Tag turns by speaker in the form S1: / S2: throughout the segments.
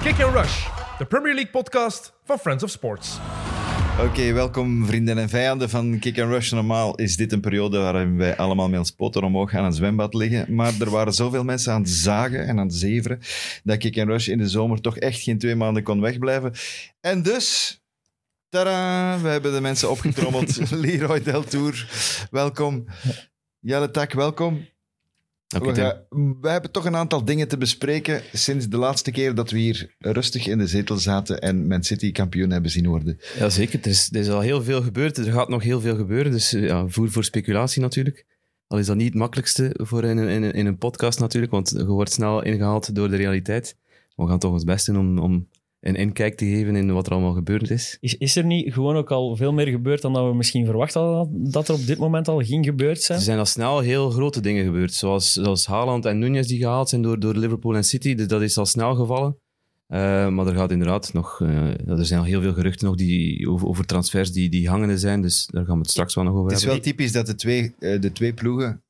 S1: Kick and Rush, de Premier League podcast van Friends of Sports.
S2: Oké, welkom vrienden en vijanden van Kick and Rush. Normaal is dit een periode waarin wij allemaal met ons poten omhoog aan het zwembad liggen. Maar er waren zoveel mensen aan het zagen en aan het zeveren dat Kick and Rush in de zomer toch echt geen twee maanden kon wegblijven. En dus, tada, we hebben de mensen opgetrommeld. Leroy Deltour, welkom. Jelle Tak, welkom.
S3: Oké,
S2: We,
S3: Tim.
S2: gaan- we hebben toch een aantal dingen te bespreken sinds de laatste keer dat we hier rustig in de zetel zaten en Man City kampioen hebben zien worden.
S3: Ja, zeker. Er is, er is al heel veel gebeurd. Er gaat nog heel veel gebeuren. Dus eh, ja, voer voor speculatie natuurlijk. Al is dat niet het makkelijkste voor in een, in een, in een podcast natuurlijk, want je wordt snel ingehaald door de realiteit. Maar we gaan toch ons best doen om, om een inkijk te geven in wat er allemaal gebeurd is.
S4: Is, is er niet gewoon ook al veel meer gebeurd dan dat we misschien verwacht hadden dat- dat er op dit moment al ging gebeurd
S3: Er
S4: zijn?
S3: zijn al snel heel grote dingen gebeurd, zoals, zoals Haaland en Nunez die gehaald zijn door, door Liverpool en City. Dus dat is al snel gevallen. Eh, maar er gaat inderdaad nog... eh, er zijn al heel veel geruchten nog die, over, over transfers die, die hangende zijn, dus daar gaan we het straks wel nog over
S2: Het is
S3: hebben.
S2: wel typisch dat de twee, eh, de twee ploegen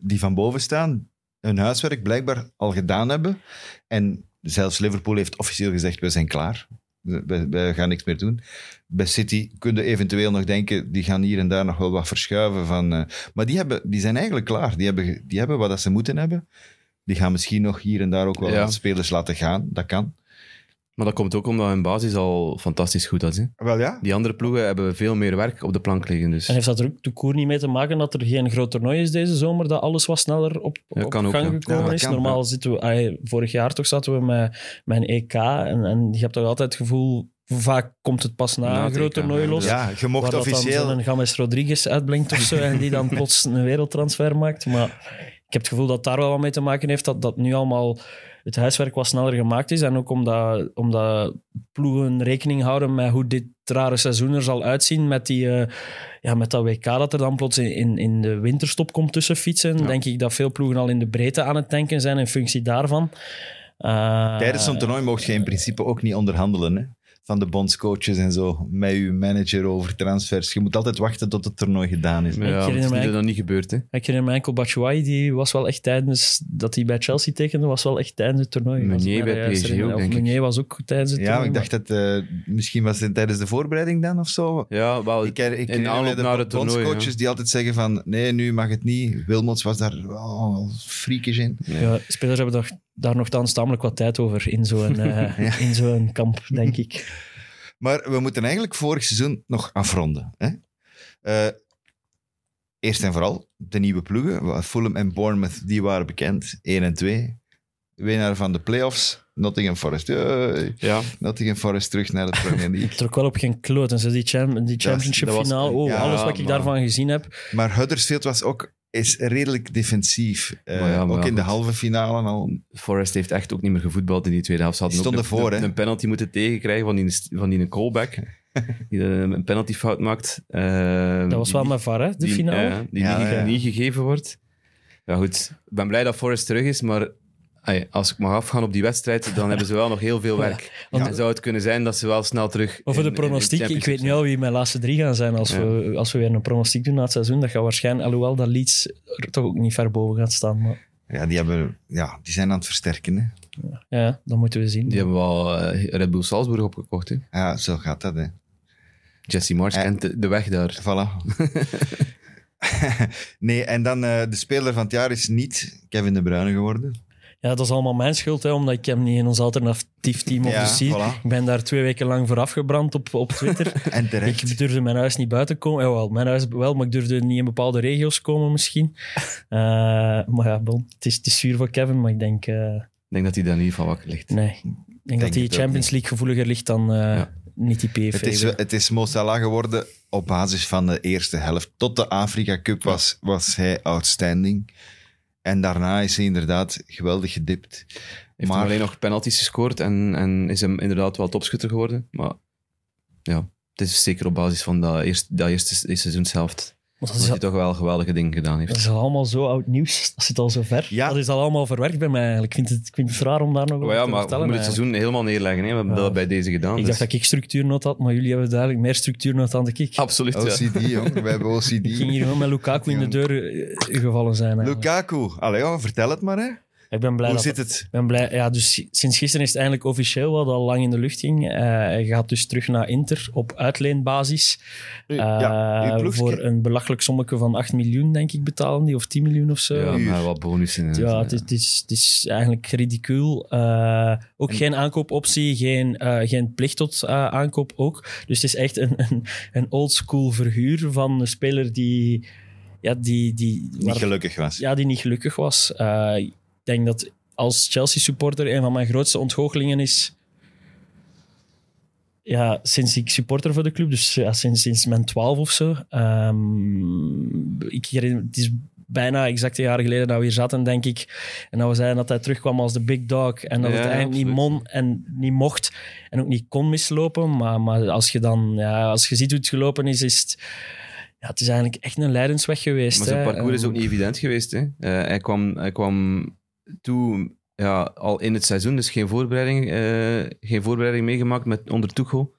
S2: die van boven staan, hun huiswerk blijkbaar al gedaan hebben. En zelfs Liverpool heeft officieel gezegd, we zijn klaar. We, we- we gaan niks meer doen. Bij City kunnen eventueel nog denken, die gaan hier en daar nog wel wat verschuiven. Van, eh, maar die, hebben, die zijn eigenlijk klaar. Die hebben, ge- die hebben wat dat ze moeten hebben. Die gaan misschien nog hier en daar ook wel
S3: Ja.
S2: wat spelers laten gaan. Dat kan.
S3: Maar dat komt ook omdat hun basis al fantastisch goed is. Hè?
S2: Wel ja.
S3: Die andere ploegen hebben veel meer werk op de plank liggen. Dus.
S4: En heeft dat er ook de koer niet mee te maken dat er geen groot toernooi is deze zomer, dat alles wat sneller op,
S3: Ja,
S4: op
S3: kan ook,
S4: gang
S3: ja.
S4: gekomen
S2: Ja, dat
S4: is?
S2: kan,
S4: Normaal zitten we, ah, vorig jaar toch zaten we met, met een EK en, en je hebt toch altijd het gevoel, vaak komt het pas na,
S3: Na
S4: een
S3: het
S4: groot
S3: EK,
S4: toernooi
S3: ja,
S4: los.
S2: Ja, je
S4: waar
S2: mocht
S4: dat dan
S2: officieel...
S4: zo'n James Rodriguez uitblinkt of zo en die dan plots een wereldtransfer maakt. Maar ik heb het gevoel dat daar wel wat mee te maken heeft dat, dat nu allemaal het huiswerk wat sneller gemaakt is. En ook omdat, omdat ploegen rekening houden met hoe dit rare seizoen er zal uitzien met, die, eh, ja, met dat WK dat er dan plots in, in, in de winterstop komt tussen fietsen. Denk ik dat veel ploegen al in de breedte aan het tanken zijn in functie daarvan.
S3: Ah,
S4: Eh,
S2: Tijdens zo'n toernooi mocht je in principe ook niet onderhandelen. Hè? Van de bondscoaches en zo. Met je manager over transfers. Je moet altijd wachten tot het toernooi gedaan is.
S3: Maar
S4: Ik
S3: ja,
S4: herinner
S3: dat
S4: mij-
S3: is dan niet gebeurd. Hè?
S4: Ik herinner me enkel Batshuayi, die was wel echt tijdens... Dat hij bij Chelsea tekende, was wel echt tijdens het toernooi.
S3: Meunier
S4: Was het mij
S3: bij
S4: daar juist
S3: PSG
S4: herinneren.
S3: ook,
S4: Of
S3: denk ik.
S4: Meunier was ook tijdens het
S2: Ja,
S4: toernooi.
S2: maar ik dacht dat... eh, misschien was het tijdens de voorbereiding dan of zo.
S3: Ja, wel,
S2: Ik, her- ik
S3: in de
S2: herinner me
S3: aanloop
S2: de
S3: naar het toernooi.
S2: bondscoaches die altijd zeggen van... Nee, nu mag het niet. Wilmots was daar wel wel freakish in.
S4: maar- Ja, spelers hebben daar, daar nogthans tamelijk wat tijd over in zo'n eh, in zo'n kamp, denk ik.
S2: Maar we moeten eigenlijk vorig seizoen nog afronden. Hè? Eh, eerst en vooral de nieuwe ploegen. Fulham en Bournemouth, die waren bekend. 1 en 2. Winnaar van de playoffs. Nottingham Forest. Hey.
S3: Ja.
S2: Nottingham Forest terug naar de Premier League.
S4: Trok wel op geen kloot. En ze die, cham- die championship
S3: dat was-
S4: finale, oh,
S2: ja,
S4: alles wat ik
S3: maar-
S4: daarvan gezien heb.
S2: maar Huddersfield was ook is redelijk defensief. Eh,
S3: Maar ja, maar
S2: ook
S3: ja,
S2: in de
S3: goed.
S2: halve finale al.
S3: Forrest heeft echt ook niet meer gevoetbald in die tweede helft. Ze hadden
S2: Die
S3: ook
S2: stonden
S3: een,
S2: voor,
S3: een,
S2: hè?
S3: een penalty moeten tegenkrijgen van die, van die een callback. die eh, een penaltyfout maakt. Ehm,
S4: Dat was wel
S3: die-
S4: met VAR, hè, de
S3: die- eh,
S4: finale.
S3: ja, die
S2: Ja,
S3: niet,
S2: ja.
S3: niet gegeven wordt. Ja, goed. Ik ben blij dat Forrest terug is, maar ai, als ik mag afgaan op die wedstrijd, dan hebben ze wel nog heel veel werk.
S4: want-
S3: En zou het kunnen zijn dat ze wel snel terug...
S4: Over
S3: in-
S4: de
S3: in
S4: pronostiek, ik
S3: Champions
S4: weet niet al wie mijn laatste drie gaan zijn als,
S3: Ja.
S4: we, als we weer een pronostiek doen na het seizoen. Dat gaat waarschijnlijk, alhoewel dat Leeds er toch ook niet ver boven gaat staan. Maar
S2: Ja, die, hebben, ja, die zijn aan het versterken. Hè.
S4: ja, dat moeten we zien.
S3: Die hebben wel eh, Red Bull Salzburg opgekocht. Hè?
S2: Ja, zo gaat dat. Hè.
S3: Jesse Marsh
S2: Eh.
S3: kent de, de weg daar.
S2: Voilà. nee, en dan eh, de speler van het jaar is niet Kevin De Bruyne geworden.
S4: Ja, dat is allemaal mijn schuld, hè, omdat ik hem niet in ons alternatief team of
S2: Ja,
S4: zo zie.
S2: voilà.
S4: Ik ben daar twee weken lang voor afgebrand op, op Twitter.
S2: En terecht.
S4: ik durfde mijn huis niet buiten komen. Jawel, mijn huis wel, maar ik durfde niet in bepaalde regio's komen misschien. Eh, maar ja, bon, het, is, het is zuur voor Kevin, maar ik denk... eh,
S3: Ik denk dat hij daar in ieder geval wakker ligt.
S4: nee, ik denk, dat
S2: het
S4: hij
S2: ook
S4: Champions League gevoeliger ligt dan eh,
S3: Ja.
S4: niet die PFV.
S2: Het is, eh, het is Mo Salah geworden op basis van de eerste helft. Tot de Afrika Cup was, was hij outstanding. En daarna is hij inderdaad geweldig gedipt.
S3: Heeft
S2: Maar-
S3: maar... alleen nog penalties gescoord en, en is hem inderdaad wel topschutter geworden. Maar ja, het is zeker op basis van dat, eerst, dat eerste se- seizoenshelft.
S4: Want dat
S3: Dat
S4: is
S3: hij toch wel geweldige dingen gedaan heeft.
S4: Dat is al allemaal zo oud nieuws. Dat zit al zo ver.
S2: Ja.
S4: Dat is al allemaal verwerkt bij mij eigenlijk. Ik vind het, ik vind het raar om daar nog over
S3: Maar ja,
S4: te
S3: maar we
S4: vertellen.
S3: moeten het seizoen
S4: eigenlijk.
S3: helemaal neerleggen. Hè? We hebben
S4: Ja.
S3: dat bij deze gedaan.
S4: Ik
S3: dus-
S4: dacht dat ik structuurnood had, maar jullie hebben duidelijk meer structuurnood dan ik.
S2: Ah,
S4: Ik
S3: Absoluut, ja.
S2: OCD, jong. We hebben OCD.
S4: ging hier gewoon met Lukaku in de deur eh, gevallen zijn. eigenlijk.
S2: Lukaku. Allee, joh, vertel het maar. Hè.
S4: Ik ben blij
S2: Hoe
S4: dat
S2: zit het?
S4: Ik ben blij. Ja, dus sinds gisteren is het eindelijk officieel, wat al lang in de lucht ging. Eh, hij gaat dus terug naar Inter op uitleenbasis.
S2: Uw- ja,
S4: Eh,
S2: uw ploegje.
S4: voor een belachelijk sommetje van 8 miljoen, denk ik, betalen die, of 10 miljoen of zo.
S3: Ja,
S4: Ja,
S3: maar wat bonussen. en-
S4: het, is, het, is, het is eigenlijk ridicuul. Eh, ook geen aankoopoptie, geen, eh, geen plicht tot eh, aankoop ook. Dus het is echt een, een, een oldschool verhuur van een speler die... Ja, die, die,
S2: Niet
S4: waar-
S2: gelukkig was.
S4: ja, die niet gelukkig was. Eh, ik denk dat als Chelsea-supporter een van mijn grootste ontgoochelingen is. Ja, sinds ik supporter voor de club, dus ja, sinds, sinds mijn 12 of zo. Ehm, ik herinner, het is bijna exact een jaar geleden dat we hier zaten, denk ik. En dat we zeiden dat hij terugkwam als de big dog. En dat
S3: Ja,
S4: het eigenlijk niet,
S3: absoluut.
S4: mon, en niet mocht en ook niet kon mislopen. Maar, maar als je dan ja, als je ziet hoe het gelopen is, is het, ja, het is eigenlijk echt een leidensweg geweest.
S3: Maar zijn
S4: hè.
S3: parcours is
S4: Ehm,
S3: ook niet evident geweest. Hè. Eh, hij, kwam, hij kwam toe ja, al in het seizoen, dus geen voorbereiding, eh, geen voorbereiding meegemaakt met, onder Tuchel.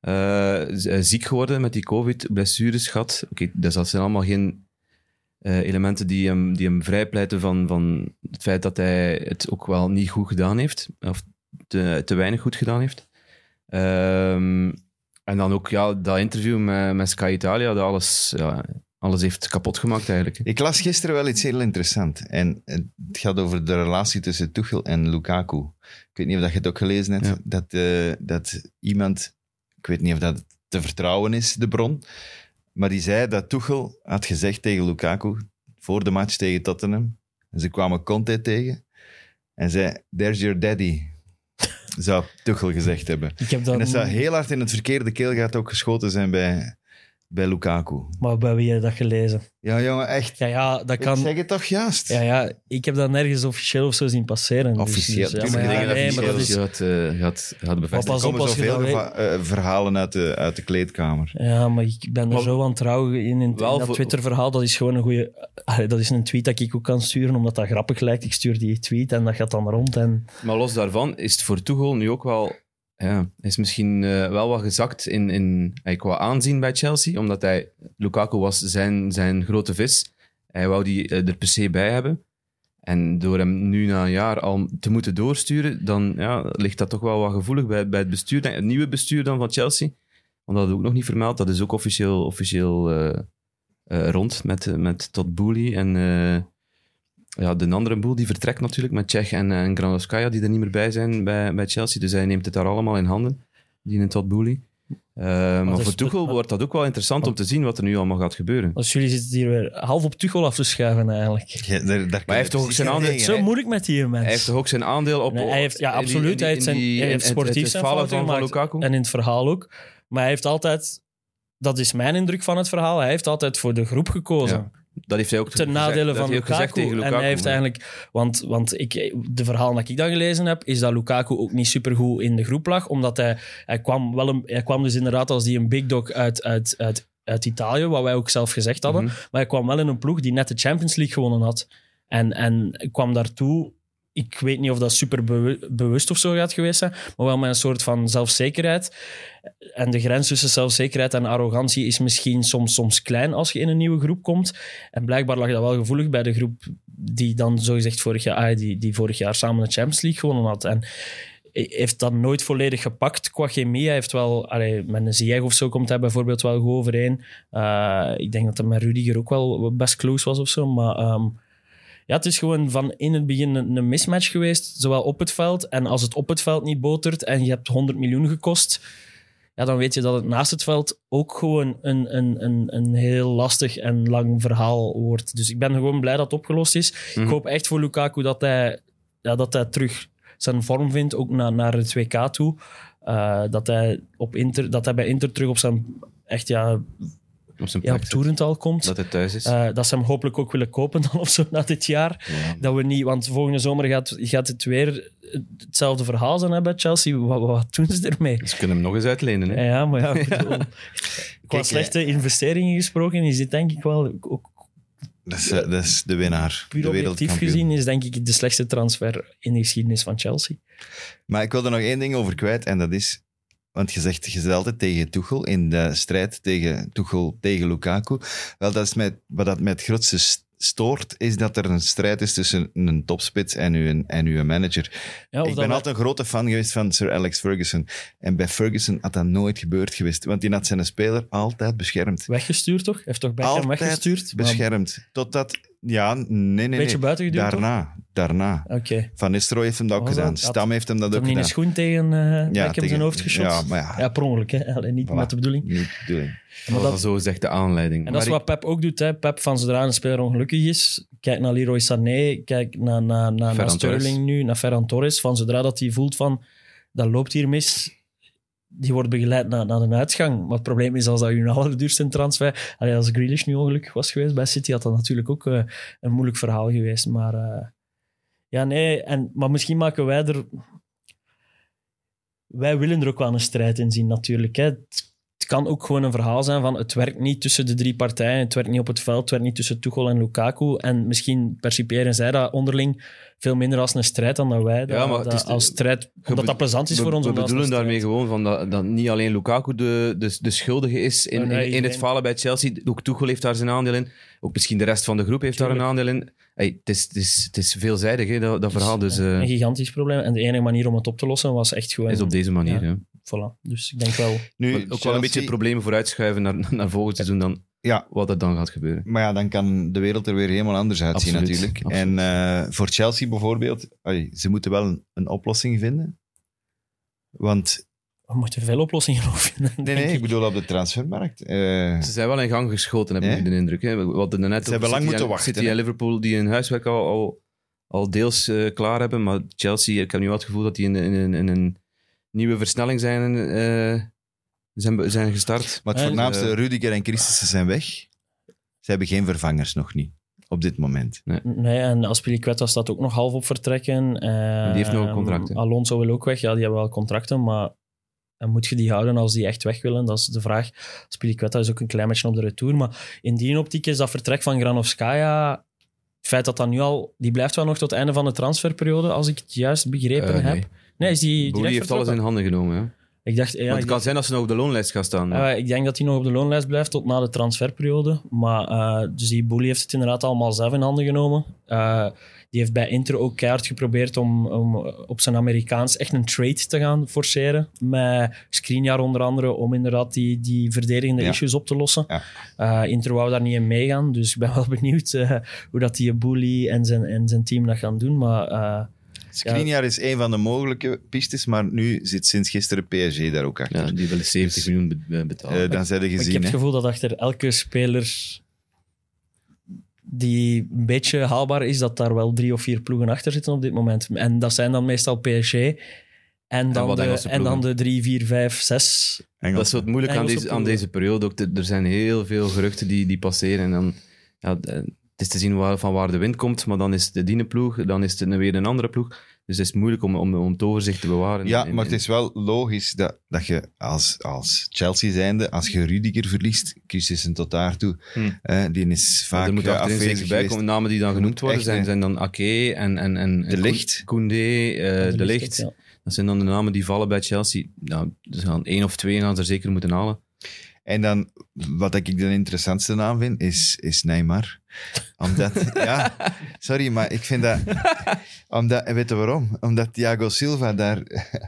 S3: Eh, z- eh, ziek geworden met die covid, blessures gehad. Oké, dus dat zijn allemaal geen eh, elementen die hem, die hem vrijpleiten van, van het feit dat hij het ook wel niet goed gedaan heeft. Of te, te weinig goed gedaan heeft. Ehm, en dan ook ja, dat interview met, met Sky Italia, dat alles ja, alles heeft kapot gemaakt eigenlijk. hè.
S2: Ik las gisteren wel iets heel interessants. En het gaat over de relatie tussen Tuchel en Lukaku. Ik weet niet of dat je het ook gelezen hebt.
S3: Ja.
S2: Dat, eh, dat iemand, ik weet niet of dat te vertrouwen is, de bron. Maar die zei dat Tuchel had gezegd tegen Lukaku voor de match tegen Tottenham. En ze kwamen Conte tegen. En zei, there's your daddy. Zou Tuchel gezegd hebben.
S4: Ik heb dat,
S2: En dat zou heel hard in het verkeerde keelgat ook geschoten zijn bij, bij Lukaku.
S4: Maar bij wie heb je dat gelezen?
S2: Ja, jongen, echt.
S4: Ja, ja, dat
S2: Ik
S4: kan...
S2: zeg het toch juist?
S4: Ja, ja, ik heb dat nergens officieel of zo zien passeren. Dus-
S2: Officieel,
S4: dus, ja,
S2: tuurlijk,
S4: maar ja,
S2: ik denk dat
S4: nee, maar dat
S3: Dus
S4: is...
S3: je had, eh, je had, je had bevestigd.
S4: Pas
S2: Er komen
S4: op als je
S2: zoveel
S4: dat
S2: geva- eh, verhalen uit de, uit de kleedkamer.
S4: Ja, maar ik ben er
S3: Maar-
S4: zo aan trouw in, in, in
S3: Wel
S4: dat
S3: voor-
S4: Twitter-verhaal. Dat is gewoon een goede... Dat is een tweet dat ik ook kan sturen, omdat dat grappig lijkt. Ik stuur die tweet en dat gaat dan rond. En
S3: Maar los daarvan is het voor Tuchel nu ook wel... Ja, is misschien eh, wel wat gezakt in, in, eh, qua aanzien bij Chelsea. Omdat hij... Lukaku was zijn, zijn grote vis. Hij wou die eh, er per se bij hebben. En door hem nu na een jaar al te moeten doorsturen, dan ja, ligt dat toch wel wat gevoelig bij, bij het bestuur. denk- Het nieuwe bestuur dan van Chelsea. Want dat had ik ook nog niet vermeld. Dat is ook officieel, officieel eh, eh, rond met, eh, met Todd Boehly en... eh, ja, de andere boel die vertrekt natuurlijk met Tsjech en, en Granovskaya, die er niet meer bij zijn bij, bij Chelsea. Dus hij neemt het daar allemaal in handen, die in Todd Boehly. Eh, maar
S4: dat
S3: voor
S4: is-
S3: Tuchel
S4: dat-
S3: wordt dat ook wel interessant om te zien wat er nu allemaal gaat gebeuren.
S4: als Dus jullie zitten hier weer half op Tuchel af te schuiven, eigenlijk.
S2: Ja, daar, daar
S3: hij heeft toch ook zijn handen-
S2: handen.
S3: Nee,
S4: Zo moeilijk met die mensen.
S3: Hij heeft toch ook zijn aandeel op...
S4: Nee, hij heeft, ja,
S3: in die-
S4: absoluut.
S3: in die-
S4: hij heeft, zijn,
S3: in die-
S4: hij
S3: in
S4: heeft
S3: het-
S4: sportief
S3: het- het
S4: zijn
S3: falen
S4: fouten
S3: van, van
S4: gemaakt.
S3: Lukaku.
S4: En in het verhaal ook. Maar hij heeft altijd... Dat is mijn indruk van het verhaal. Hij heeft altijd voor de groep gekozen.
S3: Ja, dat heeft hij ook
S4: ten
S3: gezegd-
S4: nadele
S3: dat
S4: van
S3: heeft hij ook gezegd
S4: Lukaku.
S3: tegen Lukaku.
S4: En hij heeft eigenlijk... Want, want ik, de verhaal dat ik dan gelezen heb, is dat Lukaku ook niet supergoed in de groep lag. Omdat hij, hij, kwam, wel een, hij kwam dus inderdaad als die een big dog uit, uit, uit, uit Italië, wat wij ook zelf gezegd hadden.
S3: Mhm.
S4: Maar hij kwam wel in een ploeg die net de Champions League gewonnen had. En, en kwam daartoe... Ik weet niet of dat super bewu- bewust of zo gaat geweest zijn, maar wel met een soort van zelfzekerheid. En de grens tussen zelfzekerheid en arrogantie is misschien soms, soms klein als je in een nieuwe groep komt. En blijkbaar lag dat wel gevoelig bij de groep die dan zogezegd vorig jaar, ah, die, die vorig jaar samen de Champions League gewonnen had. En hij heeft dat nooit volledig gepakt qua chemie. Hij heeft wel, allee, met een Ziyech of zo komt hij bijvoorbeeld wel goed overeen. Eh, ik denk dat hij met Rudiger ook wel best close was of zo. Maar ehm, ja, het is gewoon van in het begin een, een mismatch geweest, zowel op het veld. En als het op het veld niet botert en je hebt 100 miljoen gekost, ja, dan weet je dat het naast het veld ook gewoon een, een, een, een heel lastig en lang verhaal wordt. Dus ik ben gewoon blij dat het opgelost is.
S3: Mhm.
S4: Ik hoop echt voor Lukaku dat hij, ja, dat hij terug zijn vorm vindt, ook na, naar het WK toe. Eh, dat, hij op Inter, dat hij bij Inter terug op zijn echt ja,
S3: Op zijn
S4: ja, op
S3: plek zit.
S4: toerental komt.
S3: Dat hij thuis is.
S4: Eh, dat ze hem hopelijk ook willen kopen dan of zo na dit jaar. Dat we niet, want volgende zomer gaat, gaat het weer hetzelfde verhaal zijn hè, bij Chelsea. Wat, wat doen ze ermee?
S3: Ze kunnen hem nog eens uitlenen. Hè?
S4: Ja, ja, maar ja, ik bedoel, qua
S2: Kijk, eh,
S4: slechte investeringen gesproken is dit denk ik wel, ook
S2: Dat is, eh, dat is de winnaar.
S4: puur
S2: de
S4: objectief
S2: wereldkampioen.
S4: gezien, is denk ik de slechtste transfer in de geschiedenis van Chelsea.
S2: Maar ik wil er nog één ding over kwijt. En dat is... Want je zegt, je zit altijd tegen Tuchel in de strijd tegen Tuchel tegen Lukaku. Wel, dat is met, wat dat met grootste s- stoort, is dat er een strijd is tussen een topspits en uw, en uw manager.
S4: Ja, of
S2: ik
S4: dat
S2: ben
S4: we-
S2: altijd een grote fan geweest van Sir Alex Ferguson. En bij Ferguson had dat nooit gebeurd geweest, want die had zijn speler altijd beschermd.
S4: weggestuurd, toch? Hij heeft toch Beckham
S2: Altijd
S4: weggestuurd? Maar
S2: Beschermd. Totdat, ja, nee, nee, nee.
S4: Een beetje buiten geduwd, toch?
S2: Daarna, daarna.
S4: Oké. Okay.
S2: Van Nistelrooy heeft hem dat ook
S4: Was dat?
S2: gedaan.
S4: Had-
S2: Stam heeft hem dat
S4: Toen
S2: ook
S4: hij een
S2: gedaan.
S4: schoen tegen eh Beckham
S2: tegen-
S4: zijn hoofd geschot.
S2: Ja, maar ja.
S4: Ja, per ongeluk, hè? Allee, niet
S2: Voilà.
S4: met de bedoeling.
S2: Niet de bedoeling.
S4: Maar
S3: Dat
S4: dat-
S3: was zo gezegd de aanleiding.
S4: En dat is
S2: Maar
S4: wat Pep ook doet. Hè. Pep, van zodra een speler ongelukkig is, kijk naar Leroy Sané, kijk naar, naar, naar, naar
S3: Ferran Torres.
S4: Sterling nu, naar Ferran Torres. Van zodra dat hij voelt van, dat loopt hier mis, die wordt begeleid naar, naar een uitgang. Maar het probleem is, als dat hun allerduurste transfer... Allee, als Grealish nu ongelukkig was geweest bij City, had dat natuurlijk ook eh, een moeilijk verhaal geweest. Maar eh, ja, nee. En, maar misschien maken wij er... Wij willen er ook wel een strijd in zien, natuurlijk. Hè. Het, het kan ook gewoon een verhaal zijn van het werkt niet tussen de drie partijen, het werkt niet op het veld, het werkt niet tussen Tuchel en Lukaku. En misschien perciperen zij dat onderling veel minder als een strijd dan dat wij. Dat,
S3: Ja, maar het
S4: dat
S3: is de-
S4: als strijd, omdat
S3: be-
S4: dat plezant is
S3: we,
S4: voor ons.
S3: we
S4: om dat als een
S3: bedoelen
S4: strijd-
S3: daarmee gewoon van dat, dat niet alleen Lukaku de, de, de schuldige is in,
S4: Nee, nee,
S3: in, in het
S4: iedereen.
S3: falen bij Chelsea. Ook Tuchel heeft daar zijn aandeel in. Ook misschien de rest van de groep heeft daar een
S4: Tuurlijk.
S3: aandeel in. Hey, het, is, het, is, het is veelzijdig, hè, dat, dat verhaal. Dus, eh,
S4: Een gigantisch probleem. En de enige manier om het op te lossen was echt gewoon...
S3: is op deze manier. Ja.
S4: Voilà. Dus ik denk wel...
S2: Nu,
S3: Maar ook wel
S2: Chelsea-
S3: een beetje problemen vooruitschuiven naar, naar volgend seizoen dan
S2: Ja.
S3: wat er dan gaat gebeuren.
S2: Maar ja, dan kan de wereld er weer helemaal anders uitzien
S3: Absoluut,
S2: natuurlijk. En
S3: absoluut.
S2: eh, voor Chelsea bijvoorbeeld, ai, ze moeten wel een, een oplossing vinden. Want,
S4: We moeten veel oplossingen nog vinden.
S2: nee,
S4: denk
S2: nee, ik bedoel op de transfermarkt. Eh,
S3: Ze zijn wel in gang geschoten, heb ik
S2: Ja.
S3: nu de indruk. Hè. We hadden net
S2: Ze hebben
S3: over
S2: lang moeten
S3: City en-
S2: wachten,
S3: City
S2: hè.
S3: en Liverpool die hun huiswerk al, al, al deels eh, klaar hebben. Maar Chelsea, ik heb nu wel het gevoel dat die in, in, in, in een nieuwe versnelling zijn, eh, zijn, be- zijn gestart.
S2: maar het
S4: Eh,
S2: voornaamste,
S3: eh,
S2: Rudiger en Christensen zijn weg. Ze hebben geen vervangers nog niet, op dit moment.
S4: Nee, en Aspilicueta staat ook nog half op vertrekken. Eh,
S3: Die heeft nog een contract, hè?
S4: Alonso wil ook weg. Ja, die hebben wel contracten, maar... En moet je die houden als die echt weg willen? Dat is de vraag. Spiliquetta is ook een klein beetje op de retour. Maar in die optiek is dat vertrek van Granovskaya... Het feit dat dat nu al... Die blijft wel nog tot het einde van de transferperiode, als ik het juist begrepen
S3: Eh, nee.
S4: heb. Nee, is die
S3: Bowie
S4: direct
S3: heeft alles in
S4: vertrokken?
S3: handen genomen. Hè.
S4: Ik dacht... Ja,
S3: Want
S4: ik
S3: het kan zijn dat ze nog op de loonlijst gaan staan.
S2: eh.
S4: Ja, Eh, ik denk dat hij nog op de loonlijst blijft tot na de transferperiode. Maar eh, dus die Boelie heeft het inderdaad allemaal zelf in handen genomen. Eh, die heeft bij Inter ook keihard geprobeerd om, om op zijn Amerikaans echt een trade te gaan forceren. Met Skriniar onder andere, om inderdaad die, die verdedigende
S2: Ja.
S4: issues op te lossen.
S2: Ja.
S4: Eh, Inter wou daar niet in meegaan, dus ik ben wel benieuwd eh, hoe dat die Boelie en zijn, en zijn team dat gaan doen. Maar eh,
S2: Skriniar is een van de mogelijke pistes, maar nu zit sinds gisteren PSG daar ook achter.
S3: Ja, die willen 70
S2: Dus,
S3: miljoen be- eh, betalen.
S2: eh, dan zijn ze
S4: Maar ik
S2: gezien.
S4: heb
S2: hè.
S4: het gevoel dat achter elke speler die een beetje haalbaar is, dat daar wel drie of vier ploegen achter zitten op dit moment. En dat zijn dan meestal PSG. En dan,
S3: wat
S4: de,
S3: Engelse
S4: en dan
S3: ploegen.
S4: de drie, vier, vijf, zes.
S2: Engels.
S3: Dat is wat moeilijk aan
S4: Engelse
S3: deze, aan
S4: ploegen.
S3: deze periode. Ook de- er zijn heel veel geruchten die, die passeren. En dan, ja, d- het is te zien waar, van waar de wind komt. Maar dan is het de diene ploeg, dan is het een- weer een andere ploeg. Dus het is moeilijk om, om, om het overzicht te bewaren.
S2: Ja,
S3: En-
S2: maar
S3: en-
S2: het is wel logisch dat, dat je als, als Chelsea zijnde, als je Rudiger verliest, Christensen tot daartoe,
S3: Hm.
S4: Hmm.
S2: hè, die is vaak
S3: er moet
S2: eh,
S3: achterin
S2: afwezig
S3: zeker bij
S2: geweest.
S3: komen. Namen die dan genoemd worden
S2: Echt,
S3: zijn,
S2: hè.
S3: zijn dan Ake en, en, en
S2: De Ligt.
S3: Koundé, eh, De Ligt.
S4: Ja.
S3: Dat zijn dan de namen die vallen bij Chelsea. Nou, ze gaan één of twee gaan ze er zeker moeten halen.
S2: En dan, wat ik de interessantste naam vind, is, is Neymar. Omdat, ja, sorry, maar ik vind dat... Omdat, en weet je waarom? Omdat Thiago Silva daar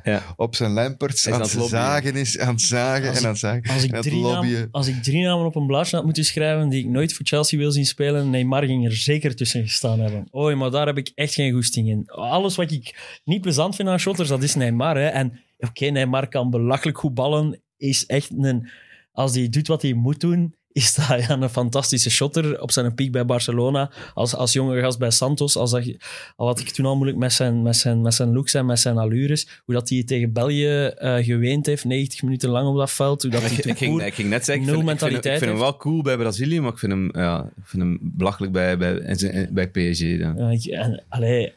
S3: Ja.
S2: op zijn lamperts
S3: Hij
S2: aan
S3: is
S2: het
S3: aan het lobbyen.
S2: zagen is, aan het zagen
S4: Als
S2: en aan het zagen.
S4: Als ik,
S2: Het
S4: drie namen,
S2: lobbyen.
S4: als ik drie namen op een blaadje had moeten schrijven die ik nooit voor Chelsea wil zien spelen, Neymar ging er zeker tussen gestaan hebben. Oei, maar daar heb ik echt geen goesting in. Alles wat ik niet plezant vind aan shotters, dat is Neymar. Hè. En oké, Neymar kan belachelijk goed ballen. Is echt een, als hij doet wat hij moet doen, is dat ja, een fantastische shotter. Op zijn piek bij Barcelona, als, als jonge gast bij Santos. Als dat, al had ik toen al moeilijk met zijn, met zijn, met zijn looks en met zijn allures. Hoe dat hij tegen België eh, geweend heeft, 90 minuten lang op dat veld. Hoe dat hij
S3: Ik,
S4: toen
S3: ik, ging, ik ging net zeggen, ik
S4: nul
S3: vind, ik vind- ik
S4: mentaliteit
S3: vind hem wel cool bij Brazilië, maar ik vind hem, ja, ik vind hem belachelijk bij, bij, en zijn- bij PSG. Dan.
S4: Ja, ik- en, allee,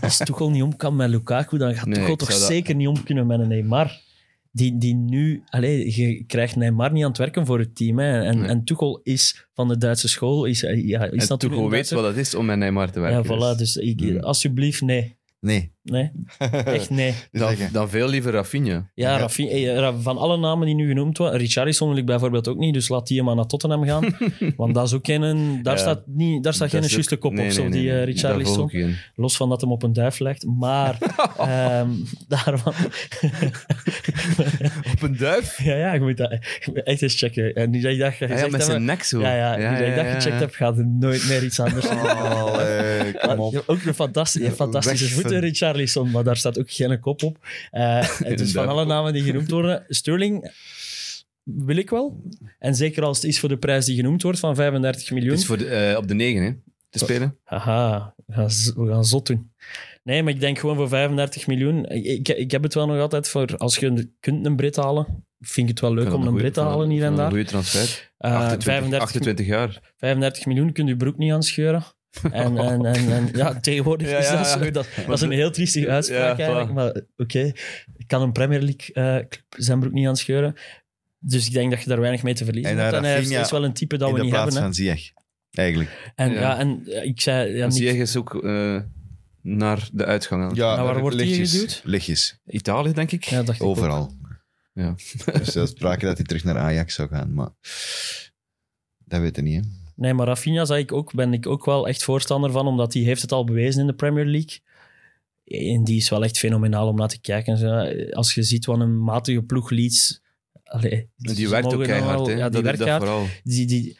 S4: als Tuchel niet om kan met Lukaku, dan gaat
S3: Nee,
S4: Tuchel
S3: ik
S4: toch
S3: zou dat-
S4: zeker niet om kunnen met een Neymar. Die, die nu... Allee, je krijgt Neymar niet aan het werken voor het team. Hè. En,
S3: Nee.
S4: en Tuchel is van de Duitse school. Is, eh, ja, is
S3: En
S4: natuurlijk
S3: Tuchel
S4: een
S3: weet
S4: Duitser.
S3: wat het is om met Neymar te werken.
S4: Ja, voilà.
S3: dus.
S4: Dus ik,
S2: Hmm.
S4: alsjeblieft, nee.
S2: Nee,
S4: Nee, echt nee.
S3: Dan,
S2: zeggen.
S3: dan veel liever Rafinha.
S4: Ja,
S2: Ja.
S4: Rafi- eh, Ra- van alle namen die nu genoemd worden, Richarlison wil ik bijvoorbeeld ook niet, dus laat die maar naar Tottenham gaan. want dat is ook geen, daar,
S3: Ja.
S4: staat, niet, daar staat geen
S3: Dat is ook-
S4: juiste kop
S3: Nee,
S4: op,
S3: nee,
S4: zo,
S3: nee,
S4: die eh,
S3: nee. Daar volg
S4: Richarlison.
S3: ik je in.
S4: Los van dat hem op een duif legt, maar ehm, daarvan...
S3: Op een duif?
S4: ja, ja, ik moet dat ik moet echt eens checken. En nu dat ik dat
S3: Ja,
S4: gezegd
S3: ja, met
S4: heb...
S3: zijn nek zo.
S4: Ja, ja, nu dat ik dat gecheckt heb, gaat er nooit meer iets anders zijn. Oh,
S2: Allee, Eh, kom op.
S4: Ja, ook een fantastische,
S2: Ja,
S4: fantastische
S2: weg
S4: voeten,
S2: van-
S4: Richarlison, maar daar staat ook geen kop op. Eh het is van
S3: Inderdaad.
S4: alle namen die genoemd worden. Sterling wil ik wel. En zeker als het is voor de prijs die genoemd wordt van 35 miljoen.
S3: Het is voor de, eh, op de negen, hè? Te spelen.
S4: Haha, we gaan, z- we gaan zot doen. Nee, maar ik denk gewoon voor 35 miljoen. Ik, ik, ik heb het wel nog altijd voor als je een- kunt een Brit halen. Vind ik het wel leuk om een Brit te halen hier en
S3: Een
S4: daar.
S3: goede transfer.
S4: Eh,
S3: 28,
S4: 35,
S3: 28 jaar.
S4: 35 miljoen kun je broek niet aanscheuren. En, en, en, en ja, tegenwoordig
S3: Ja,
S4: is
S3: ja,
S4: dat zo.
S3: ja, goed.
S4: Dat, dat is een heel triestige uitspraak
S3: Ja,
S4: eigenlijk.
S3: voilà.
S4: Maar oké, ik kan een Premier League eh, club zijn broek niet aanscheuren. Dus ik denk dat je daar weinig mee te verliezen
S2: En
S4: hebt. En
S2: dan
S4: hij is,
S2: Rafinha
S4: is wel een type dat
S2: In
S4: we
S2: de
S4: niet
S2: plaats
S4: hebben. hè.
S2: van Ziyech. Eigenlijk.
S4: En, ja.
S3: Ja.
S4: en eh, ik zei... Ja,
S3: En
S4: niet,
S3: Ziyech is ook eh, naar de uitgang aan het-
S2: Ja,
S4: Nou, waar wordt die
S2: lichtjes,
S4: geduwd?
S2: Lichtjes.
S3: Italië, denk ik.
S4: ja, dacht ik ook.
S2: Overal.
S3: Ja.
S2: Dus er sprake dat hij terug naar Ajax zou gaan, maar dat weten we niet. Hè?
S4: Nee, maar Rafinha zei ik ook, ben ik ook wel echt voorstander van, omdat die heeft het al bewezen in de Premier League. En die is wel echt fenomenaal om naar te kijken. Zo, Als je ziet wat een matige ploeg Leeds... Allee,
S3: Die
S4: ze
S3: werkt ook
S4: mogen dan
S3: keihard,
S4: wel-
S3: hè?
S4: Ja, die,
S3: Dat-
S4: werkt
S3: dat
S4: hard.
S3: vooral.
S4: die, die,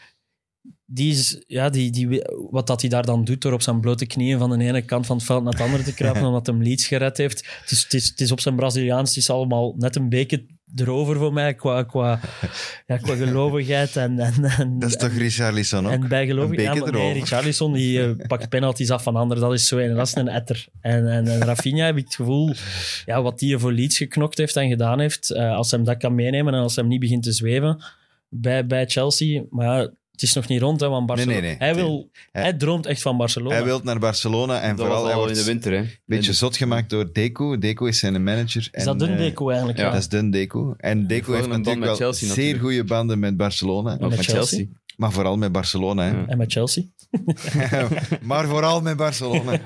S4: die is, ja, die, die, wat dat hij daar dan doet door op zijn blote knieën van de ene kant van het veld naar de andere te kruipen, omdat hem Leeds gered heeft. Het is, het is, het is op zijn Braziliaans, het is allemaal net een beetje erover voor mij qua, qua, ja, qua gelovigheid en, en, en,
S2: Dat is toch Richarlison ook?
S4: en bijgelovig.
S2: een
S4: Ja,
S2: beetje
S4: maar nee,
S2: erover.
S4: Richarlison die, eh, pakt penalties af van anderen, dat is zo een, dat is een etter. En, en, en Rafinha heb ik het gevoel, ja, wat hij voor Leeds geknokt heeft en gedaan heeft, eh, als hij hem dat kan meenemen en als hij hem niet begint te zweven bij, bij Chelsea, maar ja, het is nog niet rond, hè, want Barcelona...
S2: nee, nee.
S4: Hij, wil, hij,
S2: Hij-
S4: droomt echt van Barcelona.
S2: Hij wil naar Barcelona en
S3: Dat
S2: vooral
S3: was
S2: hij
S3: al
S2: wordt
S3: in de
S2: een
S3: winter, hè?
S2: beetje zot gemaakt door Deco. Deco is zijn manager.
S4: is dat
S2: een
S4: een Deco eigenlijk?
S3: ja.
S4: Ja.
S2: eh, Dat is dun Deco. En Deco
S3: vooral
S2: heeft
S3: een band
S2: natuurlijk wel
S3: met Chelsea
S2: zeer
S3: natuurlijk.
S2: goede banden met Barcelona.
S4: En
S3: Ook
S4: met
S3: met
S4: Chelsea.
S3: Chelsea.
S2: Maar vooral met Barcelona. Hè.
S3: Ja.
S4: En met Chelsea?
S2: maar vooral met Barcelona.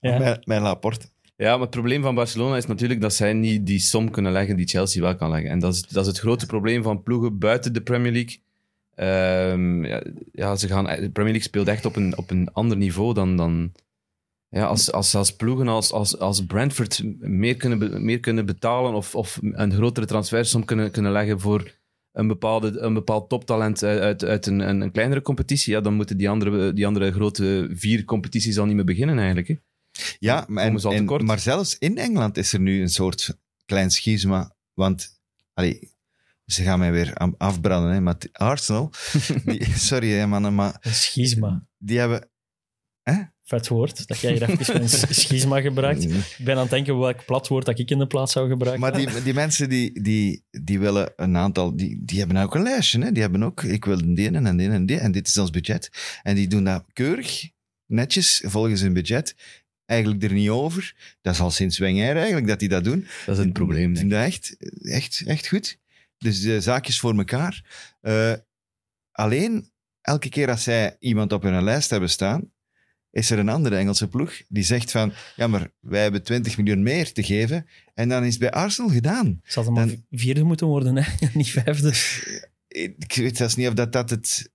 S4: Ja.
S2: Met, met Laporte.
S3: Ja, maar het probleem van Barcelona is natuurlijk dat zij niet die som kunnen leggen die Chelsea wel kan leggen. En dat is, dat is het grote probleem van ploegen buiten de Premier League. Ehm, ja, ja, ze gaan, de Premier League speelt echt op een, op een ander niveau dan... dan ja, als, als, als ploegen als, als, als Brentford meer kunnen, be- meer kunnen betalen of, of een grotere transfersom kunnen, kunnen leggen voor een, bepaalde, een bepaald toptalent uit, uit, uit een, een, een kleinere competitie, ja, dan moeten die andere, die andere grote vier competities al niet meer beginnen eigenlijk. Hè.
S2: Ja, maar, en-
S3: Komen ze al
S2: en-
S3: tekort?
S2: maar zelfs in Engeland is er nu een soort klein schisma. Want, allee, ze gaan mij weer am- afbranden, hè, maar t- Arsenal... die- sorry, hè, mannen, maar
S4: Een schizma.
S2: die hebben...
S4: Vet woord, dat jij hier even een schizma gebruikt. Ik ben aan het denken welk platwoord dat ik in de plaats zou gebruiken.
S2: Maar die, die mensen die, die, die willen een aantal... Die, die hebben nou ook een lijstje, hè. Die hebben ook... Ik wil die en die en die en dit is ons budget. En die doen dat keurig, netjes, volgens hun budget. Eigenlijk er niet over. Dat is al sinds Wenger eigenlijk dat die dat doen.
S3: Dat is het probleem, denk
S2: Doen dat echt, echt, echt goed. Dus de zaakjes voor elkaar. Eh, alleen, elke keer als zij iemand op hun lijst hebben staan, is er een andere Engelse ploeg die zegt van, ja, maar wij hebben 20 miljoen meer te geven. En dan is het bij Arsenal gedaan.
S4: Ze hadden maar
S2: Dan-
S4: vierde moeten worden, hè? niet vijfde.
S2: Ik weet zelfs niet of dat, dat het,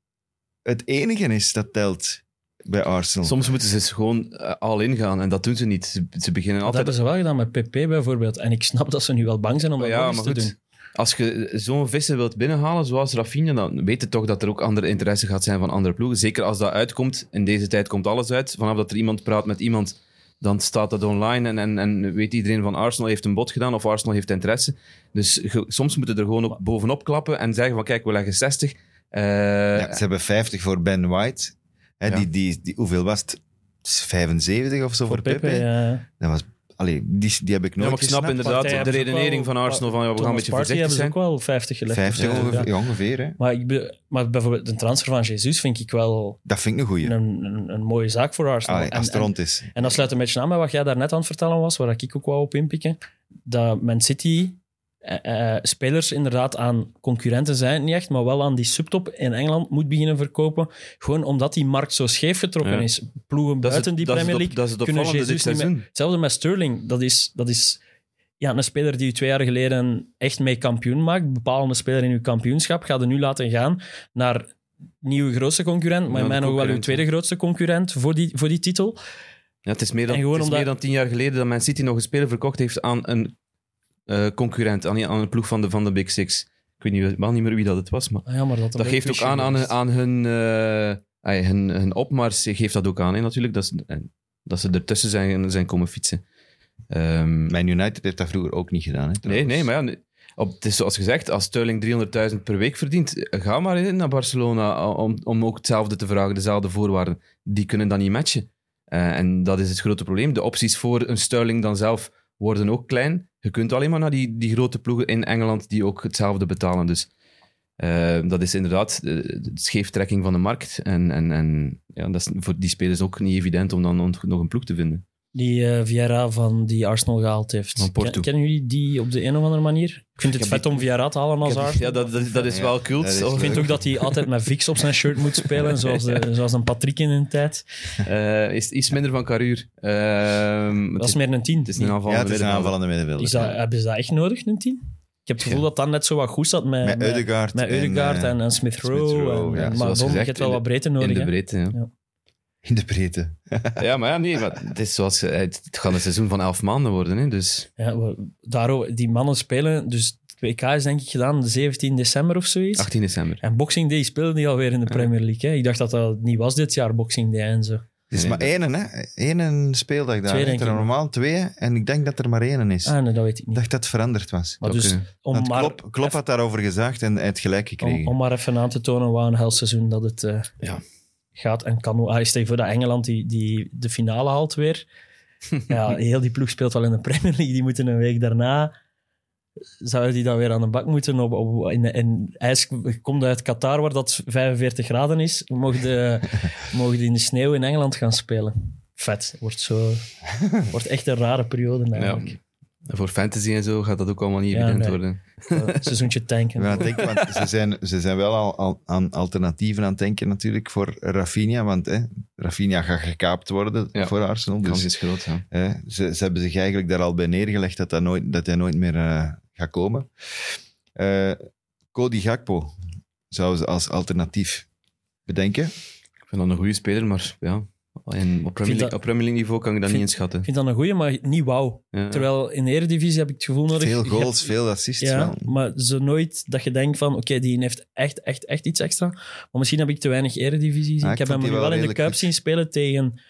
S2: het enige is dat telt bij Arsenal.
S3: Soms moeten ze eens gewoon eh, al ingaan en dat doen ze niet. Ze, ze beginnen
S4: Dat
S3: altijd.
S4: hebben ze wel gedaan met PP bijvoorbeeld. En ik snap dat ze nu wel bang zijn om dat nog
S3: ja,
S4: eens
S3: maar
S4: te doen.
S3: goed. Als je zo'n vissen wilt binnenhalen, zoals Rafinha, dan weet je toch dat er ook andere interesse gaat zijn van andere ploegen. Zeker als dat uitkomt. In deze tijd komt alles uit. Vanaf dat er iemand praat met iemand, dan staat dat online. En, en, en weet iedereen van Arsenal heeft een bod gedaan of Arsenal heeft interesse. Dus ge- soms moeten er gewoon ook bovenop klappen en zeggen van kijk, we leggen 60. Eh,
S2: Ja, ze hebben 50 voor Ben White. Hè,
S3: Ja.
S2: die, die, die, hoeveel was het? 75 of zo voor,
S4: Voor Pepe, eh,
S2: Pepe.
S4: ja.
S2: Dat was, allee, die, die heb ik
S3: ja,
S2: nooit
S3: maar ik snap
S2: gesnapt.
S3: inderdaad
S4: Partij
S3: de
S4: hebben ze ook
S3: redenering
S4: wel-
S3: van Arsenal van ja, we gaan een
S4: Thomas
S3: beetje
S4: Partey
S3: voorzichtig
S4: hebben ze
S3: zijn.
S4: ook wel 50 gelegd.
S2: 50
S4: Ja.
S2: ongeveer,
S4: Ja.
S2: ja, ongeveer, hè.
S4: Maar, ik be- maar bijvoorbeeld de transfer van Jesus vind ik wel
S2: Dat vind ik een goeie.
S4: een, een, een mooie zaak voor Arsenal.
S2: Allee,
S4: En-
S2: als het
S4: en-
S2: rond is.
S4: En dat sluit een beetje aan bij wat jij daarnet aan het vertellen was, waar ik ook wou op inpikken. Dat Man City eh, eh, spelers inderdaad aan concurrenten zijn het niet echt, maar wel aan die subtop in Engeland moet beginnen verkopen. Gewoon omdat die markt zo scheef getrokken
S3: Ja.
S4: is. Ploegen
S3: Dat is
S4: buiten
S3: het-
S4: die
S3: dat is
S4: Premier
S3: het op-
S4: League
S3: dat is het
S4: kunnen
S3: opvallende
S4: Jezus
S3: dit
S4: niet meer...
S3: seizoen.
S4: Hetzelfde met Sterling. Dat is, dat is ja, een speler die u twee jaar geleden echt mee kampioen maakt. Bepalende speler in uw kampioenschap. Gaat er nu laten gaan naar nieuwe grootste concurrent, maar
S3: Ja,
S4: in
S3: de
S4: mijn ogen wel uw
S3: concurrent,
S4: tweede grootste concurrent voor die, voor die titel.
S3: Ja, het is meer dan,
S4: En
S3: het
S4: gewoon
S3: is
S4: omdat-
S3: meer dan tien jaar geleden dat Man City nog een speler verkocht heeft aan een eh, concurrent, aan, aan een ploeg van de, van de Big Six. Ik weet niet, wel niet meer wie dat het was, maar
S4: Ah Ja, maar dat
S3: dat geeft ook aan aan, hun- aan hun, eh, ai, hun, hun opmars, geeft dat ook aan hè, natuurlijk, dat ze, eh, dat ze ertussen zijn, zijn komen fietsen. Ehm,
S2: Mijn United heeft dat vroeger ook niet gedaan. Hè,
S3: nee,
S2: trouwens.
S3: nee, maar ja, nee. op, het is zoals gezegd, als Sterling 300.000 per week verdient, eh, ga maar in naar Barcelona eh, om, om ook hetzelfde te vragen, dezelfde voorwaarden. Die kunnen dan niet matchen. Eh, en dat is het grote probleem. De opties voor een Sterling dan zelf worden ook klein. Je kunt alleen maar naar die, die grote ploegen in Engeland die ook hetzelfde betalen. Dus eh, dat is inderdaad eh, de scheeftrekking van de markt. En, en, en ja, dat is voor die spelers ook niet evident om dan ont- nog een ploeg te vinden.
S4: Die eh, Vieira van die Arsenal gehaald heeft.
S3: Van Porto.
S4: Ken- kennen jullie die op de een of andere manier? Ik vind het
S3: heb
S4: vet om Vieira te halen als Arsenal.
S3: Ja, dat, dat, dat is
S2: Ja,
S3: wel cult.
S2: dat is
S3: Of-
S4: Ik vind ook dat hij altijd met Vix op zijn shirt moet spelen, zoals, de- zoals een Patrick in een tijd.
S3: Eh, is iets minder van Karuur. Ehm, het,
S4: Dat is
S3: is,
S4: meer een tien.
S3: het is een aanval.
S2: Ja, het is een aanvallende middenvelder.
S4: Is dat,
S2: Ja.
S4: Hebben ze dat echt nodig, een tien? Ik heb het gevoel
S2: Ja.
S4: dat dat net zo wat goed zat met,
S2: Met
S4: met,
S2: Ødegaard.
S4: met Ødegaard
S2: eh,
S4: en, en Smith Rowe.
S2: Rowe,
S4: en-
S2: ja,
S4: en- Maar
S3: zoals
S4: Dom, je
S3: gezegd,
S4: hebt wel
S3: in
S4: wat
S3: de-
S4: breedte
S3: In
S4: nodig.
S3: de
S4: hè.
S3: breedte, ja.
S2: In de breedte.
S3: Ja, maar ja, nee. Maar het, is zoals, eh, het, het gaat een seizoen van elf maanden worden. Hè, dus
S4: Ja, we- daarover, die mannen spelen, dus het WK is denk ik gedaan 17 december of zoiets.
S3: 18 december.
S4: En Boxing Day speelde die alweer in de Premier League. Hè? Ik dacht dat dat niet was dit jaar, Boxing Day en zo.
S2: Het is
S3: Nee,
S2: maar
S3: dat-
S2: één, hè? Eén speeldag daar.
S4: Twee,
S2: Je
S4: denk
S2: hebt er
S4: ik.
S2: normaal twee en ik denk dat er maar één is.
S4: Ah, nee, dat weet ik
S2: Ik
S4: niet.
S2: dacht dat het veranderd was.
S4: Maar
S3: dat
S4: dus,
S3: kunnen.
S4: om
S2: Want
S4: maar,
S2: Klopp, Klopp had daarover gezaagd en hij het gelijk gekregen.
S4: om, om maar even aan te tonen wat een hel seizoen dat het eh,
S3: Ja.
S4: gaat en kan. Ah, stel je voor dat Engeland die, die de finale haalt weer. Ja, heel die ploeg speelt wel in de Premier League. Die moeten een week daarna... Zouden die dan weer aan de bak moeten? Op, op, in, in, ijs komt uit Qatar, waar dat 45 graden is. Mogen de, mogen die in de sneeuw in Engeland gaan spelen. Vet. Wordt, zo, wordt echt een rare periode
S3: Ja.
S4: eigenlijk.
S3: En Voor fantasy en zo gaat dat ook allemaal niet
S4: Ja,
S3: evident
S4: nee.
S3: worden.
S4: Eh, seizoentje tanken.
S2: Ja, denk, want ze, zijn, ze zijn wel al, al aan alternatieven aan het denken natuurlijk voor Rafinha, want hè, Rafinha gaat gekaapt worden
S3: Ja.
S2: voor Arsenal.
S3: De kans
S2: Dus,
S3: is groot. Ja.
S2: hè, ze, ze hebben zich eigenlijk daar al bij neergelegd dat, dat, nooit, dat hij nooit meer eh, gaat komen. Eh, Cody Gakpo zouden ze als alternatief bedenken.
S3: Ik vind dat een goede speler, maar ja. En op Premier,
S4: dat-
S3: League, op Premier League niveau kan ik dat
S4: vind-
S3: niet inschatten.
S4: Ik vind dat een goeie, maar niet wauw.
S3: Ja.
S4: Terwijl in de Eredivisie heb ik het gevoel nodig...
S2: Veel
S4: je
S2: goals,
S4: hebt-
S2: veel assists
S4: Ja,
S2: wel.
S4: maar zo nooit dat je denkt van, oké, die heeft echt, echt, echt iets extra. Maar misschien heb ik te weinig Eredivisie gezien.
S2: Ah, ik
S4: ik heb hem
S2: vond
S4: nu
S2: die
S4: wel
S2: wel
S4: in de
S2: redelijk
S4: Cup
S2: goed.
S4: zien spelen tegen,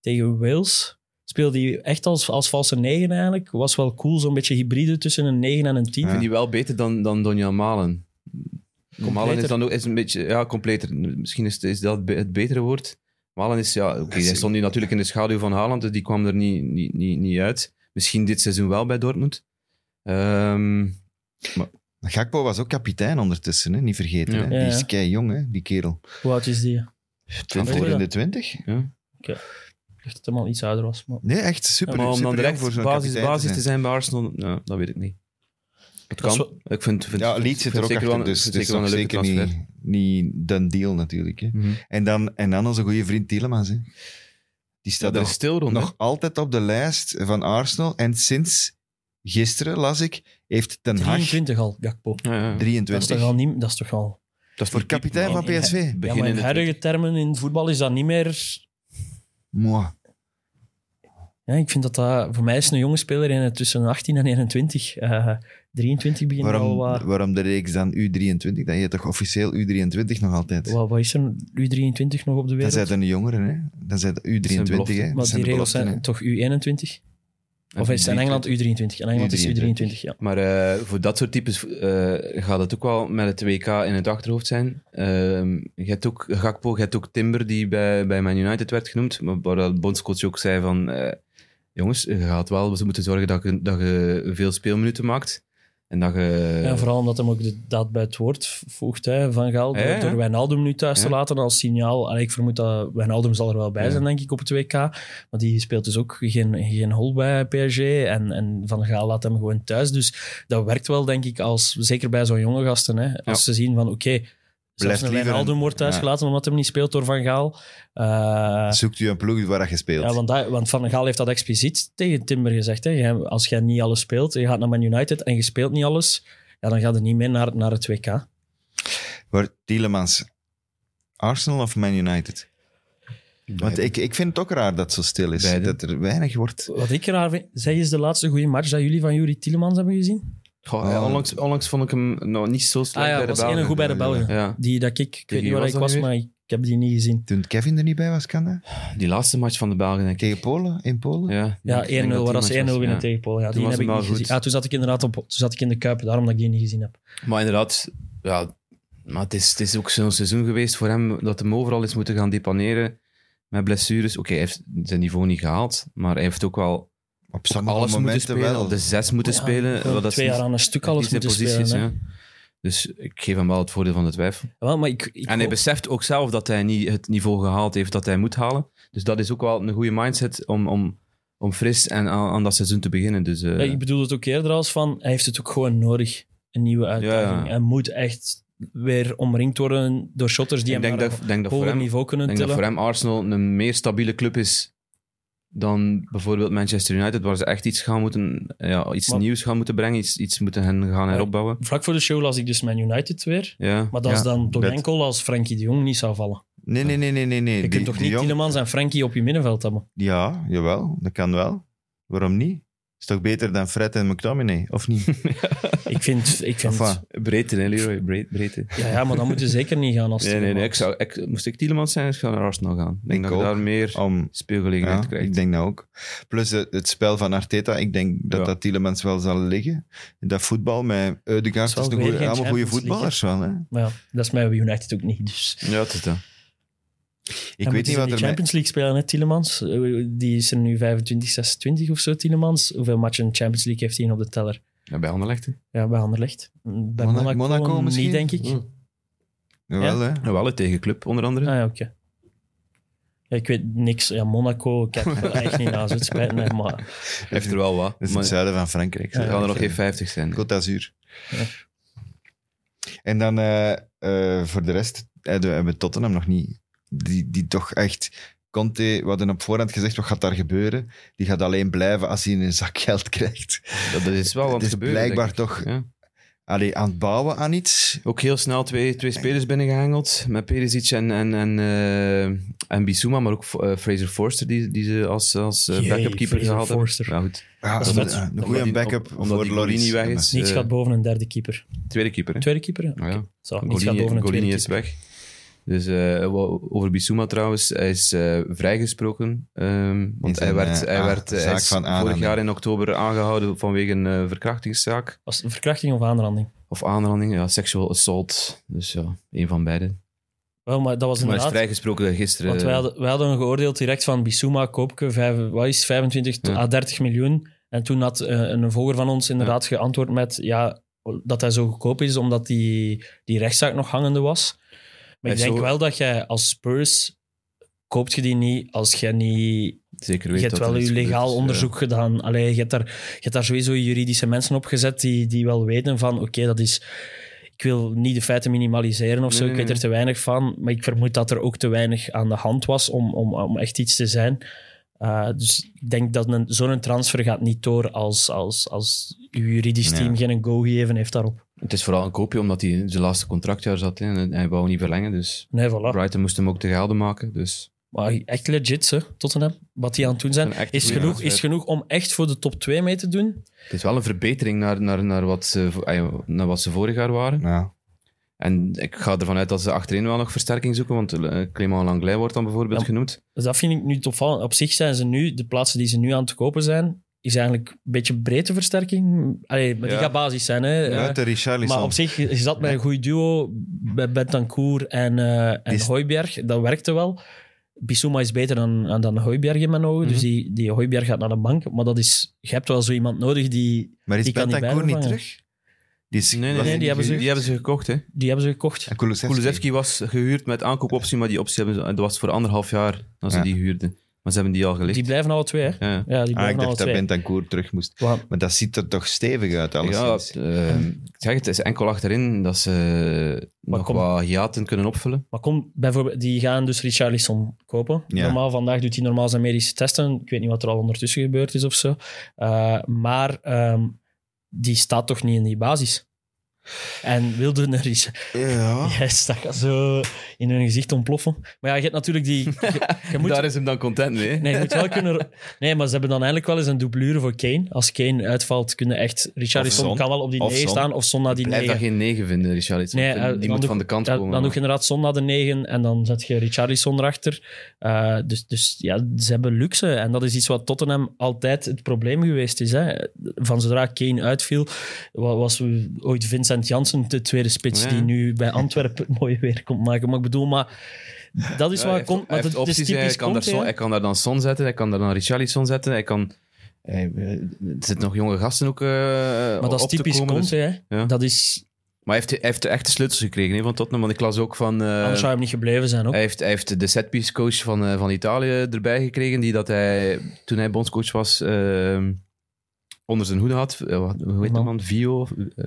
S4: tegen Wales. Speelde hij echt als, als valse negen eigenlijk. Was wel cool, zo'n beetje hybride tussen een negen en een tien.
S3: Ik vind die wel beter dan, dan Donjan Malen. Malen is dan ook is een beetje, ja, completer. Misschien is, is dat be- het betere woord. Malen is, ja, oké, hij stond nu natuurlijk in de schaduw van Haaland, dus die kwam er niet, niet, niet, niet uit. Misschien dit seizoen wel bij Dortmund. Ehm,
S2: Gakpo was ook kapitein ondertussen, hè? niet vergeten.
S3: Ja.
S2: Hè?
S4: Ja,
S2: Die
S4: ja.
S2: is kei jong, hè? die kerel.
S4: Hoe oud is die? Ik
S2: 20
S4: Weet je
S2: in de 20?
S4: dacht dat hij al iets ouder was. Maar...
S2: Nee, echt super.
S3: maar om
S2: super
S3: dan
S2: jong
S3: direct
S2: voor zo'n
S3: basis,
S2: kapitein
S3: basis te zijn bij Arsenal, ja, dat weet ik niet. Het
S4: Dat is
S3: kan. Ik vind, vind,
S2: Ja, Leeds zit
S3: vind
S2: er ook
S3: zeker
S2: achter,
S3: wel-
S2: dus
S3: vind
S2: het is
S3: zeker
S2: nog
S3: wel een leuke
S2: zeker
S3: transfer.
S2: niet, niet den deal natuurlijk. Hè.
S3: Mhm.
S2: En, dan, en dan onze goede vriend Tielemans. Hè. Die staat
S3: Dat is
S2: nog,
S3: stil rond.
S2: nog altijd op de lijst van Arsenal. En sinds gisteren, las ik, heeft Ten Hag
S4: 23 al, Gakpo.
S3: hè. Ja, ja.
S4: Dat is
S2: 23.
S4: toch al niet... Dat is toch al...
S3: Dat is
S2: Voor
S3: niet piek,
S2: kapitein
S3: maar-
S2: van PSV.
S4: Ja, maar in
S3: Beginnende
S4: huidige termen in voetbal is dat niet meer
S2: Mwah.
S4: Ja, ik vind dat dat... Voor mij is een jonge speler in het tussen 18 en 21. eh 23 begint al
S2: Waarom,
S4: wat...
S2: waarom de reeks dan U23? Dat heet toch officieel U23 nog altijd?
S4: Wat, wat is er? U23 nog op de
S2: Dan
S4: wereld?
S2: zijn de jongeren, hè? Dan zijn de U23,
S3: Dat zijn
S2: hè? Dat
S4: maar die
S2: zijn de
S4: regels
S2: beloften,
S4: zijn
S2: hè.
S4: toch U21? Of is het in Engeland U23? In Engeland is U23,
S2: U23,
S4: ja.
S3: Maar eh, voor dat soort types eh, gaat het ook wel met het WK in het achterhoofd zijn. Ehm, je hebt ook Gakpo, je hebt ook Timber, die bij, bij Man United werd genoemd. Maar waar de bondscoach ook zei van... eh, jongens, je gaat wel we moeten zorgen dat je, dat je veel speelminuten maakt. En dat je...
S4: Ja, vooral omdat hem ook de daad bij het woord voegt hè, van Gaal. Door,
S3: Ja, ja.
S4: door Wijnaldum nu thuis te
S3: Ja.
S4: laten als signaal. Allee, ik vermoed dat Wijnaldum zal er wel bij
S3: Ja.
S4: zijn, denk ik, op het WK. Maar die speelt dus ook geen, geen hol bij PSG. En, en Van Gaal laat hem gewoon thuis. Dus dat werkt wel, denk ik, als, zeker bij zo'n jonge gasten. Hè, als ze zien van, oké, zelfs een
S2: liever
S4: Wijnaldum
S2: een-
S4: wordt thuis
S2: ja.
S4: gelaten omdat hem niet speelt door Van Gaal. Eh,
S2: Zoekt u een ploeg waar je speelt?
S4: ja, want, dat- want Van Gaal heeft dat expliciet tegen Timber gezegd. Hè. Jij- Als jij niet alles speelt, je gaat naar Man United en je speelt niet alles, ja, dan gaat het niet mee naar, naar het WK.
S2: Wordt Tielemans Arsenal of Man United? Want ik, ik vind het ook raar dat het zo stil is.
S3: Beide.
S2: Dat er weinig wordt.
S4: Wat ik raar vind, zeg eens de laatste goede match dat jullie van Yuri Tielemans hebben gezien.
S3: Goh, ja, onlangs, onlangs vond ik hem nog niet zo slecht
S4: Ah ja,
S3: bij de
S4: was
S3: Belgen. eh,
S4: één goed bij de Belgen.
S3: Ja,
S4: Die dat ik, ik weet
S3: Tegen
S4: niet waar
S3: wie
S4: ik
S3: was dat
S4: was,
S3: nu
S4: maar ik heb die niet gezien.
S2: Toen Kevin er niet bij was, kan dat?
S3: die laatste match van de Belgen, denk ik.
S2: Tegen Polen? In Polen?
S3: Ja,
S4: Ja,
S3: ik denk
S4: 1-0,
S3: dat die
S4: waar ze 1-0
S3: match was.
S4: winnen
S3: Ja.
S4: tegen Polen. Ja,
S3: Toen
S4: die
S3: was hem
S4: heb ik
S3: wel
S4: niet
S3: goed.
S4: gezien. Ah, toen zat ik inderdaad op, toen zat ik in de Kuip, daarom dat ik die niet gezien heb.
S3: Maar inderdaad, ja, maar het, is, het is ook zo'n seizoen geweest voor hem dat hem overal is moeten gaan depaneren met blessures. Oké, hij heeft zijn niveau niet gehaald, maar hij heeft ook wel
S2: Op
S3: alles
S2: sommige
S3: moeten
S2: momenten
S3: spelen,
S2: wel.
S3: op
S4: dus-
S3: de zes moeten
S4: Ja,
S3: spelen.
S4: gewoon
S3: wat dat
S4: twee
S3: is-
S4: jaar aan een stuk
S3: dat
S4: alles
S3: is de
S4: moeten
S3: positie
S4: spelen.
S3: is,
S4: hè.
S3: ja. Dus ik geef hem wel het voordeel van de twijfel.
S4: Wel, maar ik, ik
S3: en hij
S4: hoop-
S3: beseft ook zelf dat hij niet het niveau gehaald heeft dat hij moet halen. Dus dat is ook wel een goede mindset om, om, om fris en aan, aan dat seizoen te beginnen. Dus, eh,
S4: Ja, ik bedoel het ook eerder als van, hij heeft het ook gewoon nodig, een nieuwe uitdaging.
S3: ja.
S4: Hij moet echt weer omringd worden door shotters die
S3: ik
S4: hem
S3: denk
S4: naar
S3: dat, denk
S4: een
S3: dat voor
S4: hoger
S3: hem
S4: niveau kunnen
S3: Ik denk
S4: tillen.
S3: dat voor hem Arsenal een meer stabiele club is dan bijvoorbeeld Manchester United, waar ze echt iets, gaan moeten, ja, iets
S4: Maar-
S3: nieuws gaan moeten brengen, iets, iets moeten hen gaan heropbouwen.
S4: Vlak voor de show las ik dus Man United weer.
S3: Ja.
S4: Maar dat is
S2: Ja,
S4: dan toch
S2: dat-
S4: enkel als Frenkie de Jong niet zou vallen.
S2: Nee, nee, nee, nee. nee, nee.
S4: Je
S2: Die-
S4: kunt toch
S2: die
S4: niet
S2: jong-
S4: Tielemans en Frenkie op je middenveld hebben?
S2: Ja, jawel. Dat kan wel. Waarom niet? Is toch beter dan Fred en McTominay, of niet?
S4: Ik vind... Ik vind
S2: Enfin,
S3: Breedte, hè, Leroy? Breed- breedte.
S4: ja, ja, maar dat moet je zeker niet gaan als
S3: Nee, nee, nee. Ik
S4: Tielemans.
S3: zou, ik, moest ik Tielemans zijn, zou ik zou naar Arsenal gaan. Ik denk
S2: Ik
S3: dat je
S2: ook.
S3: daar meer
S2: om,
S3: speelgelegenheid
S2: ja,
S3: krijgt.
S2: ik denk dat ook. Plus het, het spel van Arteta, ik denk dat
S3: Ja.
S2: dat Tielemans wel zal liggen. Dat voetbal met Eudegaard,
S4: Zal
S2: dat is
S4: weer
S2: een goeie,
S4: geen
S2: allemaal goede
S4: Champions
S2: voetballers wel. Hè?
S4: Maar ja, dat is mij bij United ook niet, dus...
S3: Ja, het is dat.
S2: Ik
S4: Dan
S2: weet
S4: moeten
S2: niet
S4: ze
S2: wat
S4: in
S2: er
S4: de
S2: met...
S4: Champions League spelen, hè, Tielemans. Eh, Die is er nu 25, 26 of zo, Tielemans. Hoeveel matchen in de Champions League heeft hij op de teller?
S3: Ja, bij Anderlecht. hè.
S4: Ja, bij Anderlecht. Bij
S2: Mona-
S4: Monaco,
S2: Monaco misschien?
S4: niet, denk ik.
S3: Ja.
S2: Jawel, hè?
S3: Ja, wel, hè, tegen Club, onder andere.
S4: Ah Hm. ja, oké. Ja, ik weet niks. Ja, Monaco, ik heb er echt niet naar. zo, Het spijt me, maar...
S3: Heeft er wel wat.
S2: Dat is
S3: maar
S2: het zuiden van Frankrijk.
S4: Ja,
S3: er gaan er nog geen 50 zijn.
S2: Côte d'Azur.
S4: Ja.
S2: En dan eh, eh, voor de rest eh, we hebben Tottenham nog niet. Die, die toch echt... Conte, we hadden op voorhand gezegd, wat gaat daar gebeuren? Die gaat alleen blijven als hij een zak geld krijgt.
S3: Dat, dat is wel aan
S2: Het
S3: het
S2: is
S3: gebeuren. denk
S2: blijkbaar
S3: ik.
S2: toch
S3: Ja.
S2: allee, aan het bouwen aan iets.
S3: Ook heel snel twee, twee spelers binnengehengeld. Met Perisic en, en, en, eh, en Bissouma, maar ook eh, Fraser Forster, die, die ze als, als eh,
S4: Jee,
S3: backup keeper
S4: Fraser
S3: gehaald hebben.
S4: Forster.
S3: Ja, goed.
S2: Ja, eh,
S4: Dat is
S2: een,
S4: vet.
S2: een
S3: Omdat
S2: goede
S3: die-
S2: backup
S3: omdat
S2: voor
S3: die
S2: Loris.
S3: Golini weg is.
S4: Niets
S3: eh,
S4: gaat boven een derde keeper.
S3: Tweede keeper, hè?
S4: Tweede keeper? Ja.
S3: Nou ja.
S4: Zo, niets gaat boven
S3: Golini,
S4: een tweede
S3: Golini is
S4: keeper.
S3: weg. Dus eh, wa- over Bissouma trouwens, hij is eh, vrijgesproken. ehm, want
S2: zijn,
S3: hij werd,
S2: eh,
S3: hij
S2: a-
S3: werd eh, hij
S2: zaak
S3: is
S2: van
S3: vorig
S2: aanranding.
S3: jaar in oktober aangehouden vanwege een eh, verkrachtingszaak.
S4: Was het een verkrachting of aanranding?
S3: Of aanranding, ja, sexual assault. Dus ja, één van beide.
S4: Wel, maar dat was
S3: Maar hij is
S4: inderdaad...
S3: vrijgesproken gisteren. eh,
S4: Want wij hadden, wij hadden geoordeeld direct van Bissouma, Koopke, vijf, wat is het, 25 tot
S3: Ja.
S4: à 30 miljoen. En toen had eh, een volger van ons inderdaad geantwoord met ja, dat hij zo goedkoop is omdat die, die rechtszaak nog hangende was. Maar ik
S3: Hij is
S4: denk
S3: zo-
S4: wel dat jij als Spurs koopt je die niet als jij niet...
S3: Zeker
S4: Je
S3: weet
S4: hebt
S3: dat er
S4: wel
S3: iets
S4: je
S3: gebeurd
S4: legaal
S3: is, ja.
S4: onderzoek gedaan. Allee, je, hebt daar, je hebt daar sowieso juridische mensen op gezet die, die wel weten van oké, dat is... Ik wil niet de feiten minimaliseren of
S3: Nee,
S4: zo,
S3: nee,
S4: ik weet
S3: nee.
S4: er te weinig van. Maar ik vermoed dat er ook te weinig aan de hand was om, om, om echt iets te zijn. Uh, dus ik denk dat een- zo'n transfer gaat niet door als, als, als uw juridisch team
S2: Ja.
S4: geen go gegeven heeft daarop.
S3: Het is vooral een koopje, omdat hij in zijn laatste contractjaar zat hè, en hij wou niet verlengen. Dus
S4: Nee, voilà.
S3: Brighton moest hem ook te gelden maken. Dus
S4: Maar echt legit, hè, Tottenham. Wat die aan het doen zijn,
S3: Een echt
S4: is
S3: goede
S4: genoeg,
S3: transfer.
S4: is genoeg om echt voor de top 2 mee te doen.
S3: het is wel een verbetering naar, naar, naar, wat, ze, vo- ah ja, naar wat ze vorig jaar waren.
S2: Ja.
S3: En ik ga ervan uit dat ze achterin wel nog versterking zoeken, want eh, Clément Langlais wordt dan bijvoorbeeld
S4: Ja.
S3: genoemd.
S4: Dus dat vind ik nu opvallend. Op zich zijn ze nu, de plaatsen die ze nu aan het kopen zijn, is eigenlijk een beetje breedte versterking. Allee, maar die
S3: Ja.
S4: gaat basis zijn, hè. Eh,
S2: Uit de Richarlison.
S4: Maar op zich is dat met een goed duo bij Betancourt en, eh en
S2: Is-
S4: Hooiberg. Dat werkte wel. Bissouma is beter dan, dan Hooiberg in mijn ogen. Dus
S2: Mhm.
S4: die, die Hooiberg gaat naar de bank. Maar dat is, je hebt wel zo iemand nodig die...
S2: maar is
S4: die kan die
S2: Bentancourt niet
S4: bijvangen.
S2: terug? Die is,
S3: Nee, nee,
S2: was
S3: nee,
S2: die
S3: die, hebben ze,
S2: gehuurd?
S3: die hebben ze gekocht. Hè.
S4: Die hebben ze gekocht.
S2: En Kulusevski.
S3: Kulusevski was gehuurd met aankoopoptie, maar die optie hebben ze, dat was voor anderhalf jaar dat ze
S2: Ja.
S3: die huurden. Maar ze hebben die al gelegd.
S4: Die blijven alle twee, hè?
S3: ja.
S4: Ja, die
S2: Ah, ik
S4: blijven alle
S2: dacht dat
S4: twee.
S2: Bentancur terug moest.
S4: Want-
S2: Maar dat ziet er toch stevig uit,
S3: ja,
S2: alleszins.
S3: eh, ik zeg het, het is enkel achterin dat ze eh, nog
S4: kom-
S3: wat hiaten kunnen opvullen.
S4: Maar kom, bijvoorbeeld, die gaan dus Richarlison kopen.
S2: Ja.
S4: Normaal, vandaag doet hij normaal zijn medische testen. Ik weet niet wat er al ondertussen gebeurd is of zo. Eh, maar ehm, die staat toch niet in die basis. En wilde een Rich-
S2: Ja.
S4: Yes, dat gaat zo in hun gezicht ontploffen. Maar ja, je hebt natuurlijk die... Je, je moet,
S3: Daar is hem dan content mee. hè.
S4: nee, je moet wel kunnen... Nee, maar ze hebben dan eindelijk wel eens een doublure voor Kane. Als Kane uitvalt, kunnen echt...
S2: Of
S4: Richarlison
S2: Son.
S4: kan wel op die
S2: Of
S4: 9
S2: Son.
S4: staan, of Son naar die
S3: Blijf daar
S4: 9.
S3: geen negen vinden, Richard.
S4: Nee, eh,
S3: die
S4: dan
S3: moet
S4: doe-
S3: van de kant
S4: Ja,
S3: komen.
S4: dan doe
S3: maar.
S4: je inderdaad Son naar de 9 en dan zet je Richarlison erachter. Eh, dus, dus ja, ze hebben luxe. En dat is iets wat Tottenham altijd het probleem geweest is. Hè. Van zodra Kane uitviel, wa- was we- ooit Vincent Janssen de tweede spits
S3: Ja.
S4: die nu bij Antwerpen het mooie weer komt maken. Maar ik bedoel, maar dat is
S3: Ja, hij
S4: waar
S3: heeft-
S4: komt.
S3: hij
S4: Maar
S3: heeft
S4: het het is
S3: opties, hij,
S4: typisch
S3: kan daar
S4: Conte,
S3: Son-
S4: hè.
S3: hij kan daar dan Son zetten, hij kan daar dan Richarlison zetten, hij kan... hij- eh, er zitten nog jonge gasten ook eh
S4: Maar dat is
S3: op te
S4: typisch
S3: komen, dus-
S4: Conte. hè.
S3: ja.
S4: Dat is,
S3: Maar hij heeft, hij heeft de echte sleutels gekregen hè, van Tottenham, want ik las ook van... eh,
S4: anders zou hij hem niet gebleven
S2: Oh.
S4: zijn. Ook.
S3: hij, heeft, hij heeft de setpiece coach van, eh, van Italië erbij gekregen, die dat hij, toen hij bondscoach was, eh, onder zijn hoede had. Eh, wat- hoe heet die
S4: Man.
S3: man? Vio? eh,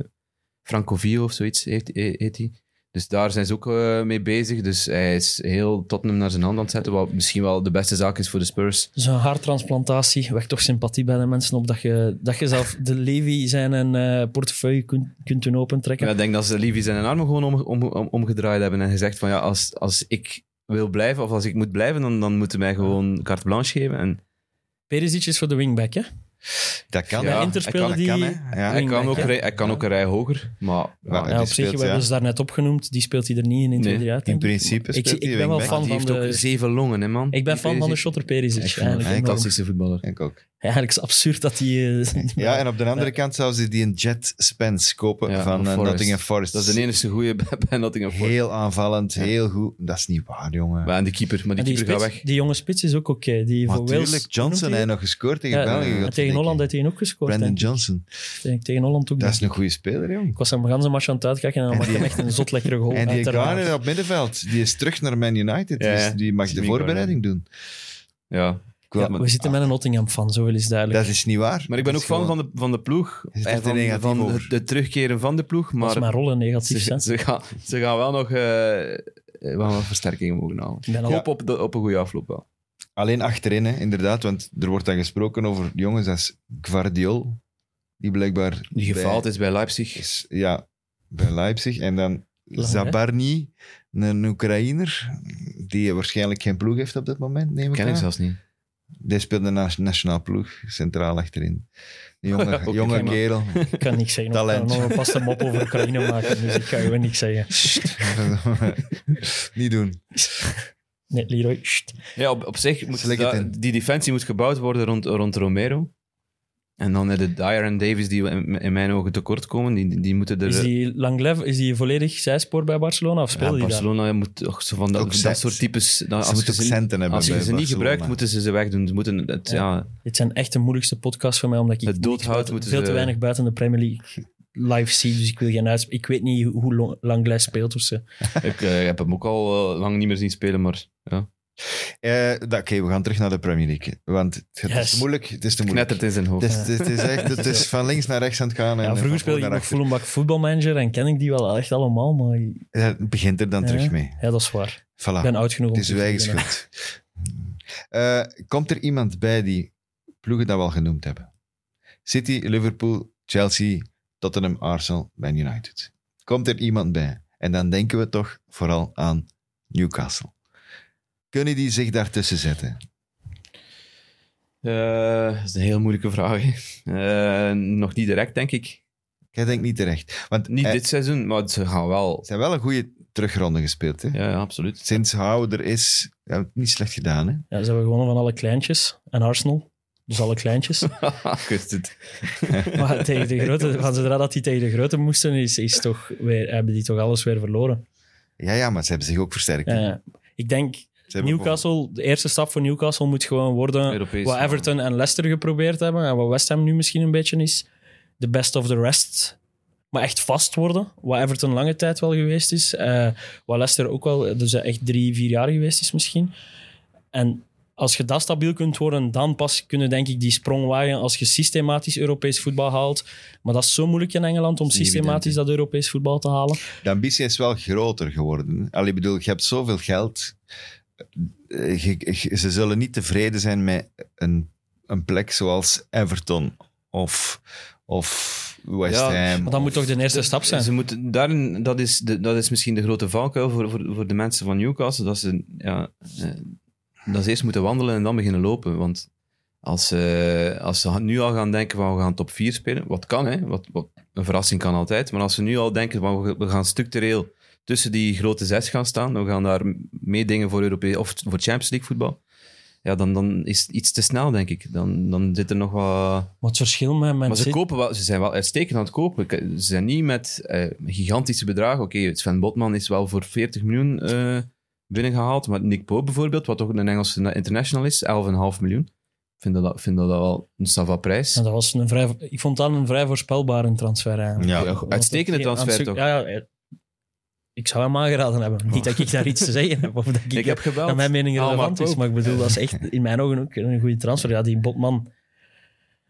S3: Franco Vio of zoiets heet, he- heet hij. Dus daar zijn ze ook eh, mee bezig. Dus hij is heel Tottenham naar zijn hand aan het zetten, wat misschien wel de beste zaak is voor de Spurs.
S4: Zo'n haartransplantatie Dus wekt toch sympathie bij de mensen op dat je, dat je zelf de Levi zijn en eh, portefeuille kunt, kunt doen opentrekken.
S3: Ja, ik denk dat ze Livy zijn armen gewoon om, om, om- omgedraaid hebben en gezegd van ja, als, als ik wil blijven of als ik moet blijven, dan, dan moeten mij gewoon carte blanche geven. En
S4: Perisic is voor de wingback, hè?
S2: Dat kan,
S3: Ja,
S2: hè.
S4: Inter
S2: Dat
S4: speelde
S2: kan,
S4: die-
S2: dat kan, hè. Ja.
S3: hij, kan
S4: Wingback,
S3: ook,
S4: hè?
S3: rij- hij kan ook een rij hoger, maar
S2: Ja,
S3: ja,
S4: Ja, op
S2: die
S4: zich,
S2: speelt,
S4: we hebben
S2: ja.
S4: ze daarnet opgenoemd. Die speelt hij er niet in, in
S3: Nee,
S4: nee, uit.
S2: In
S4: denk ik.
S2: principe
S4: Ik,
S2: speelt
S4: ik
S2: die
S4: ben wel
S2: wingback.
S4: fan
S3: die
S4: van
S3: heeft ook
S4: de...
S3: zeven longen, hè man.
S4: Ik ben
S3: Die
S4: fan van de
S3: Perisic.
S4: shotter
S3: Ik
S4: Perisic.
S3: vind hem
S4: Eigenlijk,
S3: een
S4: enorm.
S3: fantastische voetballer.
S2: Ik ook.
S4: eigenlijk is het absurd dat eh, hij...
S2: Ja, en op de andere kant zouden ze die een Jet Spence kopen van
S3: Ja, van
S2: eh,
S3: Forest.
S2: Nottingham Forest.
S3: Dat is de enige goede bij, bij Nottingham Forest.
S2: Heel aanvallend, heel goed. Dat is niet waar, jongen.
S3: Maar en de keeper, maar die,
S4: En die,
S3: keeper gaat
S4: spits-
S3: weg.
S4: die jonge spits is ook oké. Die voor Wales...
S2: Natuurlijk, Johnson
S4: noemt hij-
S2: heeft nog gescoord tegen
S4: Ja,
S2: België.
S4: en
S2: godverdikke.
S4: tegen Holland heeft hij ook gescoord.
S2: Brandon
S4: denk ik.
S2: Johnson.
S4: Tegen- Tegen Holland
S2: Dat
S4: ook. denk
S2: is een goede speler, jong.
S4: Ik was hem gans een match aan het uitkijken en dan
S2: En
S4: maakte
S2: die-
S4: hem echt een zot lekkere goal.
S2: En die
S4: Oh, uiteraard.
S2: Garner op middenveld, die is terug naar Man United.
S3: Ja, ja.
S2: Dus die mag de
S3: Jimmy
S2: voorbereiding doen.
S3: Ja.
S2: Ik wil-
S3: Ja, maar-
S4: We zitten met een Nottingham-fan, zoveel is duidelijk.
S2: Dat is niet waar.
S3: Maar ik ben
S2: Dat
S3: ook
S2: is
S3: fan
S2: gewoon-
S3: van de, van de ploeg.
S2: Je zit
S3: En
S2: er te negatief
S3: van van
S2: over.
S3: het- het terugkeren van de ploeg,
S4: Dat is
S3: maar
S4: mijn rollen negatief.
S3: ze,
S4: zijn.
S3: ze, gaan, ze gaan wel nog eh, eh, we gaan wel versterkingen mogen halen.
S4: Ik ben
S3: Ik
S4: al
S3: hoop op, de- op een goede afloop wel.
S2: Alleen achterin, hè, inderdaad. Want er wordt dan gesproken over jongens als Gvardiol. Die blijkbaar... bij-
S3: Die gefaald is bij Leipzig.
S2: is, ja, bij Leipzig. En dan
S4: Lang, hè?
S2: Zabarni, een Oekraïner, die waarschijnlijk geen ploeg heeft op dit moment, neem ik
S3: Ken
S2: aan.
S3: ik zelfs niet.
S2: Die speelt de na- nationaal ploeg, centraal achterin. Een jonge,
S3: Ook
S2: jonge
S3: prima.
S2: kerel.
S4: ik kan niks zeggen.
S2: Talent.
S4: Ik kan nog een paste mop over Oekraïne maken, dus ik ga gewoon niks zeggen.
S2: Niet doen.
S4: Nee, Leroy, sst.
S3: Ja, op, op zich moet
S2: Slik het
S3: da-
S2: in.
S3: die defensie moet gebouwd worden rond, rond Romero. En dan de Dyer en Davis die in, in mijn ogen tekort komen. Die, die moeten er...
S4: Is die Langlev is die volledig zijspoor bij Barcelona of
S3: Ja,
S4: speelde hij daar?
S3: Barcelona moet toch zo van
S2: Ook
S3: dat,
S2: zet.
S3: dat soort types... dat-
S2: Ze
S3: als je
S2: moeten ook
S3: ze, niet-
S2: centen hebben
S3: als je
S2: bij
S3: ze niet
S2: Barcelona.
S3: gebruikt, moeten ze ze wegdoen. Ze moeten het, ja.
S4: Dit zijn echt de moeilijkste podcasts voor mij, omdat ik
S3: Het
S4: niks
S3: doodhout
S4: buiten-
S3: moeten
S4: veel
S3: ze-
S4: te weinig buiten de Premier League live zie, dus ik wil geen uitspraak. Ik weet niet hoe Long- Langlev speelt of ze.
S3: Ik eh, heb hem ook al eh, lang niet meer zien spelen, maar... Ja.
S2: Eh, dat- Oké, we gaan terug naar de Premier League. Want het, het is
S4: Yes.
S2: te moeilijk. Het is te moeilijk.
S3: Knettert in zijn hoofd.
S2: Het is, Dus het, is echt, het is van links naar rechts aan het gaan. en
S4: Ja,
S2: van voor
S4: vroeger speelde ik
S2: naar
S4: nog
S2: achter.
S4: Fulhambak voetbalmanager en ken ik die wel echt allemaal, maar
S2: Eh, Het begint er dan
S4: Ja.
S2: terug mee.
S4: ja, dat is waar.
S2: Voilà.
S4: Ik ben oud genoeg om
S2: Ah, Het is
S4: te
S2: uw eigen
S4: beginnen.
S2: schuld. Eh, komt er iemand bij die ploegen dat we al genoemd hebben? City, Liverpool, Chelsea, Tottenham, Arsenal, Man United. Komt er iemand bij? En dan denken we toch vooral aan Newcastle. Kunnen die zich daartussen zetten?
S3: Eh, dat is een heel moeilijke vraag. hè. Eh, nog niet direct, denk ik.
S2: Jij denkt niet terecht. Want
S3: Niet
S2: eh,
S3: dit seizoen, maar ze gaan wel.
S2: ze hebben wel een goede terugronde gespeeld. Hè?
S3: Ja, ja, absoluut.
S2: Sinds Houder is... Ja, het niet slecht gedaan, hè?
S4: Ja, ze hebben gewonnen van alle kleintjes en Arsenal. Dus alle kleintjes.
S3: Ik wist het.
S4: Maar tegen de grote, van zodra dat die tegen de grote moesten, is, is toch weer, hebben die toch alles weer verloren.
S2: Ja, ja, maar ze hebben zich ook versterkt. hè.
S4: Eh, ik denk,
S2: Ze hebben
S4: Newcastle, de eerste stap voor Newcastle moet gewoon worden
S3: Europees.
S4: wat Everton en Leicester geprobeerd hebben en wat West Ham nu misschien een beetje is. De best of the rest Maar echt vast worden, wat Everton lange tijd wel geweest is. eh wat Leicester ook wel, dus echt drie, vier jaar geweest is misschien. En als je dat stabiel kunt worden, dan pas kunnen denk ik die sprong wagen als je systematisch Europees voetbal haalt. Maar dat is zo moeilijk in Engeland om
S3: is niet
S4: systematisch
S3: evident,
S4: dat Europees voetbal te halen.
S2: De ambitie is wel groter geworden. Allee, ik bedoel, je hebt zoveel geld. Eh, je- je- ze zullen niet tevreden zijn met een, een plek zoals Everton of, of West
S3: Ja,
S2: Ham.
S4: Maar dat moet toch de eerste
S3: De-
S4: stap zijn?
S3: Ze moeten, daarin, dat, is de, dat is misschien de grote valkuil voor, voor, voor de mensen van Newcastle. Dat ze, ja, eh, dat ze eerst moeten wandelen en dan beginnen lopen. Want als, ze- als ze nu al gaan denken van we gaan top 4 spelen, wat kan hè, wat, wat, een verrassing kan altijd. Maar als ze nu al denken van we, we gaan structureel tussen die grote zes gaan staan, we gaan daar mee dingen voor, Europee, of voor Champions League voetbal. Ja, dan, dan is het iets te snel, denk ik. Dan, dan zit er nog wat...
S4: Maar het verschil met Man
S3: Maar ze,
S4: City-
S3: kopen wel, ze zijn wel uitstekend aan het kopen. Ik- Ze zijn niet met eh, gigantische bedragen. Oké, Sven Botman is wel voor 40 miljoen eh, binnengehaald. Maar Nick Pope bijvoorbeeld, wat toch een Engelse international is, 11,5 miljoen. Ik vind dat, vind dat wel een sava prijs.
S4: Ja, dat was een vrij, ik vond dat een vrij voorspelbare transfer eigenlijk.
S2: Ja.
S3: Ja,
S4: Want
S3: uitstekende
S4: dat-
S3: transfer,
S4: aan het zoek-
S3: toch? Oh.
S4: Ja, ja, ik zou hem aangeraden hebben. Niet dat ik daar iets te zeggen heb. Of dat ik,
S3: ik heb Ah, gebeld.
S4: dat mijn mening
S3: Alma
S4: relevant is.
S3: Pope.
S4: Maar ik bedoel, dat is echt in mijn ogen ook een goede transfer. Ja, die Botman,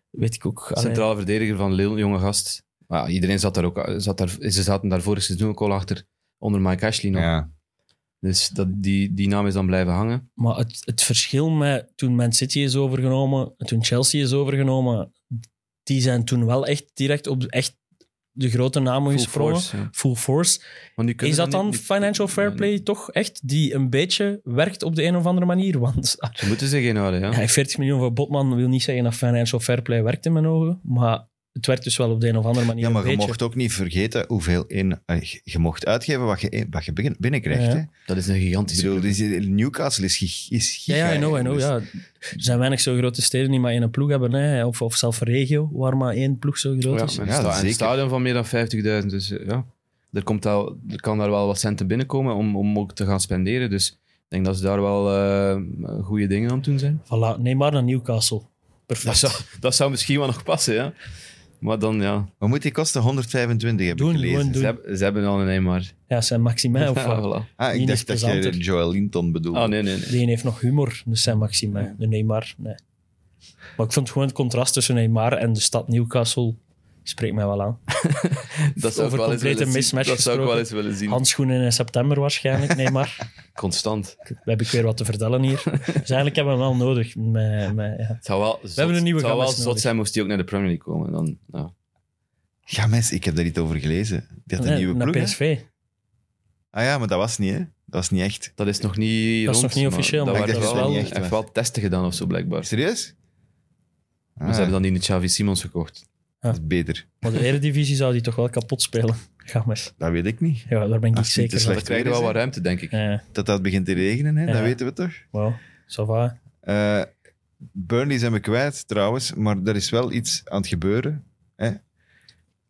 S4: weet ik ook. allee,
S3: Centrale verdediger van Lille, jonge gast. Maar ja, iedereen zat daar ook... Zat daar, ze zaten daar vorig seizoen ook al achter, onder Mike Ashley nog.
S2: Ja.
S3: Dus dat, die, die naam is dan blijven hangen.
S4: Maar het, het verschil met toen Man City is overgenomen, toen Chelsea is overgenomen, die zijn toen wel echt direct op echt de grote namen
S3: Full
S4: gesprongen.
S3: force, ja.
S4: Full force.
S3: Maar nu kunnen
S4: Is dat
S3: ze
S4: dan
S3: niet-
S4: financial fair play toch echt die een beetje werkt op de een of andere manier? Want ah,
S3: Ze moeten zich inhouden, ja.
S4: ja, 40 miljoen voor Botman wil niet zeggen dat financial fair play werkt in mijn ogen, maar het werkt dus wel op de een of andere manier
S2: ja, maar
S4: een
S2: je
S4: beetje.
S2: mocht ook niet vergeten hoeveel in, eh, je mocht uitgeven wat je, in- wat je begin- binnenkrijgt.
S4: Ja.
S2: Hè?
S3: Dat is een
S2: Ik
S3: gigantische...
S2: bedoel, die- Newcastle is, gig- is
S4: Ja,
S2: giga.
S4: ja, I know, I
S2: hè.
S4: know.
S2: Dus
S4: Ja. Er zijn weinig zo grote steden die maar één ploeg hebben, hè. Of, of zelfs regio, waar maar één ploeg zo groot
S3: Ja,
S4: is.
S3: maar
S2: Ja,
S3: een, sta- een
S2: zeker.
S3: stadion van meer dan 50.000. Dus eh, ja, er, komt al, er kan daar wel wat centen binnenkomen om, om ook te gaan spenderen. Dus ik denk dat ze daar wel eh, goede dingen aan het doen zijn.
S4: Voilà, neem maar naar Newcastle.
S3: Dat
S4: Perfect.
S3: zou, dat zou misschien wel nog passen, ja. Maar dan, ja,
S2: Wat moet die kosten? 125 heb
S4: Doen,
S2: ik gelezen.
S4: gewoon doen. Oh,
S3: ze hebben, ze hebben al een Neymar.
S4: Ja, zijn Maximin of wat?
S3: Ja, voilà.
S2: Ah, ik
S4: Die
S2: dacht
S4: is
S2: dat je
S4: plezanter.
S2: Joel Linton bedoelde.
S3: Oh, nee, nee, nee.
S4: De een heeft nog humor, dus zijn Maxime. De Neymar, nee. Maar ik vond gewoon het contrast tussen Neymar en de stad Newcastle spreekt mij wel aan.
S3: Dat zou ik wel eens
S4: Over complete
S3: willen zien.
S4: mismatch
S3: Dat zou ik wel eens willen zien.
S4: Handschoenen in september waarschijnlijk, Neymar.
S3: Constant.
S4: We hebben ik weer wat te vertellen hier. Dus eigenlijk hebben we hem wel nodig. Met, met, ja.
S3: Het zou wel zot,
S4: hebben een nieuwe
S3: het zou wel
S4: Gomez
S3: zot
S4: nodig.
S3: zijn moest hij ook naar de Premier League komen. Dan, ja.
S2: Ja, mensen, ik heb daar iets over gelezen. Die had een
S4: Nee,
S2: nieuwe
S4: naar
S2: ploeg. hè?
S4: PSV.
S2: Ah ja, maar dat was niet, hè? Dat was niet echt.
S3: Dat is nog niet
S4: Dat is
S3: rond,
S4: nog niet
S3: maar
S4: officieel,
S3: Dat
S4: maar
S2: ik
S3: waren
S2: dacht dat
S3: wel,
S2: dat niet echt
S3: echt wel testen gedaan of zo, blijkbaar.
S2: Serieus? Ah,
S3: Maar ze hebben dan die Xavi Simons gekocht. Dus
S2: dat is beter.
S4: Maar de Eredivisie zou die toch wel kapot spelen. Gammes.
S2: Dat weet ik niet.
S4: Ja, daar ben ik
S2: Als die te
S4: zeker van.
S2: slecht-
S3: Dan krijgen we wel wat ruimte, denk ik.
S4: Ja,
S2: Dat dat begint te regenen, hè?
S4: Ja.
S2: dat weten we toch?
S4: wow. Ça va.
S2: Eh, Burnley zijn we kwijt, trouwens. Maar er is wel iets aan het gebeuren. Hè?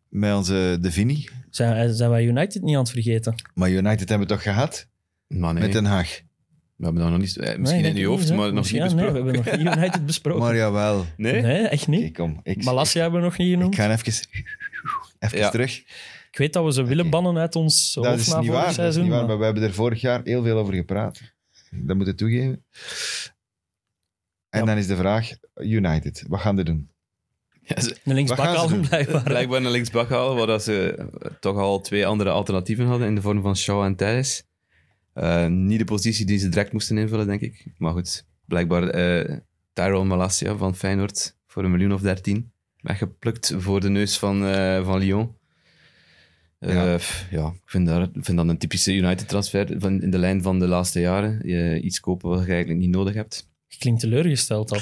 S2: Met onze Devini.
S4: Zijn, eh, zijn wij United niet aan het vergeten?
S2: Maar United hebben we toch gehad?
S3: Maar nee,
S2: Met Den Haag.
S3: we hebben dat nog niet... eh,
S4: Nee,
S3: misschien
S4: denk
S3: in je
S4: ik
S3: hoofd,
S4: hè?
S3: maar nog
S4: Misschien-
S3: niet
S4: ja,
S3: besproken.
S4: Nee, we hebben nog niet United besproken.
S2: Maar jawel.
S3: nee?
S4: Nee, echt
S2: Kijk
S4: niet.
S2: om. Ik,
S4: Malasia hebben we nog niet genoemd.
S2: ik ga even, even
S3: Ja.
S2: terug.
S4: Ik weet dat we ze willen
S2: Oké.
S4: bannen uit ons
S2: Dat is,
S4: hoofd na
S2: niet
S4: vorig
S2: waar, dat is
S4: seizoen.
S2: niet waar,
S4: maar-
S2: maar we hebben er vorig jaar heel veel over gepraat. Dat moet ik toegeven. En
S4: Ja.
S2: dan is de vraag, United, wat gaan ze doen?
S3: Ja, ze-
S4: Een linksbak
S2: Wat gaan ze
S4: al
S2: doen?
S4: blijkbaar.
S3: Blijkbaar een linksbak halen, waar dat ze eh, toch al twee andere alternatieven hadden in de vorm van Shaw en Thijs. Eh, niet de positie die ze direct moesten invullen, denk ik. Maar goed, blijkbaar eh Tyrone Malasia van Feyenoord voor een miljoen of dertien. Weggeplukt voor de neus van, eh, van Lyon. Eh,
S2: Ja.
S3: pff, ja, ik vind, daar, ik vind dat een typische United-transfer van- in de lijn van de laatste jaren. Je iets kopen wat je eigenlijk niet nodig hebt.
S4: Je klinkt teleurgesteld al.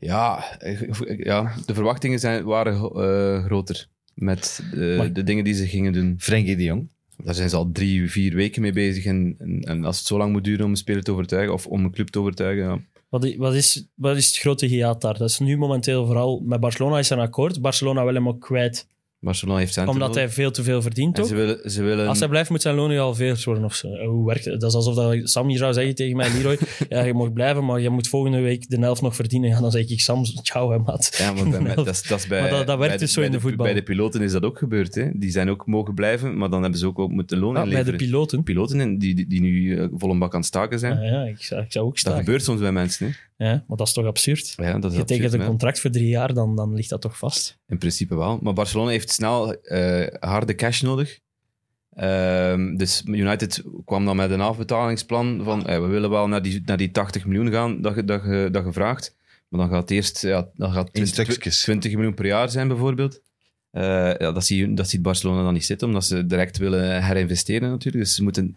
S3: Ja, eh, ja de verwachtingen zijn, waren eh, groter met eh,
S4: Maar-
S3: de dingen die ze gingen doen.
S2: Frenkie de Jong.
S3: Daar zijn ze al drie, vier weken mee bezig. En, en, en als het zo lang moet duren om een speler te overtuigen of om een club te overtuigen, ja.
S4: Wat i- wat is, wat is het grote hiaat daar? Dat is nu momenteel vooral... Met Barcelona is er een akkoord. Barcelona wil hem ook kwijt.
S3: Barcelona heeft centen
S4: Omdat
S3: nodig.
S4: hij veel te veel verdient
S3: En
S4: ook.
S3: ze willen, ze willen
S4: Als hij blijft, moet zijn loon nu al veel worden. Of zo. Eh, Hoe werkt het? Dat is alsof dat Sam hier zou zeggen tegen mij, Leroy, ja, je mag blijven, maar je moet volgende week de helft nog verdienen. Ja, dan zeg ik, Sam, ciao, hè, maat.
S3: Ja, maar bij, dat, is, dat is bij,
S4: Maar dat- dat werkt
S3: bij
S4: dus zo
S3: bij
S4: in de voetbal.
S3: Bij de piloten is dat ook gebeurd. Hè? Die zijn ook mogen blijven, maar dan hebben ze ook, ook moeten loon
S4: Ah, bij
S3: inleveren.
S4: de piloten.
S3: piloten in- die, die, die nu eh, vol een bak aan het staken zijn.
S4: Ja, Ah, ja ik, zou, ik zou ook
S3: dat
S4: staan.
S3: gebeurt soms bij mensen. Hè?
S4: Ja, maar dat is toch absurd?
S3: Ja, dat is
S4: Je tekent
S3: absurd,
S4: een
S3: hè.
S4: contract voor drie jaar, dan, dan ligt dat toch vast.
S3: In principe wel. Maar Barcelona heeft snel eh, harde cash nodig. Ehm, dus United kwam dan met een afbetalingsplan van eh, we willen wel naar die, naar die 80 miljoen gaan dat, ge- dat, ge- dat gevraagd. Maar dan gaat eerst ja, dan gaat
S2: In
S3: 20,
S2: stukjes.
S3: 20 miljoen per jaar zijn bijvoorbeeld. Eh, ja, dat, zie, dat ziet Barcelona dan niet zitten, omdat ze direct willen herinvesteren natuurlijk. Dus ze moeten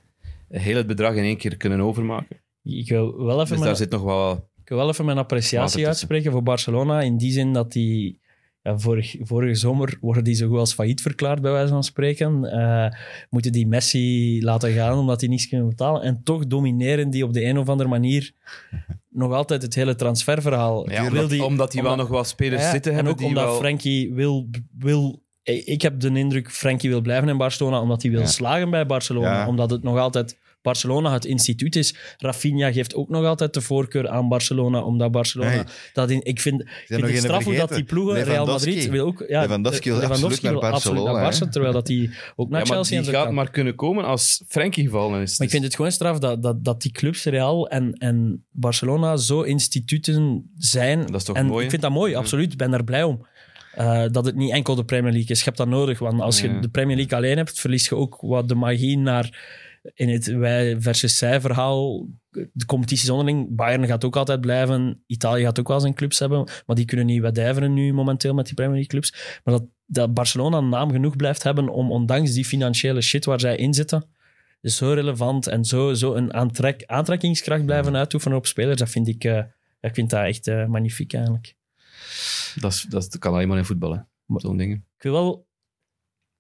S3: heel het bedrag in één keer kunnen overmaken.
S4: Ik wil wel even,
S3: Dus daar
S4: mijn,
S3: zit nog wel...
S4: ik wil wel even mijn appreciatie
S3: Water tussen.
S4: uitspreken voor Barcelona. In die zin dat die... Ja, vorig, vorige zomer worden die zo goed als failliet verklaard, bij wijze van spreken. Eh, moeten die Messi laten gaan omdat die niets kunnen betalen. En toch domineren die op de een of andere manier nog altijd het hele transferverhaal.
S3: Ja,
S4: Wil
S3: omdat,
S4: die-
S3: omdat die wel
S4: omdat-
S3: nog wel spelers
S4: Ja, ja.
S3: zitten
S4: en
S3: hebben
S4: ook
S3: die
S4: omdat
S3: wel...
S4: Frankie wil, wil... Ik ik heb de indruk, Frankie wil blijven in Barcelona omdat hij wil
S2: Ja.
S4: slagen bij Barcelona.
S2: Ja.
S4: Omdat het nog altijd Barcelona het instituut is. Rafinha geeft ook nog altijd de voorkeur aan Barcelona, omdat Barcelona...
S2: Nee.
S4: Dat in, ik vind, ik vind het
S2: nog
S4: straf hoe
S2: ene
S4: dat die ploegen...
S2: vergeten.
S4: Real
S2: Lewandowski.
S4: Madrid wil ook... Ja,
S2: Lewandowski wil absoluut naar
S4: absoluut naar
S2: Barcelona,
S4: Barca, terwijl dat die ook naar
S3: ja, maar
S4: Chelsea
S3: die
S4: en zo
S3: gaat
S4: kan.
S3: maar kunnen komen als Frenkie gevallen is.
S4: Maar ik vind het gewoon straf dat, dat, dat die clubs Real en, en Barcelona zo instituten zijn.
S3: Dat is toch
S4: en
S3: mooi, hè?
S4: Ik vind dat mooi, absoluut. Ik ben daar blij om. Eh, dat het niet enkel de Premier League is. Je hebt dat nodig, want als je
S3: Ja.
S4: de Premier League alleen hebt, verlies je ook wat de magie naar in het wij versus zij verhaal. De competities onderling. Bayern gaat ook altijd blijven. Italië gaat ook wel zijn clubs hebben, maar die kunnen niet wedijveren nu momenteel met die Premier League clubs. Maar dat, dat Barcelona een naam genoeg blijft hebben om ondanks die financiële shit waar zij in zitten, zo relevant en zo, zo een aantrek, aantrekkingskracht blijven uitoefenen op spelers, dat vind ik, eh, ja, ik vind dat echt eh, magnifiek eigenlijk.
S3: Dat, is- dat kan alleen maar in voetbal, hè. Zo'n dingen.
S4: Ik wil wel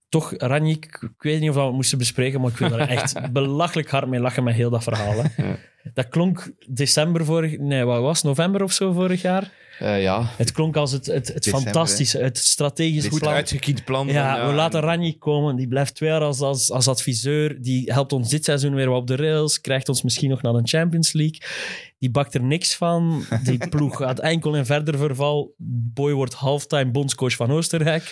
S4: toch, Ranjik, ik ik weet niet of we het moesten bespreken, maar ik wil daar echt belachelijk hard mee lachen met heel dat verhaal. Hè.
S3: Ja.
S4: Dat klonk december vorig, nee, wat was het, november of zo vorig jaar?
S3: Eh, ja.
S4: Het klonk als het, het, het
S2: December,
S4: fantastische, het strategisch
S2: Goed
S3: Goed
S4: plan.
S3: uitgekiend plan.
S4: Ja,
S3: van, eh,
S4: we laten
S3: en-
S4: Ranjik komen. Die blijft twee jaar als, als, als adviseur. Die helpt ons dit seizoen weer wat op de rails. Krijgt ons misschien nog naar de Champions League. Die bakt er niks van. Die ploeg gaat enkel in verder verval. Boy wordt halftime bondscoach van Oostenrijk.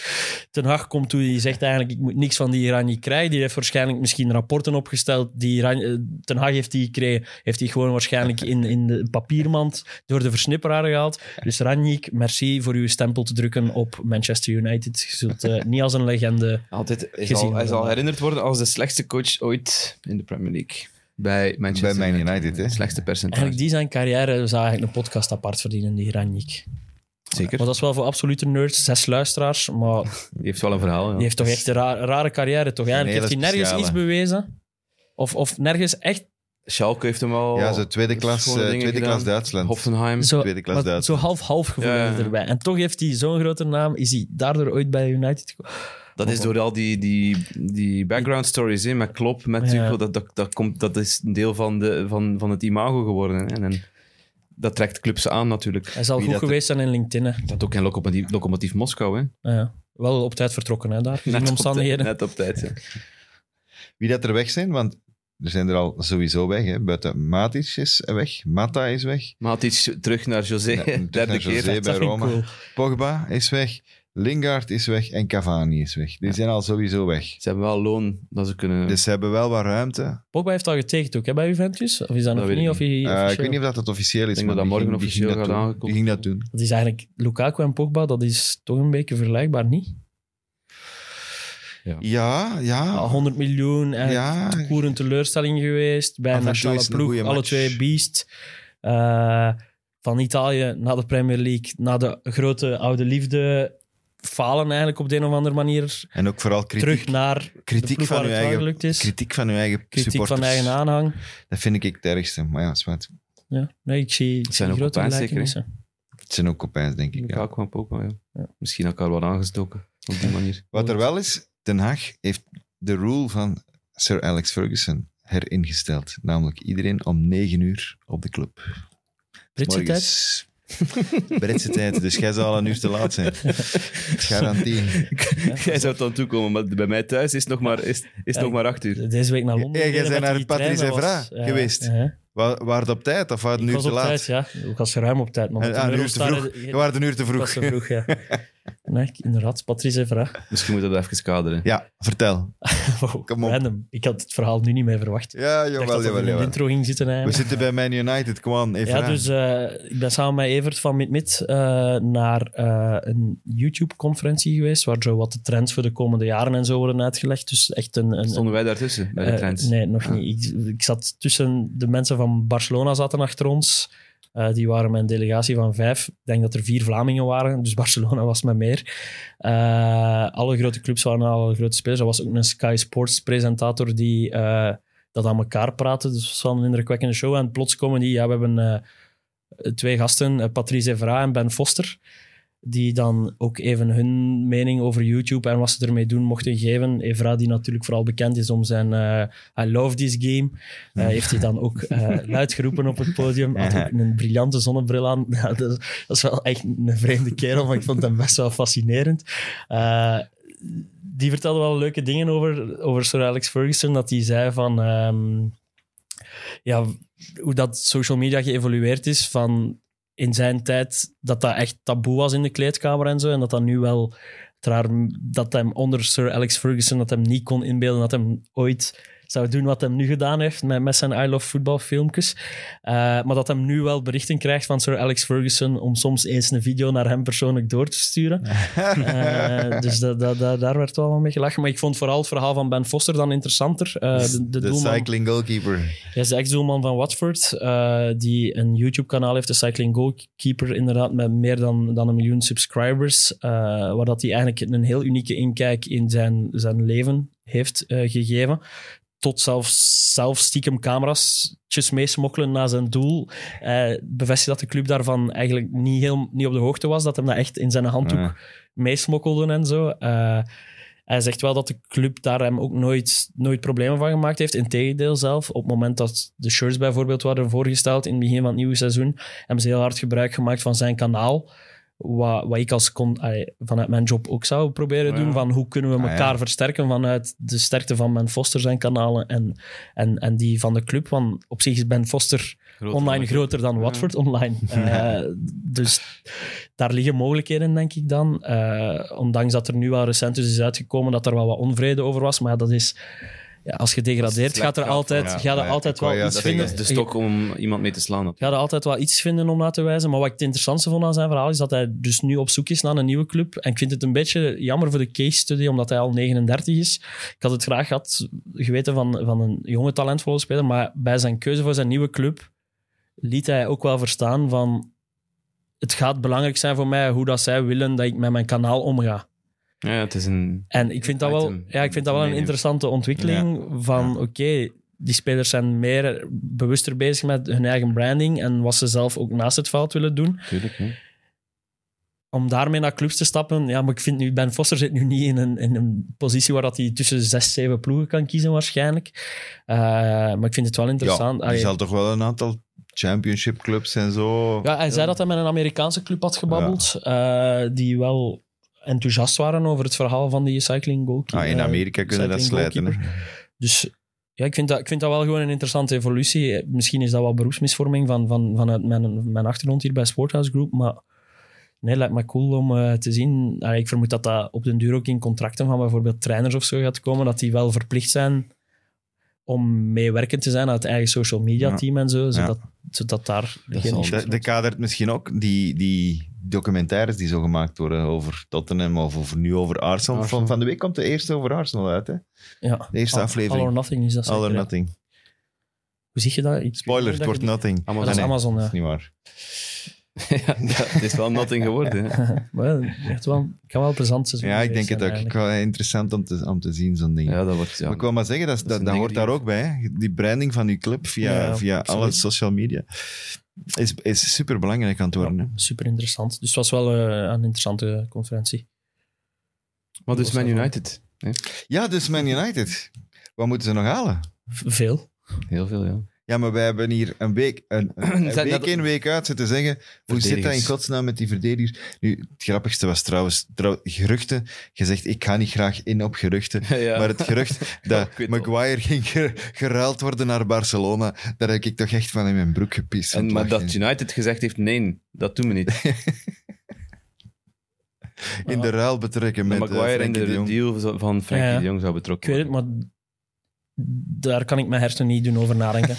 S4: Ten Hag komt toe. Die zegt eigenlijk, ik moet niks van die Ranjik krijgen. Die heeft waarschijnlijk misschien rapporten opgesteld. Die Ran- eh, Ten Hag heeft die gekregen. Heeft die gewoon waarschijnlijk in, in de papiermand door de versnipperaar gehaald. Dus Ranjik, merci voor uw stempel te drukken op Manchester United. Je zult eh, niet als een legende...
S3: Altijd, hij,
S4: Gezien
S3: zal, hij zal
S4: worden.
S3: herinnerd worden als de slechtste coach ooit in de Premier League. Bij Manchester
S2: Bij Man
S3: United.
S2: United, hè.
S3: Slechtste percentage.
S4: Eigenlijk die zijn carrière zou eigenlijk een podcast apart verdienen, die Ranjik.
S3: Zeker.
S4: Maar dat is wel voor absolute nerds, zes luisteraars, maar
S3: Die heeft wel een verhaal, ja.
S4: die heeft toch echt een ra- rare carrière. Toch? Eigenlijk
S2: hele
S4: heeft hij nergens
S2: speciale.
S4: iets bewezen. Of, of nergens echt
S3: Schalke heeft hem al...
S2: Ja, zo tweede klas,
S3: schone
S2: eh,
S3: dingen
S2: tweede
S3: gedaan.
S2: klas Duitsland.
S3: Hoffenheim.
S4: zo,
S2: Tweede klas
S4: maar
S2: Duits.
S4: zo half-half gevoel
S3: Ja, ja, ja.
S4: erbij. En toch heeft hij zo'n grote naam, is hij daardoor ooit bij United gekomen.
S3: Dat is door al die, die, die background stories, hè, met Klopp, met
S4: Ja.
S3: Tuchel, dat, dat, dat, komt, dat is een deel van, de, van, van het imago geworden. hè. En, en dat trekt clubs aan natuurlijk.
S4: Hij zal
S2: Wie
S4: goed
S2: dat-
S4: geweest zijn in LinkedIn. hè.
S3: Dat ook in Lokomotief, Lokomotief Moskou, hè.
S4: Ja. Wel op tijd vertrokken, hè, daar. Gezien de
S3: op tijd,
S4: omstandigheden.
S3: net op tijd, ja.
S2: Wie dat er weg zijn, want er zijn er al sowieso weg. Hè. Buiten Matic is weg, Mata is weg,
S3: Matic terug naar José,
S2: Ja, terug
S3: derde
S2: naar
S3: keer.
S2: José bij
S4: Dat vind ik
S2: Roma.
S4: cool.
S2: Pogba is weg, Lingard is weg en Cavani is weg. Die zijn al sowieso weg.
S3: Ze hebben wel loon dat ze kunnen...
S2: Dus ze hebben wel wat ruimte.
S4: Pogba heeft al getekend ook hè, bij Juventus. Of is dat,
S3: Dat
S4: nog
S3: weet
S4: niet?
S3: ik
S4: Of hij
S2: Eh, ik
S4: officieel-
S2: weet niet of dat, dat officieel is.
S3: Ik denk
S2: maar
S3: dat
S2: die
S3: dat morgen
S2: ging- die ging dat
S3: officieel gaat
S2: doen.
S3: aangekondigd
S2: Die ging dat doen.
S4: Dat is eigenlijk Lukaku en Pogba, dat is toch een beetje vergelijkbaar, niet?
S2: Ja,
S4: Ja,
S3: Oh.
S2: ja.
S4: 100 miljoen en
S2: Ja.
S4: het koer een teleurstelling geweest bij
S2: Af
S4: een
S2: en toe is
S4: nationale
S2: het een
S4: ploeg,
S2: goeie
S4: alle
S2: match.
S4: twee beast. Eh, van Italië naar de Premier League, naar de grote oude liefde. Falen eigenlijk op de een of andere manier.
S2: En ook vooral kritiek,
S4: Terug naar de
S2: kritiek,
S4: ploeg
S2: van
S4: waar
S2: uw
S4: het wel
S2: eigen,
S4: gelukt is.
S2: kritiek van uw eigen
S4: Kritiek van
S2: supporters.
S4: eigen aanhang.
S2: Dat vind ik het ergste. Maar ja, zwart.
S4: Ja. Nee, ik zie, ik zie
S3: zijn ook
S4: grote
S3: op pijn, zeker, hè?
S4: gelijkenissen.
S2: het zijn ook kopijns, denk ik. Ja.
S3: Lukaku en Pogba, ja. Misschien elkaar wat aangestoken, op die manier.
S2: Wat er wel is, Den Haag heeft de rule van Sir Alex Ferguson heringesteld. Namelijk iedereen om negen uur op de club.
S4: Britse tijd?
S2: Morgens. Britse tijd, dus jij zal een uur te laat zijn. Garantie.
S3: Jij zou dan toekomen, maar bij mij thuis is het nog maar, is, is
S4: Ja,
S3: nog maar acht uur.
S4: Deze week naar Londen.
S2: Ja, jij
S4: gereden
S2: bent
S4: met
S2: naar
S4: die
S2: Patrice
S4: trein, dat
S2: Evra
S4: was- ja,
S2: geweest.
S4: ja.
S2: Wa- Waar het op tijd of waar het een
S4: Ik
S2: uur te
S4: was op tijd,
S2: laat?
S4: ja. Ik was ruim op tijd. Maar met
S2: Ah,
S4: een
S2: een uur te
S4: Eurostar-
S2: vroeg. Je was een uur te
S4: Ik was
S2: vroeg.
S4: te vroeg, ja. Nee, ik- inderdaad, Patrice Evra.
S3: Misschien moeten we dat even kaderen.
S2: Ja, vertel.
S4: Wow,
S2: Kom op.
S4: Random. Ik had het verhaal nu niet meer verwacht.
S2: Ja,
S4: Ik dacht
S2: jawel,
S4: dat er
S2: jawel,
S4: in de
S2: jawel.
S4: intro ging zitten
S2: We
S4: eigenlijk.
S2: zitten bij Man United, Kwan. Even
S4: Ja, dus eh, ik ben samen met Evert van MidMid eh naar eh, een YouTube-conferentie geweest, waar zo wat de trends voor de komende jaren en zo worden uitgelegd. Dus echt een... een
S3: Stonden wij daartussen bij de
S4: eh,
S3: trends?
S4: nee, nog
S3: Ah.
S4: niet. Ik, ik zat tussen de mensen van Barcelona zaten achter ons. Eh, die waren mijn delegatie van vijf. Ik denk dat er vier Vlamingen waren, dus Barcelona was met meer. Eh, alle grote clubs waren er, alle grote spelers. Er was ook een Sky Sports presentator die eh, dat aan elkaar praatte. Dus het was wel een indrukwekkende show. En plots komen die, ja, we hebben eh, twee gasten, eh, Patrice Evra en Ben Foster, die dan ook even hun mening over YouTube en wat ze ermee doen mochten geven. Evra, die natuurlijk vooral bekend is om zijn eh, I love this game, eh, heeft hij dan ook eh luid geroepen op het podium. Had ook een briljante zonnebril aan. Ja, dat, is- dat is wel echt een vreemde kerel, maar ik vond hem best wel fascinerend. Eh, die vertelde wel leuke dingen over, over Sir Alex Ferguson. Dat hij zei van... ehm, ja, hoe dat social media geëvolueerd is van in zijn tijd dat dat echt taboe was in de kleedkamer en zo. En dat dat nu wel traar, dat hem onder Sir Alex Ferguson dat hem niet kon inbeelden dat hem ooit zou doen wat hem nu gedaan heeft met, met zijn I Love Football filmpjes. Eh, maar dat hem nu wel berichten krijgt van Sir Alex Ferguson om soms eens een video naar hem persoonlijk door te sturen. Eh, dus da, da, da- daar werd wel mee gelachen. Maar ik vond vooral het verhaal van Ben Foster dan interessanter. Eh, de, de
S2: Dus de
S4: doelman
S2: cycling goalkeeper.
S4: hij is de ex-doelman van Watford, eh, die een YouTube-kanaal heeft, de Cycling Goalkeeper, inderdaad, met meer dan, dan een miljoen subscribers, eh, waar dat hij eigenlijk een heel unieke inkijk in zijn, zijn leven heeft eh, gegeven. Tot zelfs zelf stiekem camera's meesmokkelen naar zijn doel. Eh bevestigt dat de club daarvan eigenlijk niet, heel, niet op de hoogte was, dat hem dat echt in zijn handdoek
S2: Ja.
S4: meesmokkelden en zo. Eh, hij zegt wel dat de club daar hem ook nooit, nooit problemen van gemaakt heeft. Integendeel zelf. Op het moment dat de shirts bijvoorbeeld werden voorgesteld in het begin van het nieuwe seizoen, hebben ze heel hard gebruik gemaakt van zijn kanaal. Wat, wat ik als con- allee, vanuit mijn job ook zou proberen
S3: Ja.
S4: doen. Van hoe kunnen we
S2: Ah, ja.
S4: elkaar versterken vanuit de sterkte van Ben Foster zijn kanalen en, en, en die van de club. Want op zich is Ben Foster
S3: Groter
S4: online
S3: dan-
S4: groter dan Watford online. Eh, dus daar liggen mogelijkheden, denk ik dan. Eh, ondanks dat er nu wel recent dus is uitgekomen dat er wel wat onvrede over was. Maar ja, dat is... Ja, als je
S3: Als
S4: degradeert,
S3: het slecht
S4: gaat er
S3: gaat,
S4: altijd,
S2: ja,
S4: gaat er
S2: ja,
S4: altijd
S2: ik wou
S4: wel
S2: juist
S4: iets
S3: Dat
S2: zeggen,
S4: vinden.
S3: is de stok om iemand mee te slaan.
S4: Je gaat er altijd wel iets vinden om na te wijzen. Maar wat ik het interessantste vond aan zijn verhaal is dat hij dus nu op zoek is naar een nieuwe club. En ik vind het een beetje jammer voor de case study, omdat hij al 39 is. Ik had het graag gehad geweten van, van een jonge talentvolle speler. Maar bij zijn keuze voor zijn nieuwe club liet hij ook wel verstaan van... Het gaat belangrijk zijn voor mij hoe dat zij willen dat ik met mijn kanaal omga.
S3: Ja, het is een...
S4: En ik vind dat wel,
S3: Item.
S4: ja, ik vind dat wel een
S3: Meenemen.
S4: interessante ontwikkeling van, oké, die spelers zijn meer bewuster bezig met hun eigen branding en wat ze zelf ook naast het veld willen doen.
S3: Tuurlijk, hè.
S4: Om daarmee naar clubs te stappen, ja, maar ik vind nu, Ben Foster zit nu niet in een, in een positie waar dat hij tussen zes, zeven ploegen kan kiezen waarschijnlijk. Eh, maar ik vind het wel
S2: Ja,
S4: interessant. Ah,
S2: die
S4: Allee,
S2: zal toch wel een aantal championship clubs en zo.
S4: Ja, hij zei dat hij met een Amerikaanse club had gebabbeld, eh, die wel enthousiast waren over het verhaal van die cycling goalkeeper.
S2: Ah, in
S4: eh,
S2: Amerika kunnen dat
S4: cycling
S2: slijten. hè.
S4: Dus ja, ik vind, dat, ik vind dat wel gewoon een interessante evolutie. Eh, Misschien is dat wel beroepsmisvorming van, van, vanuit mijn, mijn achtergrond hier bij Sporthouse Group, maar nee, lijkt me cool om eh, te zien. Allee, ik vermoed dat dat op den duur ook in contracten van bijvoorbeeld trainers of zo gaat komen, dat die wel verplicht zijn om meewerkend te zijn aan het eigen social media
S2: Ja.
S4: team en zo, zodat, zodat daar geen
S3: zal-
S4: issues
S2: De, de
S4: zijn.
S2: kadert misschien ook die, die documentaires die zo gemaakt worden over Tottenham of over, nu over Arsenal.
S3: Arsenal.
S2: Van, van de week komt de eerste over Arsenal uit, hè?
S4: ja.
S2: De eerste
S4: All-
S2: aflevering.
S4: All or Nothing is dat
S2: All or
S4: zeker, hè?
S2: nothing.
S4: Hoe zeg je dat? Ik-
S2: Spoiler, het
S4: dat
S2: wordt
S4: je-
S2: nothing.
S4: Ah, Dat
S2: Ah,
S4: is
S2: nee,
S4: Amazon,
S2: dat
S4: ja.
S2: is niet waar.
S3: ja, het is wel nothing geworden. Hè.
S4: Maar ja, echt wel, het kan wel een plezant seizoen
S2: Ja, ik denk
S4: geweest
S2: het
S4: zijn
S2: ook.
S4: eigenlijk.
S2: Ik wou- Interessant om te, om te zien, zo'n ding.
S3: Ja, dat wordt... Ja.
S2: Maar ik wil maar zeggen, dat, dat,
S3: Dat zijn
S2: dat hoort
S3: dingen
S2: daar
S3: die-
S2: ook bij. hè. Die branding van je club via,
S4: Ja,
S2: via
S4: absoluut.
S2: alle social media is, is superbelangrijk aan het worden. hè.
S4: Super interessant. Dus het was wel eh, een interessante conferentie.
S3: Maar dus Man United. hè.
S2: Ja, dus Man United. Wat moeten ze nog halen?
S4: V- veel.
S3: Heel veel, ja.
S2: Ja, maar wij hebben hier een week, een, een
S3: Zeg
S2: week
S3: dat-
S2: in, week uit zitten zeggen. Hoe zit dat in
S3: Verdedigers.
S2: godsnaam met die verdedigers? Nu, het grappigste was trouwens, trouw, geruchten. Je zegt, ik ga niet graag in op geruchten.
S3: Ja.
S2: Maar het gerucht dat
S3: Ik weet wel.
S2: Maguire ging ge- geruild worden naar Barcelona, daar heb ik toch echt van in mijn broek gepist. van
S3: En,
S2: het
S3: maar
S2: lachen.
S3: dat United gezegd heeft, nee, dat doen we niet. Ah.
S2: In de ruil betrekken
S3: Dat
S2: met eh,
S3: Maguire in
S2: Frenkie de
S3: de
S2: Jong.
S3: deal zo- van Frenkie
S4: Ja.
S3: de Jong zou
S4: Ik
S3: betrokken
S4: weet het, maar daar kan ik mijn hersenen niet doen over nadenken.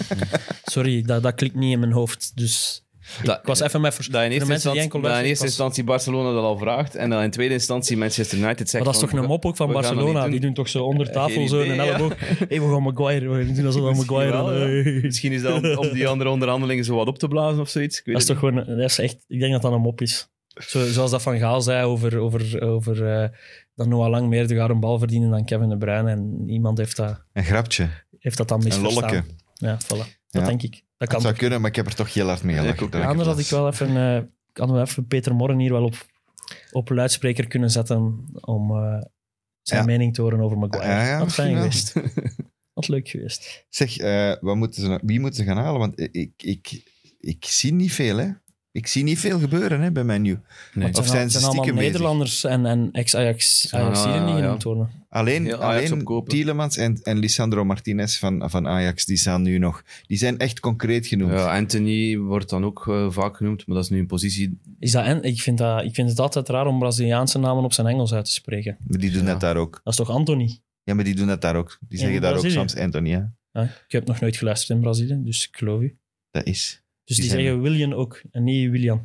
S4: Sorry, dat, dat klikt niet in mijn hoofd. Dus
S3: Dat-
S4: ik was even met vers-
S3: Dat in
S4: voor de
S3: eerste,
S4: mensen
S3: instantie,
S4: die enkel
S3: dat in
S4: luisteren,
S3: eerste
S4: ik was-
S3: instantie Barcelona dat al vraagt. En dan in tweede instantie Manchester United zegt...
S4: Maar dat is
S3: van,
S4: toch een mop ook van
S3: we gaan dat niet
S4: Barcelona?
S3: doen.
S4: Die doen toch zo onder
S3: Eh,
S4: tafel
S3: geen
S4: zo
S3: idee,
S4: een
S3: ja.
S4: elleboog. Hé, we gaan Maguire. We doen alsof we
S3: Misschien
S4: Maguire...
S3: wel, ja.
S4: eh,
S3: Misschien is dat om, om die andere onderhandelingen zo wat op te blazen of zoiets. Ik weet
S4: Dat is
S3: het
S4: toch gewoon... Dat is echt, ik denk dat dat een mop is. Zo, zoals dat Van Gaal zei over, over, over eh, dat Noah Lang meer de een bal verdienen dan Kevin De Bruyne. En iemand heeft dat,
S2: Een grapje,
S4: heeft dat dan
S2: een
S4: misverstaan.
S2: lolleke.
S4: Ja, voilà. Dat
S2: Ja.
S4: denk ik. Dat kan
S2: Dat zou kunnen, maar ik heb er toch heel hard mee
S3: Ja, ik
S2: gelachen.
S3: ook.
S2: dat het
S4: Anders had ik
S2: las.
S4: wel even, eh, hadden we even Peter Morren hier wel op, op luidspreker kunnen zetten om eh, zijn
S2: Ja.
S4: mening te horen over Maguire.
S2: Ja, ja,
S4: Wat fijn
S2: misschien
S4: geweest. Wat leuk geweest.
S2: Zeg, eh, wat moeten ze, wie moeten ze gaan halen? Want ik, ik, ik, ik zie niet veel, hè. Ik zie niet veel gebeuren hè, bij mijn nieuw.
S3: Nee.
S4: Het
S2: Of zijn
S4: al-
S2: ze
S4: allemaal
S2: stiekem bezig?
S4: Nederlanders en, en ex-Ajax
S3: Ah,
S4: Ajax die
S3: ja.
S4: genoemd worden.
S2: Alleen,
S3: Heel Ajax
S2: alleen
S3: opkopen.
S2: Tielemans en, en Lisandro Martinez van, van Ajax, die staan nu nog. Die zijn echt concreet genoemd.
S3: Ja, Anthony wordt dan ook eh, vaak genoemd, maar dat is nu een positie...
S4: Is dat, en, ik, vind dat, ik vind het altijd raar om Braziliaanse namen op zijn Engels uit te spreken.
S2: Maar die doen
S3: Ja.
S2: dat daar ook.
S4: Dat is toch Anthony?
S2: Ja, maar die doen dat daar ook. Die
S4: In
S2: zeggen daar ook
S4: Brazilië?
S2: soms Anthony, hè.
S4: Ja, ik heb nog nooit geluisterd in Brazilië, dus ik geloof u.
S2: Dat is.
S4: Dus
S2: Die
S4: die,
S2: zijn-
S4: zeggen William ook en niet William.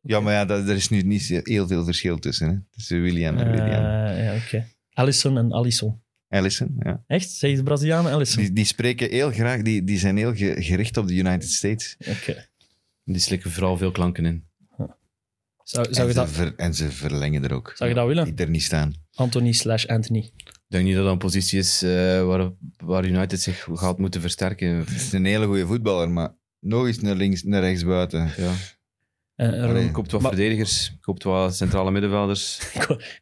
S2: Ja, maar ja, dat, er is nu niet heel veel verschil tussen, hè. Tussen William en
S4: Eh,
S2: William.
S4: ja, oké. Allison en Allison.
S2: Allison, ja.
S4: Echt? Zeggen de Brazilianen Allison?
S2: Die, die spreken heel graag, die, die zijn heel ge- gericht op de United States.
S4: Oké.
S3: Die slikken vooral veel klanken in.
S4: Zou,
S2: en,
S4: zou, je
S2: ze
S4: dat,
S2: ver- en ze verlengen er ook.
S4: zou je dat willen?
S2: Die er niet staan.
S4: Anthony slash Anthony.
S3: Ik denk niet dat dat een positie is eh, waar, waar United zich gaat moeten versterken.
S2: Het is een hele goede voetballer, maar nog eens naar links, naar rechts buiten.
S3: Ja.
S4: Eh, eh,
S2: Allee.
S3: Koopt wat
S4: Maar-
S3: verdedigers, koopt wat centrale middenvelders.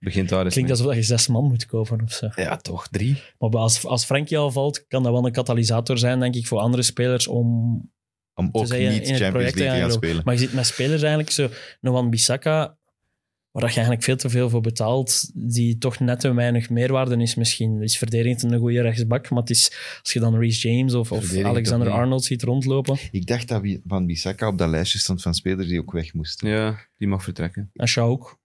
S3: Begint daar eens
S4: klinkt
S3: mee.
S4: alsof je zes man moet kopen of zo.
S3: Ja, toch, drie.
S4: Maar als, als Frenkie al valt, kan dat wel een katalysator zijn, denk ik, voor andere spelers om...
S2: Om ook
S4: zeggen, in
S2: niet
S4: het
S2: Champions
S4: project
S2: League te gaan
S4: eigenlijk ook.
S2: spelen.
S4: Maar je ziet met spelers eigenlijk zo... Een Wan-Bissaka, waar dat je eigenlijk veel te veel voor betaalt, die toch net te weinig meerwaarde is misschien. Is verdedigend een goede rechtsbak, maar het is, als je dan Reece James of, of
S3: Verdedigend ook niet.
S4: Alexander-Arnold ziet rondlopen...
S2: Ik dacht dat wie- Van Bissaka op dat lijstje stond van spelers die ook weg moesten.
S3: Ja, die mag vertrekken.
S4: En Shaw ook.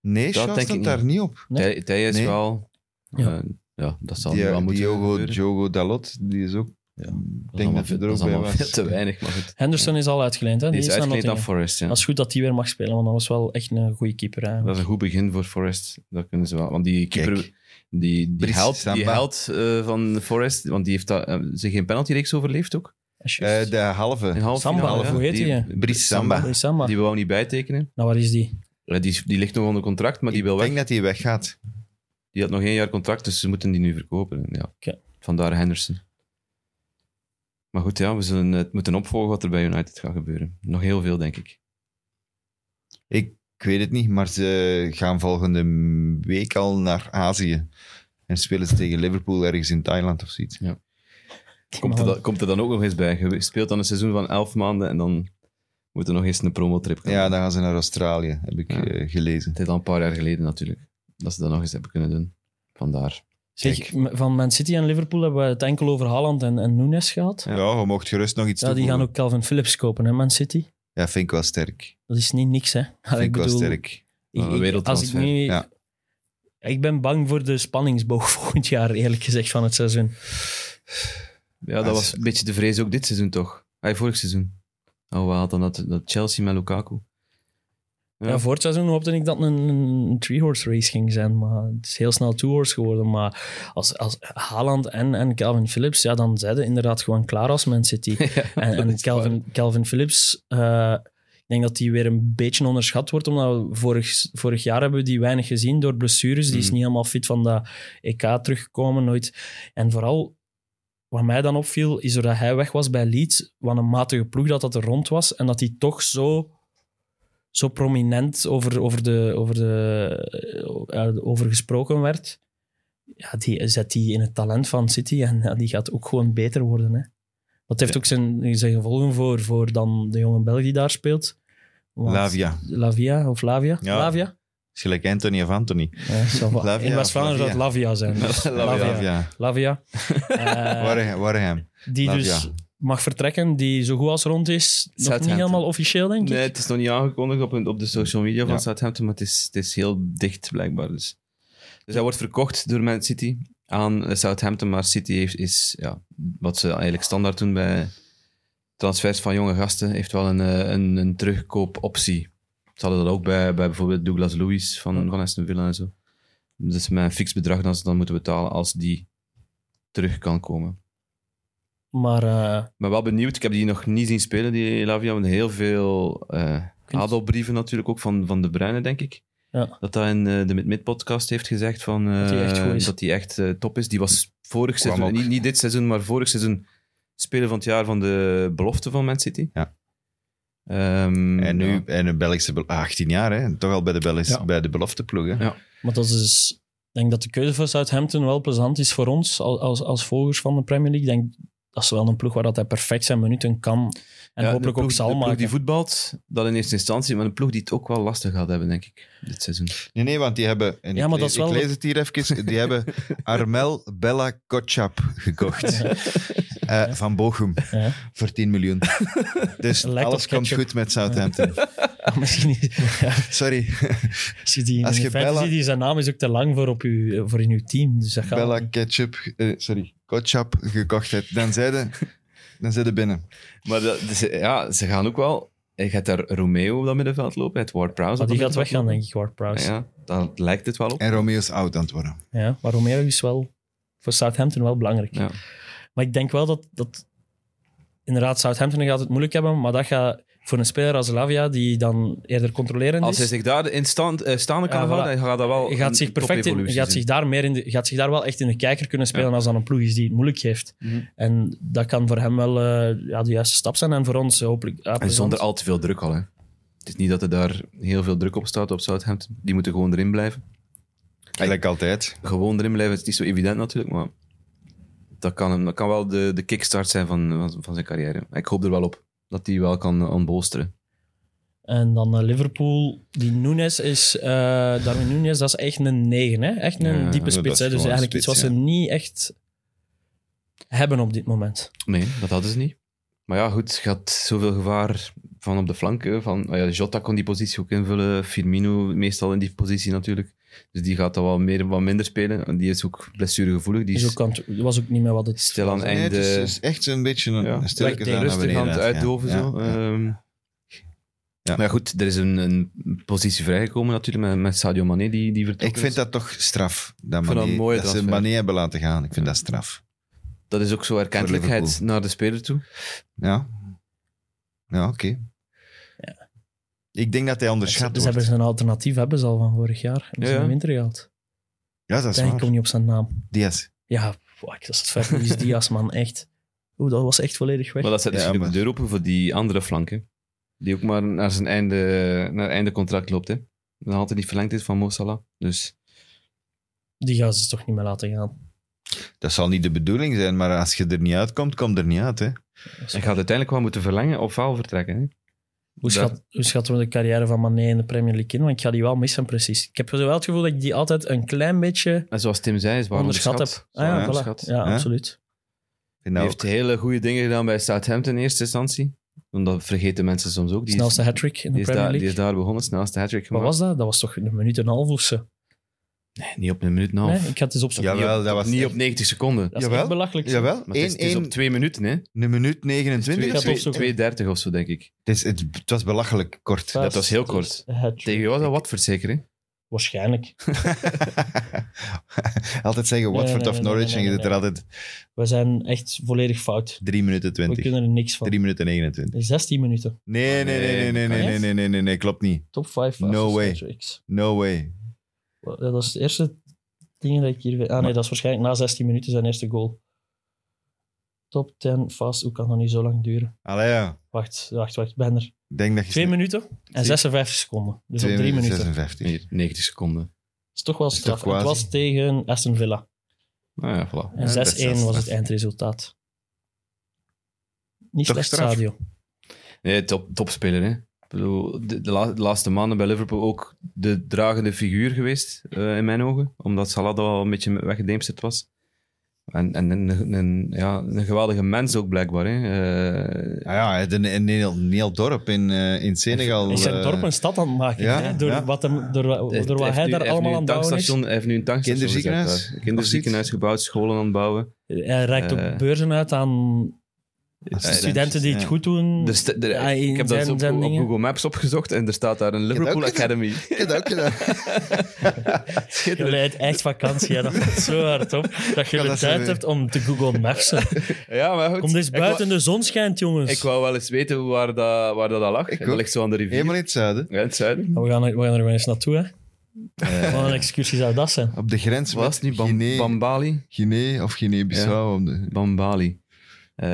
S2: Nee, Shaw
S3: denk ik
S2: stond
S3: niet.
S2: daar niet op.
S4: Nee.
S3: Tij Tij is
S2: Nee.
S3: wel...
S4: Ja.
S3: eh, ja, dat zal nu wel
S2: Die,
S3: moeten
S2: Diogo,
S3: gebeuren.
S2: Diogo Dalot, die is ook...
S3: Ja,
S2: Ik
S3: Dat is
S2: denk
S3: allemaal
S2: dat hij
S3: veel-
S2: er
S3: dat is
S2: ook bij
S3: allemaal veel
S2: was.
S3: te weinig, maar goed.
S4: Henderson is al uitgeleend, hè?
S3: Die is
S4: naar
S3: uitgeleend aan
S4: Nottingham.
S3: Forrest, ja.
S4: Dat is goed dat hij weer mag spelen, want dat was wel echt een goede keeper. Hè.
S3: Dat is een goed begin voor Forrest. Dat kunnen ze wel. Want die keeper,
S2: Kijk.
S3: die, die
S2: Brice
S3: held, die
S2: Samba.
S3: held eh, van Forrest, want die heeft dat, eh, zich geen penaltyreeks overleefd ook.
S4: Als je-
S2: Eh, de halve.
S3: In halve
S4: Samba,
S3: finale,
S4: hè? Hoe heet die, hè?
S2: Brice Samba.
S4: Dat is Samba.
S3: Die wou niet bijtekenen.
S4: Nou, waar is die?
S3: Eh, Die, die ligt nog onder contract, maar die wil
S2: ik
S3: weg.
S2: denk dat hij weggaat.
S3: Die had nog één jaar contract, dus ze moeten die nu verkopen. Ja.
S4: Oké.
S3: Vandaar Henderson. Maar goed, ja, we zullen het moeten opvolgen wat er bij United gaat gebeuren. Nog heel veel, denk ik.
S2: Ik, ik weet het niet, maar ze gaan volgende week al naar Azië. En spelen ze tegen Liverpool ergens in Thailand of zoiets.
S3: Komt er, dan, komt er dan ook nog eens bij? Je speelt dan een seizoen van elf maanden en dan moet er nog eens een promotrip komen.
S2: Ja, dan gaan ze naar Australië, heb ik
S3: Ja.
S2: eh, gelezen.
S3: Het is al een paar jaar geleden natuurlijk. Dat ze dat nog eens hebben kunnen doen. Vandaar.
S4: Zeg, m- van Man City en Liverpool hebben we het enkel over Haaland en, en Nunes gehad. Ja,
S2: Ja, je mocht gerust nog iets
S4: die
S2: toevoegen.
S4: gaan ook Calvin Phillips kopen, hè, Man City.
S2: Ja, vind ik wel sterk.
S4: Dat is niet niks, hè.
S2: Vind ik wel
S4: bedoel,
S2: sterk.
S3: Een
S4: ik- ik- als ik
S3: wereldtransfer,
S4: nu...
S2: ja.
S4: Ik ben bang voor de spanningsboog volgend jaar, eerlijk gezegd, van het seizoen.
S3: Ja, dat
S2: Ja,
S3: was
S2: ze-
S3: een beetje de vrees ook dit seizoen toch? Hij vorig seizoen. Oh, we hadden dan dat, dat Chelsea met Lukaku.
S4: Ja.
S3: Ja.
S4: voor het seizoen hoopte ik dat het een, een three-horse race ging zijn, maar het is heel snel two-horse geworden. Maar als, als Haaland en, en Calvin Phillips, ja, dan zijn ze inderdaad gewoon klaar als Man City. En, en Calvin, Calvin Phillips, eh, ik denk dat die weer een beetje onderschat wordt, omdat we vorig, vorig jaar hebben we die weinig gezien door blessures. Die is
S3: Mhm.
S4: niet helemaal fit van dat EK teruggekomen, nooit. En vooral, wat mij dan opviel, is doordat hij weg was bij Leeds, wat een matige ploeg dat dat er rond was, en dat hij toch zo, zo prominent over, over, de, over, de, eh, over gesproken eh, werd. ja, die zet die in het talent van City en ja, die gaat ook gewoon beter worden. Hè. Dat heeft ook zijn, zijn gevolgen voor, voor dan de jonge Belg die daar speelt. Want-
S2: Lavia.
S4: Lavia of Lavia?
S2: Ja.
S4: Lavia?
S2: Is gelijk Anthony of Anthony.
S4: Ja, ça va.
S2: Lavia
S4: in
S2: of
S4: West-Vlaanderen zou het Lavia zijn. Dus Lavia.
S2: Lavia.
S4: Lavia. Eh,
S2: Warham. Warham.
S4: die dus
S2: Lavia.
S4: mag vertrekken, die zo goed als rond is. Nog niet
S3: Southampton.
S4: helemaal officieel, denk ik.
S3: Nee, het is nog niet aangekondigd op, op de social media van
S2: Ja.
S3: Southampton, maar het is, het is heel dicht blijkbaar. Dus. dus hij wordt verkocht door Man City aan eh, Southampton, maar City heeft, is ja, wat ze eigenlijk standaard doen bij transfers van jonge gasten, heeft wel een, eh, een, een terugkoopoptie. Ze hadden dat ook bij, bij bijvoorbeeld Douglas Lewis van, van Aston Villa en zo. Dus met een fix bedrag dat ze dan moeten betalen als die terug kan komen.
S4: Maar eh,
S3: Maar wel benieuwd. Ik heb die nog niet zien spelen, die Lavia. Want heel veel eh
S4: Kunt-
S3: adelbrieven natuurlijk ook van, van De Bruyne, denk ik.
S4: Ja.
S3: Dat hij in eh, de Mid-Mid-podcast heeft gezegd van, eh,
S4: Dat hij echt goed is.
S3: dat hij echt eh, top is. Die was vorig
S2: Kwam
S3: seizoen,
S2: ook.
S3: niet, niet dit seizoen, maar vorig seizoen speler van het jaar van de belofte van Man City.
S2: Ja.
S3: Ehm,
S2: En nu
S3: ja.
S2: en een Belgische... bel- 18 jaar, hè. Toch al bij de, Belgische,
S1: Ja.
S2: bij de belofteploeg, hè.
S3: Ja.
S4: Maar dat is dus- ik denk dat de keuze voor Southampton wel plezant is voor ons als, als, als volgers van de Premier League. Ik denk dat is wel een ploeg waar dat hij perfect zijn minuten kan en
S3: Ja, de
S4: hopelijk ook
S3: ploeg-
S4: zal
S3: de ploeg
S4: maken.
S3: die voetbalt, dat in eerste instantie, maar een ploeg die het ook wel lastig gaat hebben, denk ik, dit seizoen.
S2: Nee, nee, want die hebben... En
S4: Ja,
S2: ik,
S4: maar
S2: le-
S4: dat is wel-
S2: ik lees het hier even. Die hebben Armel Bella Kotschap gekocht. Eh, van Bochum.
S4: Ja.
S2: Voor 10 miljoen. Dus
S4: Lijkt op
S2: alles komt
S4: ketchup.
S2: goed met Southampton.
S4: Ah, misschien niet. Ja,
S2: Sorry.
S4: als je die in
S2: Als je
S4: de fantasy
S2: Bella-
S4: die zijn naam is ook te lang voor, op uw, voor in uw team. Dus dat gaat
S2: Bella Ketchup... eh, sorry. Kotschap gekocht hebt. Dan zeiden... Dan zitten binnen.
S3: Maar dat, dus, ja, ze gaan ook wel... Je gaat daar Romeo op dat middenveld lopen, het Ward Prowse.
S4: Maar die gaat weggaan, denk ik, Ward Prowse. Ja,
S3: Ja, daar lijkt het wel op.
S2: En Romeo is oud aan het worden.
S4: maar Romeo is wel voor Southampton wel belangrijk.
S3: Ja.
S4: Maar ik denk wel dat, dat inderdaad Southampton gaat het moeilijk hebben, maar dat gaat voor een speler als Lavia, die dan eerder controlerend
S3: Als
S4: is...
S3: hij zich daar in stand, eh, staande kan
S4: dus- Ja,
S3: houden,
S4: voilà.
S3: dan gaat dat wel
S4: Je gaat
S3: een
S4: zich perfect in, je
S3: topevolutie
S4: gaat
S3: zien.
S4: zich daar meer in de, je gaat zich daar wel echt in de kijker kunnen spelen
S3: Ja.
S4: als dan een ploeg is die het moeilijk heeft.
S3: Mhm.
S4: En dat kan voor hem wel eh, ja, de juiste stap zijn en voor ons hopelijk. ja,
S3: En
S4: plezant.
S3: zonder al te veel druk al, hè. Het is niet dat er daar heel veel druk op staat op Southampton. Die moeten gewoon erin blijven.
S2: Gelijk altijd.
S3: Gewoon erin blijven, het is niet zo evident natuurlijk, maar... Dat kan, hem, dat kan wel de, de kickstart zijn van, van, van zijn carrière. Ik hoop er wel op dat hij wel kan eh, ontbolsteren.
S4: En dan eh, Liverpool, die Nunes is, eh Darwin Nunes, dat is echt een negen, hè? echt een
S3: Ja,
S4: diepe
S2: dat
S4: spits.
S2: is
S4: Hè?
S2: gewoon
S4: Dus
S2: een
S4: eigenlijk iets wat
S2: spits,
S4: ze niet echt hebben op dit moment.
S3: Nee, dat hadden ze niet. Maar ja, goed, je had zoveel gevaar van op de flanken. Van, nou ja, Jota kon die positie ook invullen. Firmino meestal in die positie natuurlijk. Dus die gaat dan wel meer, wat minder spelen. En Die is ook blessuregevoelig. Die
S4: Dus
S3: is
S4: ook aan het- was ook niet meer wat het
S3: stil aan
S2: Nee, het
S3: einde...
S2: is, het is echt een beetje een
S3: Ja.
S2: ja. sterke
S4: Lijkt
S3: rustig aan het uitdoven. zo.
S2: Ja.
S3: Ehm,
S2: Ja.
S3: Maar ja, goed, er is een, een positie vrijgekomen natuurlijk met, met Sadio Mané die, die vertrokken
S2: Ik vind
S3: is.
S2: dat toch straf. Dat,
S3: vind dat
S2: Mané-
S3: een mooie
S2: dat ze
S3: transfer.
S2: Mané hebben laten gaan. Ik vind dat straf.
S3: Dat is ook zo
S2: Voor
S3: erkentelijkheid
S2: Liverpool.
S3: naar de speler toe.
S2: Ja. Ja, oké. Ik denk dat hij
S4: Dus
S2: onderschat
S4: dus
S2: wordt.
S4: hebben ze een alternatief hebben ze al van vorig jaar. Hebben
S3: Ja,
S4: ze
S3: ja.
S4: in de winter gehaald.
S2: Ja, dat is
S4: Ik kom
S2: waar.
S4: niet op zijn naam.
S2: Diaz.
S4: Ja, fuck, dat is het ver. Die is Diaz, man, echt. Oeh, dat was echt volledig weg.
S3: Maar dat zet
S2: Ja,
S3: natuurlijk
S2: maar-
S3: de deur open voor die andere flanken. Die ook maar naar zijn einde, naar einde contract loopt. Hè. Dan altijd niet verlengd is van Mo Salah. Dus
S4: Die gaan ze toch niet meer laten gaan.
S2: Dat zal niet de bedoeling zijn, maar als je er niet uitkomt, kom er niet uit. Hè.
S3: hij gaat uiteindelijk wel moeten verlengen of wel vertrekken. Hè.
S4: Hoe, schat, hoe schatten we de carrière van Mané in de Premier League in? Want ik ga die wel missen, precies. Ik heb wel het gevoel dat ik die altijd een klein beetje
S3: En zoals Tim zei, is waar
S4: onderschat,
S3: onderschat.
S4: heb. Ah, ja,
S2: Zwaar
S4: voilà.
S3: onderschat. Nou,
S4: ja,
S2: Ja.
S4: absoluut.
S2: Ik vind
S3: Hij
S2: dat
S3: heeft
S2: ook.
S3: hele goede dingen gedaan bij Southampton in eerste instantie. Want dat vergeten mensen soms ook. Die is-
S4: Snelste hat-trick in de
S3: Die is,
S4: Premier
S3: daar,
S4: League.
S3: die is daar begonnen, snelste hat-trick
S4: Wat
S3: gemaakt.
S4: was dat? Dat was toch een minuut en een half of zo?
S3: Nee, niet op een minuut en een half.
S4: Nee, ik ga het eens opzoeken.
S2: Jawel, dat was
S3: niet
S2: echt-
S3: op 90 seconden.
S4: Dat is
S2: Jawel.
S4: echt belachelijk.
S2: Jawel,
S3: Maar het is, het is
S2: 1-1,
S3: op 2 minuten, hè?
S2: een minuut 29.
S4: Ik ga het opzoeken.
S3: 2.30 of zo, denk ik.
S2: Het, is, het, het was belachelijk kort.
S4: Vast.
S3: dat was heel kort.
S4: Hat-trick.
S3: Tegen jou was dat wat verzeker, hè?
S4: Waarschijnlijk.
S2: altijd zeggen Watford
S4: nee,
S2: of
S4: nee,
S2: Norwich
S4: nee,
S2: en je
S4: nee,
S2: zit er altijd
S4: We zijn echt volledig fout.
S2: 3 minuten
S4: We
S2: 20.
S4: kunnen Ah, er niks van.
S2: 3 minuten 29.
S4: 16 minuten.
S2: Nee, nee, nee, nee, nee, nee, nee, nee, nee, nee, nee, klopt niet.
S4: Top 5
S2: No way. No way.
S4: Ja, Dat is het eerste ding dat ik hier... weet. Ah nee, dat is waarschijnlijk na 16 minuten zijn eerste goal. Top 10 fast. Hoe kan dat niet zo lang duren?
S2: Allee, ja.
S4: Wacht, wacht, wacht. Ik ben er.
S2: Ik denk dat je...
S4: Twee minuten en
S3: Zie-
S4: 56 seconden. Dus
S2: Twee
S4: op drie minuten.
S2: 56.
S3: Hier, 90 seconden.
S4: Dat is toch wel
S2: is
S4: straf.
S2: toch
S4: Het
S2: quasi.
S4: was tegen Aston Villa.
S3: Nou ja, voilà.
S4: En
S2: Ja,
S4: 6-1 was
S2: best.
S4: het eindresultaat. Niet
S2: Toch
S4: slecht
S2: straf.
S4: stadion.
S3: Nee, top, topspeler, hè. Ik bedoel, de, de la- de laatste maanden bij Liverpool ook de dragende figuur geweest, eh, in mijn ogen. Omdat Salah daar al een beetje weggedemsterd was. En, en een, een- ja, een geweldige mens ook, blijkbaar. Hè. Eh,
S2: Ja, ja, hij had een, een, heel, een heel dorp in, eh, in Senegal.
S4: Is zijn
S2: eh,
S4: dorp een stad aan het maken?
S2: ja,
S4: hè? Door,
S2: ja.
S4: Wat hem, door, wa-
S3: heeft-
S4: door wat
S3: heeft
S4: hij
S3: nu-
S4: daar
S3: heeft nu
S4: allemaal
S3: een
S4: aan het bouwen is.
S3: tankstation- Hij heeft nu een tankstation gezet
S2: Kinderziekenhuis?
S3: daar. Kinderziekenhuis gebouwd, scholen aan het bouwen.
S4: Hij reikt ook
S3: Eh,
S4: beurzen uit aan
S2: student.
S4: studenten die het
S2: Ja.
S4: goed doen.
S3: Er sta- er-
S4: Hmm. Ja, in
S3: ik heb dat
S4: zijn-
S3: op,
S4: zijn
S3: op
S4: dingen.
S3: Google Maps opgezocht en er staat daar een Liverpool
S2: ook-
S3: Academy.
S2: Ik heb dat ook gedaan.
S4: Jullie leidt echt vakantie, hè. dat valt zo hard op. Dat je
S2: Ja,
S4: de
S2: dat is
S4: tijd
S2: wel-
S4: hebt om te Google Mapsen.
S3: Ja, maar goed.
S4: Kom eens
S3: Ik wa-
S4: buiten, de zon schijnt, jongens.
S3: Ik wou wel eens weten waar dat, waar dat, al lag.
S2: Ik
S3: dat
S2: ook.
S3: ligt zo aan de rivier.
S2: Helemaal in het zuiden.
S3: Ja, in het zuiden.
S4: Ja, Nou, We gaan, er- we gaan er wel eens naartoe, hè.
S2: Eh,
S4: Wat een excursie zou dat zijn.
S2: op de grens
S3: Was
S2: met
S3: het nu Bam-
S2: Guinea,
S3: Bambali?
S2: Guinea of Guinea-Bissau. om de-
S3: Bambali. Eh,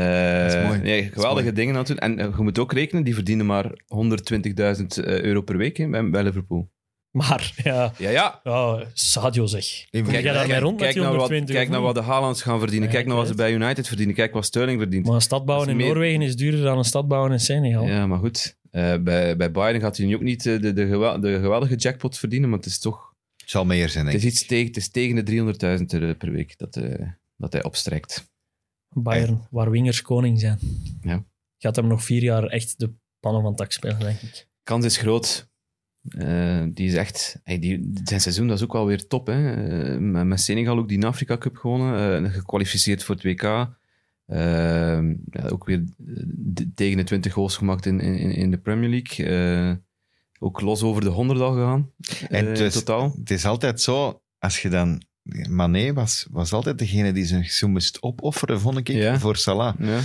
S2: Dat is mooi.
S3: nee,
S2: Dat is
S3: geweldige
S2: mooi.
S3: dingen natuurlijk. En eh, je moet ook rekenen, die verdienen maar 120.000 euro per week hè, bij, bij Liverpool.
S4: Maar, ja...
S3: Ja, ja.
S4: Oh, Sadio zeg.
S2: In
S4: Kom jij
S2: vergelijking-
S4: daarmee rond met
S3: kijk
S4: die
S3: naar wat,
S4: 120
S3: Kijk naar wat de Haalands gaan verdienen.
S4: Ja,
S3: kijk naar wat ze
S4: ik
S3: bij United verdienen. Kijk wat Sterling verdient.
S4: Maar een stad bouwen
S3: Dat
S4: in
S3: is meer-
S4: Noorwegen is duurder dan een stad bouwen in Senegal.
S3: Ja, maar goed. Eh, bij, bij Bayern gaat hij nu ook niet eh, de, de, gewel- de geweldige jackpot verdienen, maar het is toch...
S2: Het zal meer zijn,
S3: Het
S2: denk
S3: is,
S2: ik.
S3: iets tegen, het is tegen de 300.000 euro per week dat, eh, dat hij opstrijkt.
S4: Bayern, waar wingers koning zijn.
S3: Ja.
S4: Gaat hem nog vier jaar echt de pannen van het dak spelen, denk ik.
S3: Kans is groot. Eh, die is echt... hey, die, zijn seizoen dat is ook wel weer top. Hè? Eh, met met Senegal ook die Afrika Cup gewonnen. eh, gekwalificeerd voor het WK. Eh, ja, ook weer eh, de- tegen de 20 goals gemaakt in, in, in de Premier League. Eh, ook los over de 100 al gegaan.
S2: En
S3: eh, in
S2: dus-
S3: totaal.
S2: Het is altijd zo, als je dan... Mané was, was altijd degene die zijn zo moest opofferen, vond ik,
S3: Ja.
S2: voor Salah.
S3: Ja.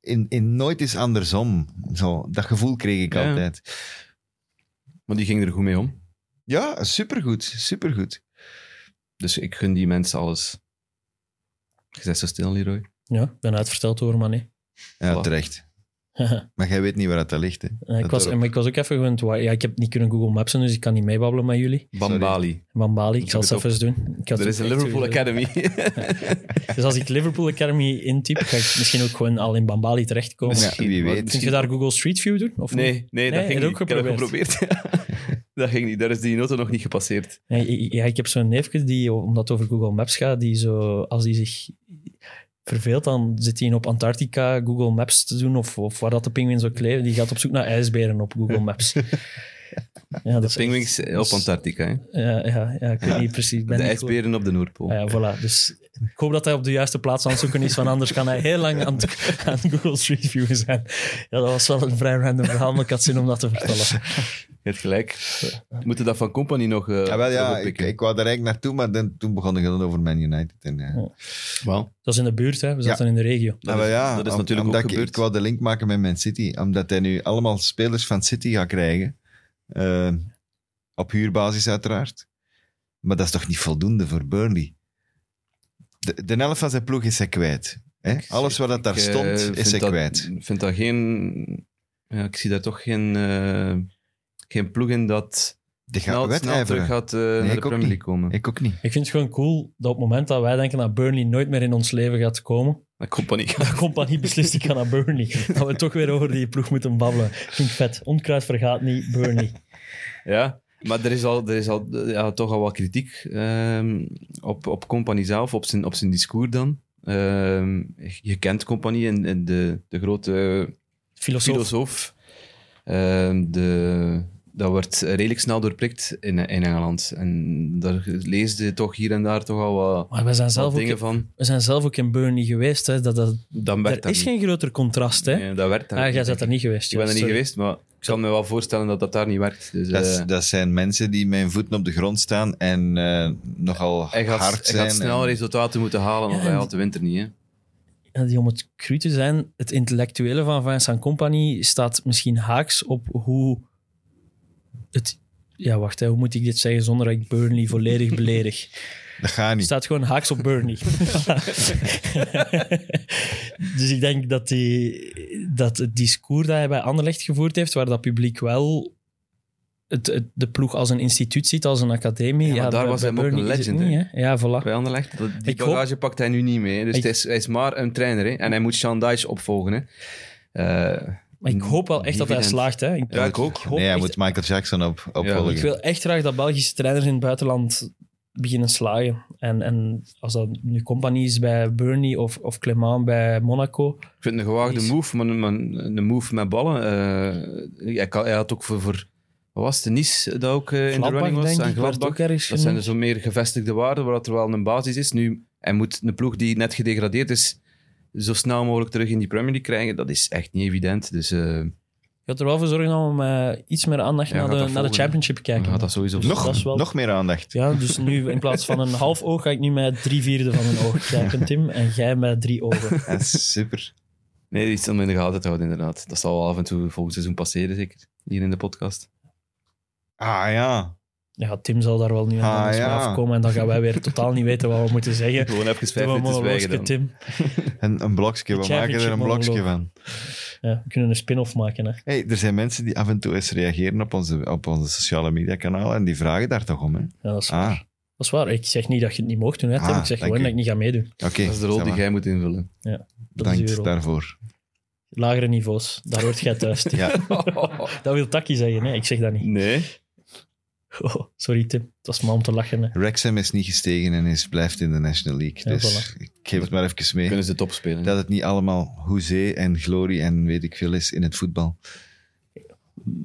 S2: In, in nooit is andersom. Zo, dat gevoel kreeg ik
S3: Ja.
S2: altijd.
S3: Maar die ging er goed mee om.
S2: Ja, supergoed, supergoed.
S3: Dus ik gun die mensen alles. Je bent zo stil, Leroy.
S4: Ja, ik ben uitverteld door Mané.
S2: Ja,
S3: Voilà.
S2: terecht. Maar jij weet niet waar dat ligt, hè.
S4: ik,
S2: Dat
S4: was,
S2: dorp.
S4: maar ik was ook even gewend. wa- Ja, ik heb niet kunnen Google Mapsen, dus ik kan niet meebabbelen met jullie.
S3: Bambali.
S4: Van Bali,
S3: Dat
S4: ik zal
S3: is
S4: het
S3: ook
S4: even doen. Ik had
S3: Er
S4: het
S3: is een
S4: echt
S3: Liverpool
S4: gezien.
S3: Academy.
S4: Dus als ik Liverpool Academy intyp, ga ik misschien ook gewoon al in Bambali terechtkomen.
S2: Misschien. wie
S3: maar
S2: weet.
S4: Kun je daar Google Street View doen? Of niet?
S3: Nee, nee, dat
S4: Nee,
S3: ging
S4: heb
S3: niet.
S4: ook
S3: Ik heb dat geprobeerd. dat ging niet. Daar is die noten nog niet gepasseerd.
S4: Ja, ik- ja, ik heb zo'n neefje die, omdat het over Google Maps gaat, die zo, als hij zich verveelt, dan zit hij op Antarctica Google Maps te doen of, of waar dat de pinguïns ook leven. Die gaat op zoek naar ijsberen op Google Maps. Ja, dat is echt-
S3: Penguins eh,
S4: dat
S3: op
S4: is-
S3: Antarctica. Hè?
S4: Ja, ja, ja, ik weet niet precies. ik Ben
S3: De
S4: niet goed.
S3: ijsberen op de Noordpool.
S4: Ah ja, voilà. Dus ik hoop dat hij op de juiste plaats aan het zoeken is, want anders kan hij heel lang aan, het- aan Google Street View zijn. Ja, dat was wel een vrij random verhaal, maar ik had zin om dat te vertellen.
S3: Je hebt gelijk. We moeten dat van Company nog eh
S2: Ja, Ah, wel, ja ik,
S3: overpikken.
S2: ik wou daar eigenlijk naartoe, maar dan, toen begon ik dan over Man United. En, eh, ja.
S3: Wel,
S4: Dat is in de buurt, hè. We zaten in de regio.
S3: dat,
S2: Ah, wel
S3: is,
S2: ja,
S3: dat is
S2: om-
S3: natuurlijk ook
S2: omdat ik,
S3: gebeurd.
S2: ik wou de link maken met Man City, omdat hij nu allemaal spelers van City gaat krijgen. Eh, op huurbasis uiteraard. Maar dat is toch niet voldoende voor Burnley? De, de helft van zijn ploeg is hij kwijt. Hè? Alles wat dat daar
S3: Ik, eh,
S2: stond,
S3: vind
S2: is hij
S3: dat-
S2: kwijt.
S3: Ik vind dat geen... Ja, ik zie daar toch geen, eh, geen ploeg in dat
S2: Die gaat
S3: snel, snel terug
S2: wedijveren.
S3: gaat eh, naar
S2: ik
S3: de
S2: ook
S3: Premier
S2: niet.
S3: League komen.
S2: Ik ook niet.
S4: Ik vind het gewoon cool dat op het moment dat wij denken dat Burnley nooit meer in ons leven gaat komen,
S3: Maar Company gaat
S4: dat compagnie beslist ik ga naar Burnley. Dat we toch weer over die ploeg moeten babbelen. Vind ik vet. Onkruid vergaat niet, Burnley.
S3: Ja, maar er is, al, er is al, ja, toch al wat kritiek ehm, op, op Company zelf, op zijn, op zijn discours dan. Ehm, je kent Company en, en de, de grote
S4: Filosoof.
S3: filosoof. Ehm, de, dat wordt redelijk snel doorprikt in, in Engeland. En daar leesde je toch hier en daar toch al wat,
S4: Maar we zijn,
S3: wat
S4: zelf ook,
S3: dingen van.
S4: we zijn zelf ook in Burnley geweest. Hè. Dat, dat,
S3: Dan werd
S4: er is geen groter contrast, hè.
S3: Ja, dat werkt daar
S4: ah,
S3: niet.
S4: jij bent er niet geweest.
S3: Ik ben er
S4: ja,
S3: niet
S4: sorry.
S3: geweest, maar ik kan me wel voorstellen dat dat daar niet werkt. Dus,
S2: Dat,
S3: eh,
S2: dat zijn mensen die met hun voeten op de grond staan en eh, nogal
S3: hij gaat,
S2: hard
S3: hij
S2: zijn.
S3: gaat snel
S2: en-
S3: resultaten moeten halen, want
S4: Ja,
S3: hij
S4: en-
S3: haalt de winter niet. Hè.
S4: Ja, die, om het cru te zijn, het intellectuele van Vincent Company staat misschien haaks op hoe het... Ja, wacht, hè. hoe moet ik dit zeggen zonder dat ik Burnley volledig beledig?
S2: Dat gaat niet.
S4: staat gewoon haaks op Bernie. dus ik denk dat, die, dat het discours dat hij bij Anderlecht gevoerd heeft, waar dat publiek wel het, het- de ploeg als een instituut ziet, als een academie.
S3: Ja, maar daar
S4: bij-
S3: was
S4: bij
S3: hij ook
S4: Burnley
S3: een
S4: is het
S3: legend,
S4: niet, hè? Ja, voilà.
S3: Bij Anderlecht, dat- die
S4: Ik hoop-
S3: bagage pakt hij nu niet mee. hè. Dus
S4: Ik-
S3: het is, hij is maar een trainer. Hè. En hij moet Sean Dyche opvolgen. Hè. Eh,
S4: Maar ik hoop wel echt dat hij
S3: Evident.
S4: slaagt. Hè. Ik,
S3: Ja, ik ook.
S4: hoop
S2: nee, hij
S4: echt-
S2: moet Michael Jackson op, opvolgen.
S4: ik wil echt graag dat Belgische trainers in het buitenland beginnen slagen. En, en als dat nu Compagnie is bij Burnley of, of Clement bij Monaco.
S3: ik vind het een gewaagde
S4: Is-
S3: move, maar een, maar een- een move met ballen. eh, hij, kan- hij had ook voor, voor wat was het, Nice, dat ook eh, in de
S4: Gladbach,
S3: running was.
S4: denk
S3: en
S4: ik, werd
S3: Gladbach.
S4: ook ergens
S3: Dat zijn
S4: genoemd.
S3: dus zo meer gevestigde waarden, waar dat er wel een basis is. Nu, hij moet een ploeg die net gedegradeerd is, zo snel mogelijk terug in die Premier League krijgen. Dat is echt niet evident. Dus eh,
S4: Je gaat er wel voor zorgen dat we met iets meer aandacht
S3: Ja,
S4: naar,
S3: gaat
S4: de,
S3: dat
S4: naar de
S3: volgen, hè?
S4: championship kijken.
S3: dan gaat dat sowieso...
S2: nog,
S4: dat is wel-
S2: nog meer aandacht.
S4: Ja, dus nu in plaats van een half oog ga ik nu met drie vierde van een oog kijken, Tim. En jij met drie ogen.
S2: Dat is super.
S3: Nee, iets om in de gaten te houden, inderdaad. Dat zal wel af en toe volgend seizoen passeren, zeker. Hier in de podcast.
S2: Ah ja.
S4: Ja, Tim zal daar wel nu aan
S2: Ah,
S4: anders mee
S2: ja.
S4: afkomen. En dan gaan wij weer totaal niet weten wat we moeten zeggen.
S3: Gewoon even vijf
S4: Doe een
S3: minuten zwijgen
S4: monoloogje,
S3: dan.
S4: Tim.
S2: En een blokje, we
S4: Championship
S2: maken er een blokje
S4: monoloog.
S2: van.
S4: Ja, we kunnen een spin-off maken. Hè.
S2: Hey, er zijn mensen die af en toe eens reageren op onze, op onze sociale media kanalen en die vragen daar toch om. Hè?
S4: Ja, dat, is,
S2: Ah,
S4: dat is waar. Ik zeg niet dat je het niet mocht doen, hè, Tim.
S2: Ah,
S4: ik zeg
S2: dank
S4: gewoon
S2: u.
S4: dat ik niet ga meedoen.
S2: oké.
S3: Dat is de rol
S2: zeg
S3: die
S2: maar.
S3: jij moet invullen.
S4: Dat is uw
S2: Bedankt
S4: rol.
S2: daarvoor.
S4: Lagere niveaus, daar hoort jij thuis. Tim.
S2: Ja.
S4: dat wil Taki zeggen, hè. ik zeg dat niet.
S3: Nee.
S4: Oh, sorry Tim, het was maar om te lachen. Hè.
S2: Wrexham is niet gestegen en is, blijft in de National League.
S4: Ja,
S2: dus ik geef het maar even mee.
S3: Kunnen ze top spelen.
S2: Dat het niet allemaal hoezee en glorie en weet ik veel is in het voetbal.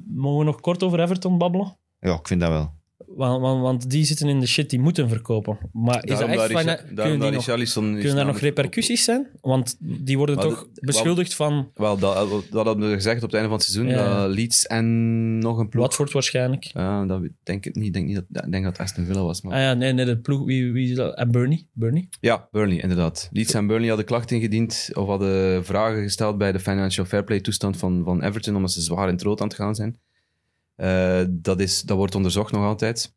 S4: Mogen we nog kort over Everton babbelen?
S2: Ja, ik vind dat wel.
S4: Want, want, want die zitten in de shit, die moeten verkopen. Maar is dat
S3: Daarom
S4: echt...
S3: dat
S4: fina-
S3: Richa-
S4: kunnen
S3: daarom
S4: die
S3: dat
S4: nog-
S3: Richarlison is
S4: kunnen daar nog
S3: namelijk-
S4: repercussies zijn? Want die worden
S3: Maar
S4: toch
S3: dat- wat-
S4: beschuldigd van
S3: Wel, dat, dat hadden we gezegd op het einde van het seizoen.
S4: Ja.
S3: dat Leeds en nog een ploeg. Oh.
S4: Watford waarschijnlijk.
S3: Ja, dat denk ik niet. Ik denk, niet dat, ik denk dat het Aston Villa was. Maar...
S4: Ah ja, nee, nee, de ploeg... Wie, wie, is dat? Ah, en Bernie? Bernie?
S3: Ja, Burnley, inderdaad. Leeds en Burnley hadden klachten ingediend of hadden vragen gesteld bij de financial fair play toestand van, van Everton, omdat ze zwaar in het rood aan het gaan zijn. Eh, dat, is, dat wordt onderzocht nog altijd.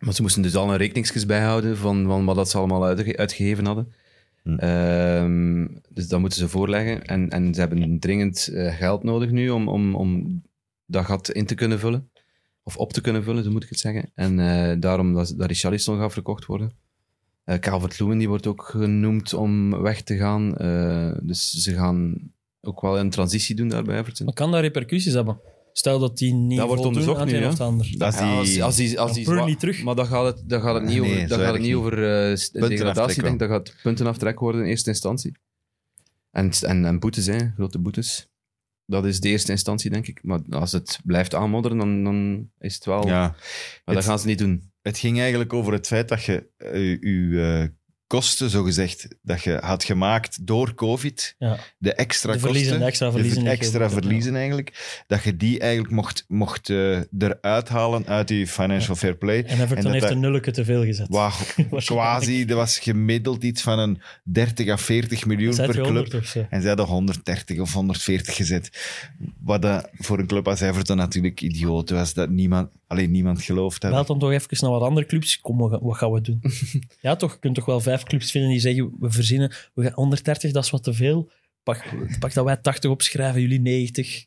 S3: Maar ze moesten dus al een rekeningsjes bijhouden van, van wat dat ze allemaal uitge- uitgegeven hadden.
S2: Hm.
S3: Ehm, dus dat moeten ze voorleggen. En, en ze hebben dringend eh, geld nodig nu om, om, om dat gat in te kunnen vullen. Of op te kunnen vullen, zo moet ik het zeggen. En eh, daarom dat, dat Richarlison gaat verkocht worden. Eh Calvert-Lewin die wordt ook genoemd om weg te gaan. Eh, dus ze gaan ook wel een transitie doen daar bij Everton.
S4: Maar kan dat repercussies hebben? Stel dat die niet
S3: Dat wordt
S4: voldoen
S3: onderzocht
S4: aan
S3: nu,
S4: het een
S3: hè?
S4: of het ander.
S2: Dat is
S3: Ja,
S2: die...
S3: als, als die, als
S4: Dan
S3: die
S4: Burnley
S3: zwa-
S4: terug.
S3: Maar dat gaat het, dat gaat het niet
S2: Nee,
S3: over,
S2: zo
S3: dat gaat het
S2: erg
S3: niet
S2: niet.
S3: over eh, s- degradatie,
S2: aftrek
S3: denk ik. Dat gaat puntenaftrek worden in eerste instantie. En, en, en boetes, hè, grote boetes. Dat is de eerste instantie, denk ik. Maar als het blijft aanmodderen, dan, dan is het wel...
S2: Ja.
S3: maar dat
S2: het-
S3: gaan ze niet doen.
S2: Het ging eigenlijk over het feit dat je eh, je kosten, zogezegd, dat je had gemaakt door COVID,
S4: Ja.
S2: de extra
S4: De verliezen,
S2: kosten,
S4: de extra verliezen.
S2: de
S4: die
S2: extra
S4: gelden.
S2: verliezen eigenlijk, dat je die eigenlijk mocht, mocht eh, eruit halen uit die financial fair play.
S4: En Everton
S2: En dat
S4: heeft
S2: dat-
S4: een nulletje te veel gezet.
S2: Waar quasi, er was gemiddeld iets van een 30 à 40 miljoen
S4: Zet
S2: per
S4: je
S2: club.
S4: 100 of zo.
S2: En ze hadden 130 of 140 gezet. Wat dat voor een club als Everton natuurlijk idioot was. Dat niemand, alleen niemand gelooft dat.
S4: Bel dan toch even naar wat andere clubs. Kom, we gaan- wat gaan we doen? ja, toch? Je kunt toch wel vijf clubs vinden die zeggen: we verzinnen we gaan 130, dat is wat te veel. Pak, pak dat wij 80 opschrijven, jullie 90. Je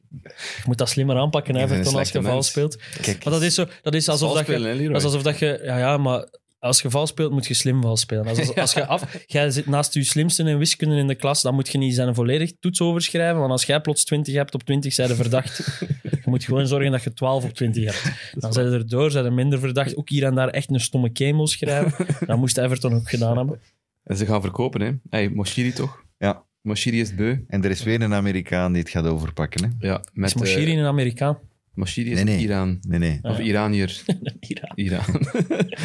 S4: moet dat slimmer aanpakken,
S2: Ik ben
S4: Everton,
S2: een
S4: als je
S2: slechte
S4: vals
S2: mens.
S4: speelt.
S2: Kijk,
S4: Maar dat is, zo, dat is alsof dat je.
S3: Valspelen, hè, Leroy?
S4: Dat is alsof dat je... Ja, ja, maar als je vals speelt, moet je slim vals spelen. Als, als, als je af... Jij zit naast je slimste in wiskunde in de klas, dan moet je niet zijn volledig toets overschrijven, want als jij plots 20 hebt op 20, zijn er verdacht. Je moet gewoon zorgen dat je 12 op 20 hebt. Dan zijn er door, zijn er minder verdacht. Ook hier en daar echt een stomme kemel schrijven. Dat moest Everton ook gedaan hebben.
S3: En ze gaan verkopen, hè. Hey, Moshiri toch?
S2: Ja.
S3: Moshiri is het beu.
S2: En er is weer een Amerikaan die het gaat overpakken. Hè?
S3: Ja, met,
S4: Is Moshiri
S3: eh,
S4: een Amerikaan?
S3: Moshiri is
S2: Nee, nee.
S3: een Iran.
S2: Nee, nee.
S4: Ah,
S3: Of
S4: ja.
S3: Iranier.
S4: Iran.
S3: Iran.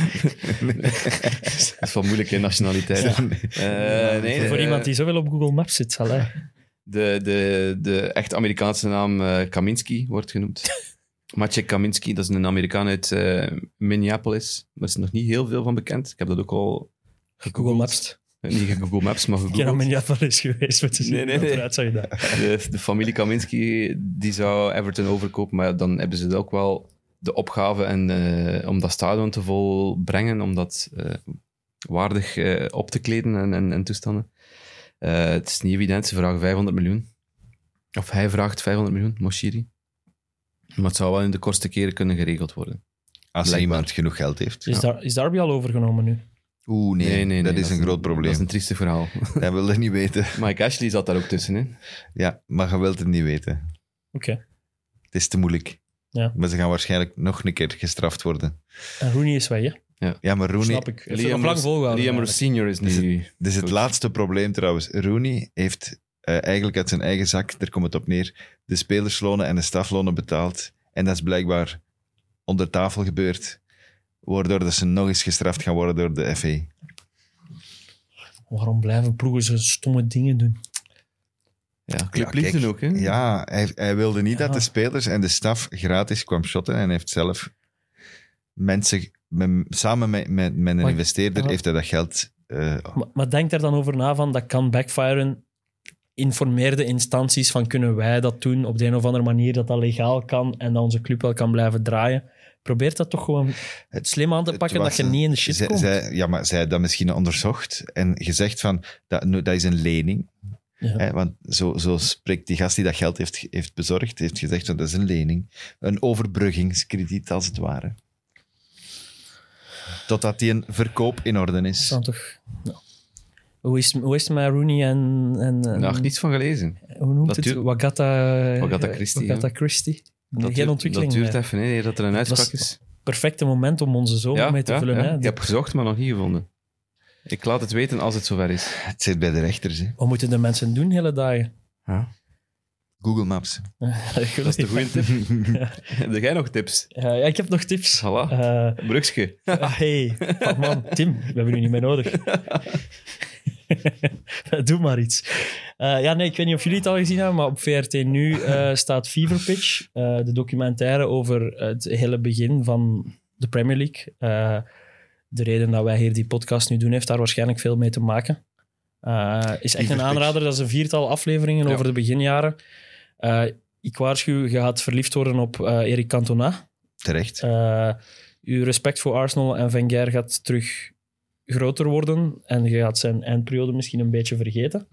S3: dat is wel moeilijk, hè, nationaliteit. Eh, nee,
S4: Voor
S3: eh,
S4: iemand die zoveel op Google Maps zit, zal hij.
S3: De, de, de echt Amerikaanse naam eh, Kaminski wordt genoemd. Maciek Kaminski, dat is een Amerikaan uit eh, Minneapolis. Daar is nog niet heel veel van bekend. Ik heb dat ook al
S4: Google
S3: gegoogeld.
S4: Maps.
S3: Eh, Niet Google Maps, maar
S4: Ik ben aan
S3: gegoogeld.
S4: Minneapolis geweest, om te zien
S3: Nee, nee,
S4: hoe dat
S3: nee.
S4: eruit zag je daar.
S3: De, de familie Kaminski die zou Everton overkopen, maar dan hebben ze ook wel de opgave en, eh, om dat stadion te volbrengen, om dat eh, waardig eh, op te kleden en, en, en toestanden. Eh, het is niet evident, ze vragen 500 miljoen. Of hij vraagt 500 miljoen, Moshiri. Maar het zou wel in de kortste keren kunnen geregeld worden.
S2: Als
S3: Blijkbaar.
S2: iemand genoeg geld heeft.
S4: Is, daar, is Darby al overgenomen nu?
S2: Oeh, nee, dat is een groot
S3: Dat
S2: probleem.
S3: is een trieste verhaal.
S2: Hij wil het niet weten.
S3: Mike Ashley zat daar ook tussen, hè?
S2: Ja, maar je wilt het niet weten.
S4: Oké.
S2: Het is te moeilijk.
S4: Ja.
S2: Maar ze gaan waarschijnlijk nog een keer gestraft worden.
S4: En Rooney is weg, hè?
S2: Ja, maar Rooney...
S4: Snap ik. Liam nog lang
S3: Ros-
S4: volgehouden.
S3: Liam
S4: eigenlijk.
S3: Senior is nu...
S2: Dit is het
S3: Goed.
S2: laatste probleem trouwens. Rooney heeft eh, eigenlijk uit zijn eigen zak, daar komt het op neer, de spelerslonen en de staflonen betaald. En dat is blijkbaar onder tafel gebeurd. Waardoor dat ze nog eens gestraft gaan worden door de FA.
S4: Waarom blijven ploegen zo stomme dingen doen?
S3: Ja,
S2: Ja,
S3: Club
S2: kijk.
S3: Liefde ook, hè?
S2: Ja, hij, hij wilde niet
S4: Hm? Ja.
S2: dat de spelers en de staf gratis kwam shotten. En heeft zelf mensen, men- samen met, met, met een
S4: Maar-
S2: investeerder,
S4: ja.
S2: heeft hij dat geld. eh,
S4: Maar, maar denk daar dan over na van, dat kan backfiren. Informeerde instanties van kunnen wij dat doen op de een of andere manier, dat dat legaal kan en dat onze club wel kan blijven draaien. Probeer dat toch gewoon
S2: Het-
S4: slim aan te
S2: het
S4: pakken,
S2: was
S4: dat je
S2: een-
S4: niet in de shit
S2: zij,
S4: komt.
S2: zij- ja, maar zij had dat misschien onderzocht en gezegd van dat, nu, dat is een lening.
S4: Ja.
S2: Hè, want zo, zo spreekt die gast die dat geld heeft, heeft bezorgd, heeft gezegd van dat is een lening. Een overbruggingskrediet als het ware. Totdat die een verkoop in orde
S4: Dat
S2: is.
S4: kan toch... ja. Hoe is, hoe is het met Rooney en... en, en-
S3: Daar heb ik niets van gelezen.
S4: hoe noemt
S3: Dat
S4: het?
S3: duurt-
S4: Wagata...
S3: Wagata Christie,
S4: Wagata Christie. Geen
S3: duurt-
S4: ontwikkeling
S3: Dat duurt
S4: meer.
S3: even, hè, dat er een
S4: was-
S3: uitspraak is.
S4: Perfecte moment om onze zomer mee te vullen.
S3: ja.
S4: Hè?
S3: Ik heb gezocht, maar nog niet gevonden. Ik laat het weten als het zover is.
S2: Het zit bij de rechters. Hè.
S4: Wat moeten de mensen doen hele dagen?
S2: Google Maps.
S3: Dat is de goede tip. Heb jij nog tips?
S4: Ja, ja, ik heb nog tips.
S3: Voilà.
S4: Eh,
S3: Brugske.
S4: Ah, hey, Fuck, man, Tim, we hebben u niet meer nodig. Doe maar iets. Eh, ja, nee, ik weet niet of jullie het al gezien hebben, maar op VRT nu eh, staat Fever Pitch, eh, de documentaire over eh, het hele begin van de Premier League. Eh, de reden dat wij hier die podcast nu doen, heeft daar waarschijnlijk veel mee te maken. Eh, is echt
S2: Fever
S4: een
S2: Pitch.
S4: aanrader, dat is een viertal afleveringen
S3: Ja.
S4: over de beginjaren. Eh, ik waarschuw, je gaat verliefd worden op eh, Eric Cantona.
S2: Terecht.
S4: Eh, uw respect voor Arsenal en Wenger gaat terug groter worden. En je gaat zijn eindperiode misschien een beetje vergeten.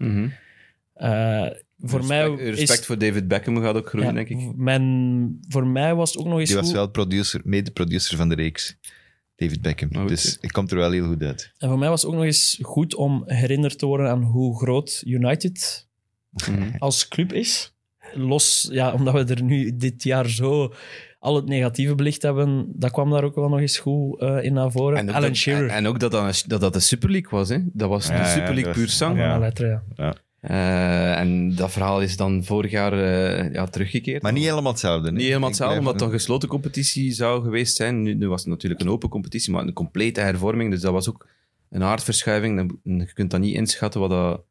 S4: Eh, voor mij
S3: Mhm. respect, respect
S4: is...
S3: voor David Beckham gaat ook groeien, denk ik.
S4: ja, mijn- voor mij was het ook nog eens
S2: Die was
S4: goed.
S2: wel producer, mede-producer van de reeks. David Beckham.
S3: Oh, oké.
S2: Dus ik kom er wel heel goed uit.
S4: En voor mij was het ook nog eens goed om herinnerd te worden aan hoe groot United
S3: Mhm.
S4: als club is. Los, ja, omdat we er nu dit jaar zo al het negatieve belicht hebben, dat kwam daar ook wel nog eens goed eh, in naar voren.
S3: En ook,
S4: Alan
S3: dat,
S4: Shearer.
S3: en- en ook dat, dan een- dat dat de Super League was. Hè? Dat was
S2: Ja, ja,
S3: de Super
S2: dat
S3: League
S2: was-
S3: puur sang.
S2: ja.
S4: Van een letter, ja.
S3: Eh, en dat verhaal is dan vorig jaar eh, ja, teruggekeerd.
S2: Maar niet helemaal hetzelfde. hè?
S3: Niet helemaal
S2: Ik
S3: hetzelfde,
S2: blijf-
S3: omdat het een gesloten competitie zou geweest zijn. Nu, nu was het natuurlijk een open competitie, maar een complete hervorming. Dus dat was ook een aardverschuiving. Dan- Je kunt dat niet inschatten wat dat,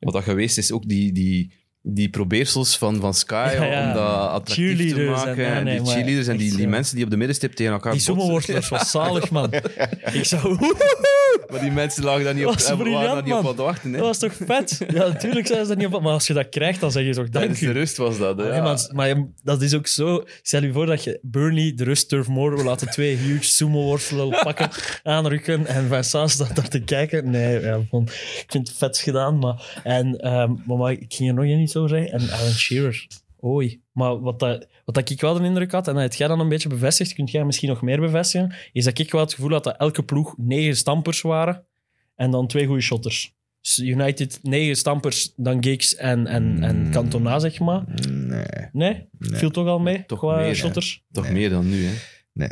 S3: wat dat geweest is. Ook die, die, die probeersels van, van Sky
S4: Ja, ja.
S3: om dat attractief te
S4: Cheerleaders en-
S3: maken. En,
S4: ja, nee,
S3: die
S4: maar
S3: cheerleaders en
S4: echt,
S3: die, die
S4: ja.
S3: mensen die op de middenstip tegen elkaar
S4: Die
S3: botsen.
S4: zomerworstelers was zalig, man. Ik zou...
S3: Maar die mensen lagen daar niet op,
S4: Dat was
S3: eh, waren daar
S4: briljant,
S3: niet op
S4: man.
S3: aan het wachten. Hè.
S4: Dat was toch vet? Ja, natuurlijk zijn ze dat niet op. Maar als je dat krijgt, dan zeg je toch dank
S3: Tijdens de
S4: u.
S3: rust was dat. hè.
S4: Allee, maar, maar je- dat is ook zo. Stel je voor dat je Burnley, de rust Turf Moor, we laten twee huge sumo-worstelen pakken, aanrukken en Vincent staat daar te kijken. Nee, ja, van, ik vind het vet gedaan. Maar, en, ehm, maar, maar ik ging er nog niet zo zeggen. En Alan Shearer, oei. Maar wat, dat, wat dat ik wel de indruk had, en dat heb jij dan een beetje bevestigd, kunt jij misschien nog meer bevestigen, is dat ik wel het gevoel had dat elke ploeg negen stampers waren en dan twee goede shotters. Dus United, negen stampers, dan Giggs en, en, en Cantona, zeg maar.
S2: Nee,
S4: Nee?
S2: nee.
S4: Viel toch al mee
S3: Toch
S4: qua
S3: meer, hè.
S4: shotters?
S3: Toch
S2: Nee.
S3: meer dan nu. Hè.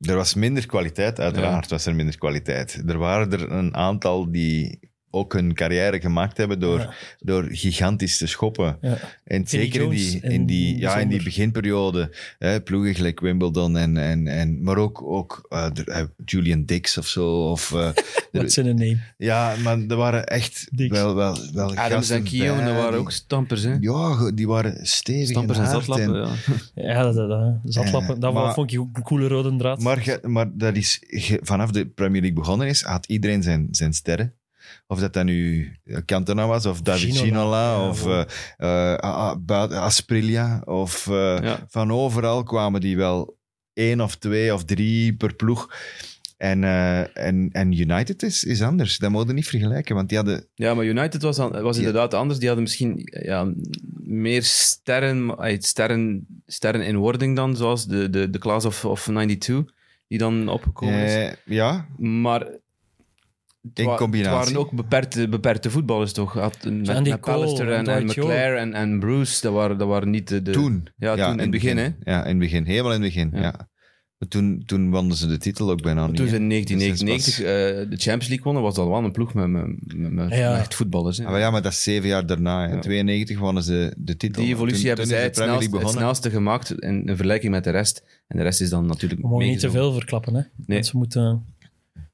S2: Er was minder kwaliteit, uiteraard was er minder kwaliteit. Er waren er een aantal die ook hun carrière gemaakt hebben door,
S4: Ja.
S2: door gigantisch te schoppen.
S4: Ja.
S2: En zeker in die,
S4: Jones
S2: in
S4: en
S2: die, ja, in die
S4: bijzonder.
S2: beginperiode, hè, ploegen gelijk Wimbledon, en, en, en, maar ook, ook eh, er- eh, Julian Dix of zo. Of, eh, er-
S4: What's in a name?
S2: Ja, maar er waren echt
S4: Diks.
S2: wel, wel, wel
S3: Adams
S2: gasten
S3: en Keown,
S2: bij
S3: dat waren
S2: die-
S3: ook stampers. Hè.
S2: Ja, go- die waren stevig
S3: Stampers en
S2: en hard
S3: zatlappen.
S2: en-
S3: ja.
S4: Ja, dat, dat, dat, zatlappen.
S2: Eh,
S4: dat wel
S2: maar-
S4: vond ik ook een coole rode draad.
S2: Maar, ge- maar dat is, ge- vanaf de Premier League begonnen is, had iedereen zijn, zijn sterren. Of dat dan nu eh, Cantona was, of David
S4: Ginola,
S2: Ginola,
S4: ja,
S2: of
S4: wel.
S2: eh, eh, A- A- Ba- Asprilla. Of, eh,
S3: Ja.
S2: Van overal kwamen die wel één of twee of drie per ploeg. En, eh, en, en United is, is anders. Dat mogen we niet vergelijken, want die hadden...
S3: Ja, maar United was, dan, was
S2: Ja.
S3: inderdaad anders. Die hadden misschien ja, meer sterren, maar- ay, sterren, sterren in wording dan, zoals de, de, de Class of, of 92, die dan opgekomen is.
S2: eh, ja,
S3: Maar het
S2: in
S3: wa-
S2: combinatie.
S3: het waren ook beperkte, beperkte voetballers, toch? Had, met,
S4: Andy
S3: met
S4: Cole
S3: Pallister en,
S4: en
S3: en
S4: Dwight
S3: McClare en, en Bruce, dat waren, dat waren niet de... de-
S2: toen.
S3: eh, Ja, toen, in het begin, hè.
S2: Ja, in het begin. Helemaal in het begin, ja.
S3: Ja.
S2: Maar Toen, toen wonnen ze de titel ook bijna niet.
S3: Toen ze
S2: hè.
S3: in
S2: Dus
S3: 1999
S2: dat
S3: eh, de Champions League wonnen, was dat wel een ploeg met, met, met, met
S4: Ja.
S3: echt voetballers. Hè.
S2: Ah, maar ja, maar dat is zeven jaar daarna. hè.
S3: Ja.
S2: 92 wonnen ze de titel.
S3: Die evolutie
S2: Toen-
S3: hebben
S2: toen
S3: zij
S2: is
S3: het,
S2: de Premier
S3: snelst,
S2: League
S3: het
S2: begonnen.
S3: snelste gemaakt in, in vergelijking met de rest. En de rest is dan natuurlijk
S4: We mogen niet te
S3: meegenomen.
S4: veel verklappen. Hè? Mensen moeten...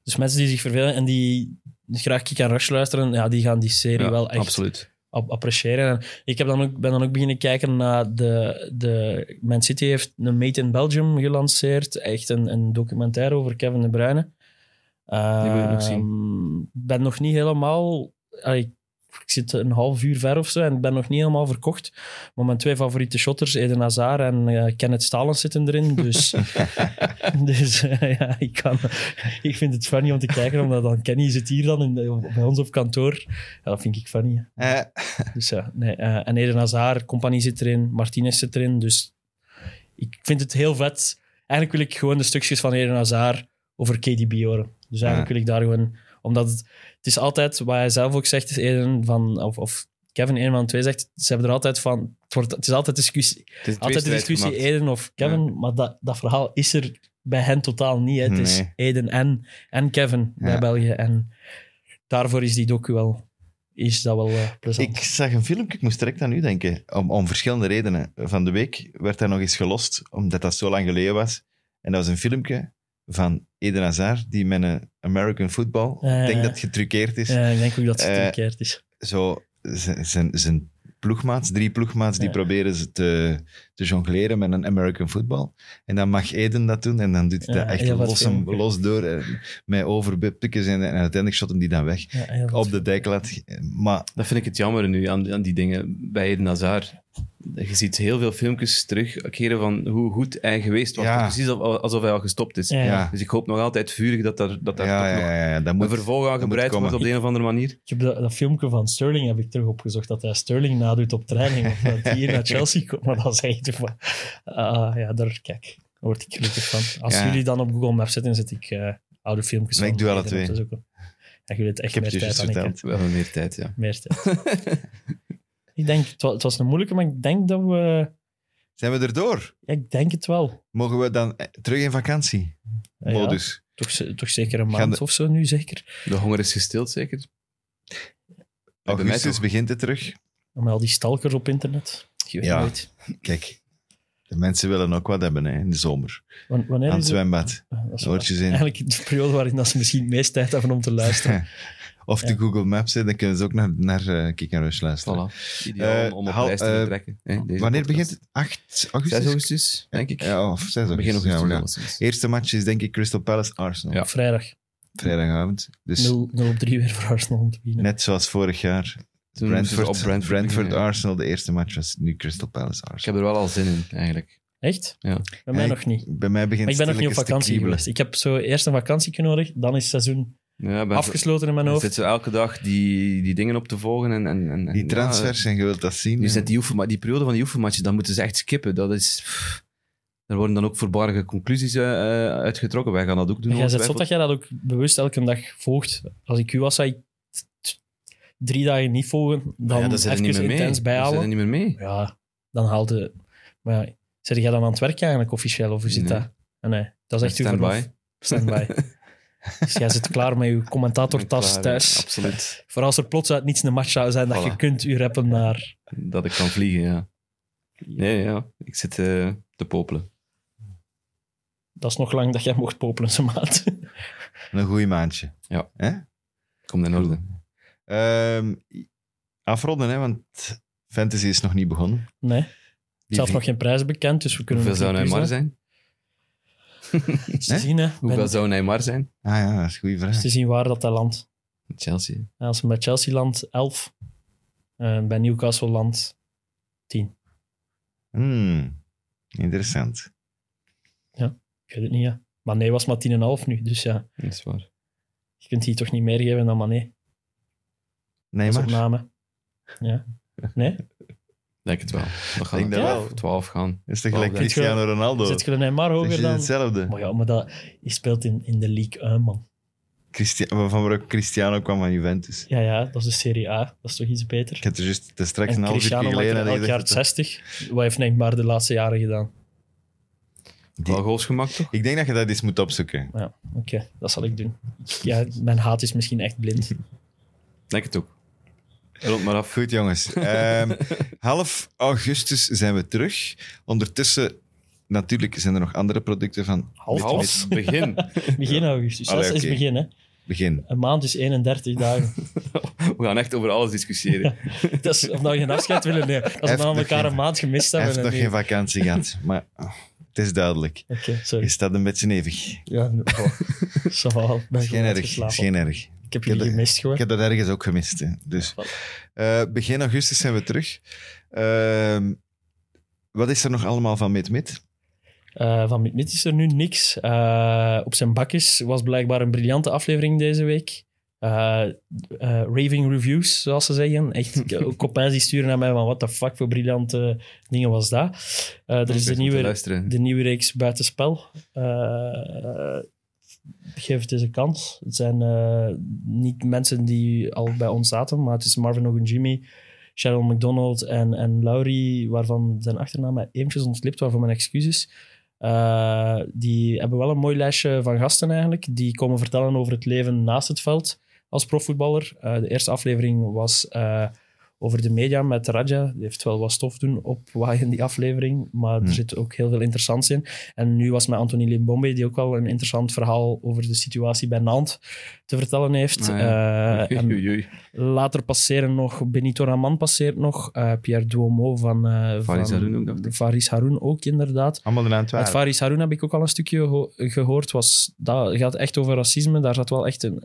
S4: Dus mensen die zich vervelen en die graag Kick en Rush luisteren, ja, die gaan die serie
S3: Ja,
S4: wel echt
S3: Absoluut.
S4: ap- appreciëren. En ik heb dan ook, ben dan ook beginnen kijken naar de, de... Man City heeft een Made in Belgium gelanceerd. Echt een, een documentaire over Kevin De Bruyne.
S3: Die moet ik nog
S4: Ehm, ben nog niet helemaal... allee, ik, ik zit een half uur ver of zo en ik ben nog niet helemaal verkocht. Maar mijn twee favoriete shotters, Eden Hazard en eh, Kenneth Stalens zitten erin. Dus, dus eh, ja, ik, kan, ik vind het funny om te kijken, omdat dan Kenny zit hier dan in, de- bij ons op kantoor. Ja, dat vind ik funny. hè.
S2: Eh,
S4: Dus ja, nee. eh, en Eden Hazard, Compagnie zit erin, Martinez zit erin. Dus ik vind het heel vet. Eigenlijk wil ik gewoon de stukjes van Eden Hazard over KDB horen. Dus eigenlijk
S2: Ja.
S4: wil ik daar gewoon... Omdat het, het is altijd, wat hij zelf ook zegt, is Eden van... Of, of Kevin, een van de twee, zegt... Ze hebben er altijd van... Het, wordt, het is altijd discussie,
S3: Het is een
S4: altijd de
S3: tweestrijd
S4: discussie
S3: gemaakt.
S4: Eden of Kevin. Maar dat, dat verhaal is er bij hen totaal niet. hè. Het is
S2: Nee.
S4: Eden en, en Kevin
S2: Ja.
S4: bij België. En daarvoor is die docu wel... Is dat wel eh, plezant.
S2: ik zag een filmpje, ik moest direct aan u denken. Om, om verschillende redenen. Van de week werd hij nog eens gelost, omdat dat zo lang geleden was. En dat was een filmpje van Eden Hazard, die met een American football,
S4: Ja, ja,
S2: ik denk
S4: ja.
S2: dat het getruckeerd is,
S4: Ja, ik denk ook dat het
S2: Eh,
S4: omgekeerd is.
S2: zo z- zijn, zijn ploegmaats, drie ploegmaats, die
S4: Ja.
S2: proberen ze te, te jongleren met een American football. En dan mag Eden dat doen en dan doet hij
S4: Ja,
S2: dat echt
S4: heel wat
S2: los, hem-
S4: filmpjes.
S2: los door, eh, met overpikkers en, en uiteindelijk shot hem die dan weg.
S4: Ja, heel
S2: Op
S4: goed.
S2: de dijklat. Maar
S3: Dat vind ik het jammer nu aan, aan die dingen bij Eden Hazard. Je ziet heel veel filmpjes terugkeren van hoe goed hij geweest was.
S2: Ja.
S3: Precies al- alsof hij al gestopt is.
S4: Ja,
S2: ja,
S3: Dus ik hoop nog altijd vurig dat daar, dat
S2: ja,
S3: daar
S2: ja,
S3: toch nog
S2: ja, ja, dat moet...
S3: een vervolg aan
S2: moet
S3: gebreid wordt op
S2: komen.
S3: de een of andere manier.
S4: Ik heb dat, dat filmpje van Sterling heb ik terug opgezocht, dat hij Sterling nadoet op training. Of dat hij hier naar Chelsea komt. Maar dat is echt... van- Ah, ja, daar, kijk, daar word ik gelukkig van. Als
S2: Ja.
S4: jullie dan op Google Maps zitten, zet ik eh, oude filmpjes
S2: Maar ik
S4: van
S2: doe alle
S4: Eden op
S2: twee.
S4: te zoeken. Ja, jullie het echt
S2: Ik heb
S4: meer
S2: het
S4: tijd
S2: juist
S4: dan ik. hè.
S2: verteld.
S3: We hebben meer tijd, ja.
S4: Meer tijd. ik denk, het was, het was een moeilijke, maar ik denk dat we...
S2: Zijn we erdoor?
S4: Ja, ik denk het wel.
S2: Mogen we dan eh, terug in vakantie?
S4: Ja, ja.
S2: Modus.
S4: toch, ze- toch zeker een
S2: Gaan
S4: maand
S2: de-
S4: of zo nu, zeker.
S3: De honger is gestild, zeker. Bij mij
S2: Augustus
S3: toch.
S2: begint het terug.
S4: Met al die stalkers op internet. Ik weet
S2: Ja.
S4: nooit.
S2: Kijk, de mensen willen ook wat hebben hè, in de zomer.
S4: Wan- Wanneer
S2: Aan het
S4: is het?
S2: zwembad.
S4: Dat is
S2: Oortjes in.
S4: Eigenlijk de periode waarin dat ze misschien het meest tijd hebben om te luisteren.
S2: Of de
S4: Ja.
S2: Google Maps, hè, dan kunnen ze ook naar, naar eh, Kick en Rush luisteren.
S3: Voilà. Ideaal
S2: Eh,
S3: om op
S2: hal-
S3: lijst te
S2: eh,
S3: trekken. hè, deze
S2: Wanneer
S3: podcast.
S2: begint het? 8 augustus?
S3: 6 augustus, denk ik.
S2: Ja, of 6 augustus.
S3: Begin augustus.
S2: ja, ja.
S3: alleszins.
S2: Eerste match is denk ik Crystal Palace Arsenal.
S3: Ja.
S4: Vrijdag 0-3
S2: Vrijdagavond. Dus
S4: op drie weer voor Arsenal om te winnen.
S2: net zoals vorig jaar.
S3: Toen moesten we
S2: Brentford,
S3: op Brentford beginnen, ja.
S2: Arsenal. De eerste match was nu Crystal Palace
S3: Ik
S2: Arsenal.
S3: heb er wel al zin in, eigenlijk.
S4: Echt?
S3: Ja.
S4: Bij mij
S2: Ja,
S4: nog niet.
S2: Bij mij begint
S4: Maar ik ben nog niet op
S2: stilletjes te
S4: vakantie
S2: kriebelen.
S4: geweest. Ik heb zo eerst een vakantietje nodig, dan is het seizoen
S3: Ja, ben
S4: afgesloten in mijn
S3: Je
S4: hoofd.
S3: zit zo elke dag die, die dingen op te volgen. En, en, en,
S2: Die
S3: en-
S2: transfers, en je wilt dat zien.
S3: Ja, nu
S2: hè.
S3: zijn die, oefen, die periode van die oefenmatchen, dan moeten ze echt skippen. Dat is... pff. Er worden dan ook verborgen conclusies eh, eh, uitgetrokken. Wij gaan dat ook doen.
S4: Jij zegt zot dat
S3: ongetwijfeld.
S4: jij dat ook bewust elke dag volgt. Als ik u was, zou ik t- t- drie dagen niet volgen, dan
S3: ja, dat zit er
S4: even
S3: niet meer mee.
S4: intens
S3: Dat zit
S4: bijhalen.
S3: er niet meer mee.
S4: Ja, dan haalde... Maar ja, zeg jij dan aan het werk eigenlijk officieel, of hoe zit
S3: Nee.
S4: dat? Ah, Nee, dat is echt uw verlof.
S3: Stand-by.
S4: Standby. dus jij zit klaar met je
S3: Klaar,
S4: commentatortas
S3: hè.
S4: thuis.
S3: Absoluut.
S4: Voor als er plots uit niets een match zou zijn, dat
S3: Voilà.
S4: je kunt u rappen naar...
S3: Dat ik kan vliegen, ja. Nee, ja. Ik zit eh, te popelen.
S4: Dat is nog lang dat jij mocht popelen, ze maat.
S2: Een goeie maandje.
S3: Ja.
S2: Hè?
S3: Komt in orde.
S2: Ehm, afronden, hè, want fantasy is nog niet begonnen.
S4: Nee,
S2: Die
S4: zelf
S2: vi-
S4: nog geen prijs bekend, dus we kunnen
S3: Hoeveel
S4: het
S3: zou
S4: niet
S3: Neymar
S4: puzzelen.
S3: zijn?
S4: Het is
S2: Hè?
S4: te zien, hè. Ben-
S3: Hoeveel zou Neymar zijn?
S2: Ah ja, dat is een goede
S4: het
S2: vraag.
S4: is te zien waar dat hij landt.
S3: Chelsea.
S4: En Als hij bij Chelsea landt, 11. En bij Newcastle landt,
S2: Hmm, interessant.
S4: ik weet het niet, ja. Mané was maar 10,5 nu. Dus ja,
S3: Dat is waar.
S4: je kunt hier toch niet meer geven dan Mané.
S2: Nee,
S4: Dat is
S2: maar.
S4: opname. Ja. Nee?
S3: Denk het wel. We gaan
S2: Denk
S3: naar
S2: dat
S3: 12, 12 gaan.
S2: Is toch
S3: Oh,
S2: gelijk
S3: dat is
S2: Cristiano Ronaldo?
S4: Zet je de Neymar
S2: Zeg
S4: hoger
S2: je
S4: dan...
S2: hetzelfde?
S4: Maar ja, maar dat, je speelt in, in de League 1, man.
S2: Christi- van waar ook Cristiano kwam van Juventus.
S4: Ja, ja, dat is de Serie A. Dat is toch iets beter?
S2: Ik heb er juist te straks
S4: En
S2: een half uur
S4: Cristiano maakt
S2: geleden
S4: er elk jaar 60. Wat heeft Neymar de laatste jaren gedaan?
S2: Die-
S3: Wel goals gemaakt, toch?
S2: Ik denk dat je dat eens moet opzoeken.
S4: Oké, dat zal ik doen. Ja, mijn haat is misschien echt blind.
S3: Denk het ook. Rond maar af.
S2: Goed, jongens. Ehm, half augustus zijn we terug. Ondertussen, natuurlijk, zijn er nog andere producten van
S4: Half,
S3: Half
S4: was.
S3: begin.
S4: Begin augustus.
S2: Allee,
S4: dat is
S2: oké.
S4: begin, hè.
S2: begin.
S4: Een maand is 31 dagen.
S3: We gaan echt over alles discussiëren.
S4: dat is, of nou je een afscheid willen nemen. Dat is
S2: Heeft
S4: omdat we
S2: nog
S4: elkaar
S2: geen-
S4: een maand gemist
S2: Hij
S4: hebben.
S2: heeft
S4: en
S2: nog
S4: nu-
S2: geen vakantie gehad, maar ah, het is duidelijk.
S4: Oké,
S2: Je
S4: sorry.
S2: staat een beetje nevig.
S4: Ja, nee, oh. Ça va, ik ben
S2: Is geen
S4: gewoon
S2: erg.
S4: uitgeslapen.
S2: is geen erg.
S4: Ik heb jullie
S2: Ik heb-
S4: gemist gewoon.
S2: Ik heb dat ergens ook gemist. Hè. Dus, eh, begin augustus zijn we terug. Ehm, wat is er nog allemaal van Mit Mit?
S4: Eh, van Mitmit is er nu niks. Eh, op zijn bakjes was blijkbaar een briljante aflevering deze week. Eh, eh, raving reviews, zoals ze zeggen. Echt k- copains die sturen naar mij van wat de fuck voor briljante dingen was dat. Eh, er is de
S3: Even moeten
S4: nieuwe,
S3: luisteren.
S4: de nieuwe reeks Buitenspel. Eh geef het eens een kans. Het zijn eh, niet mensen die al bij ons zaten, maar het is Marvin Ogun Jimmy, Sharon McDonald en, en Laurie, waarvan zijn achternaam mij eventjes ontglipt, waarvoor mijn excuses. Eh, die hebben wel een mooi lijstje van gasten eigenlijk. Die komen vertellen over het leven naast het veld als profvoetballer. Eh, de eerste aflevering was eh, over de media met Raja. Die heeft wel wat stof doen opwaaien in die aflevering, maar
S2: Hmm.
S4: er zit ook heel veel interessants in. En nu was met Anthony Limbombe, die ook wel een interessant verhaal over de situatie bij Nantes te vertellen heeft.
S3: Ah,
S4: Eh, en
S3: Oei, oei.
S4: Later passeren nog, Benito Raman passeert nog, eh, Pierre Duomo van... eh,
S3: Faris
S4: van-
S3: Haroun ook, dacht ik.
S4: Faris Haroun ook, inderdaad.
S2: Allemaal in
S4: Uit
S2: Antwerpen.
S4: Faris Haroun heb ik ook al een stukje geho- gehoord. Was, dat gaat echt over racisme. Daar zat wel echt een...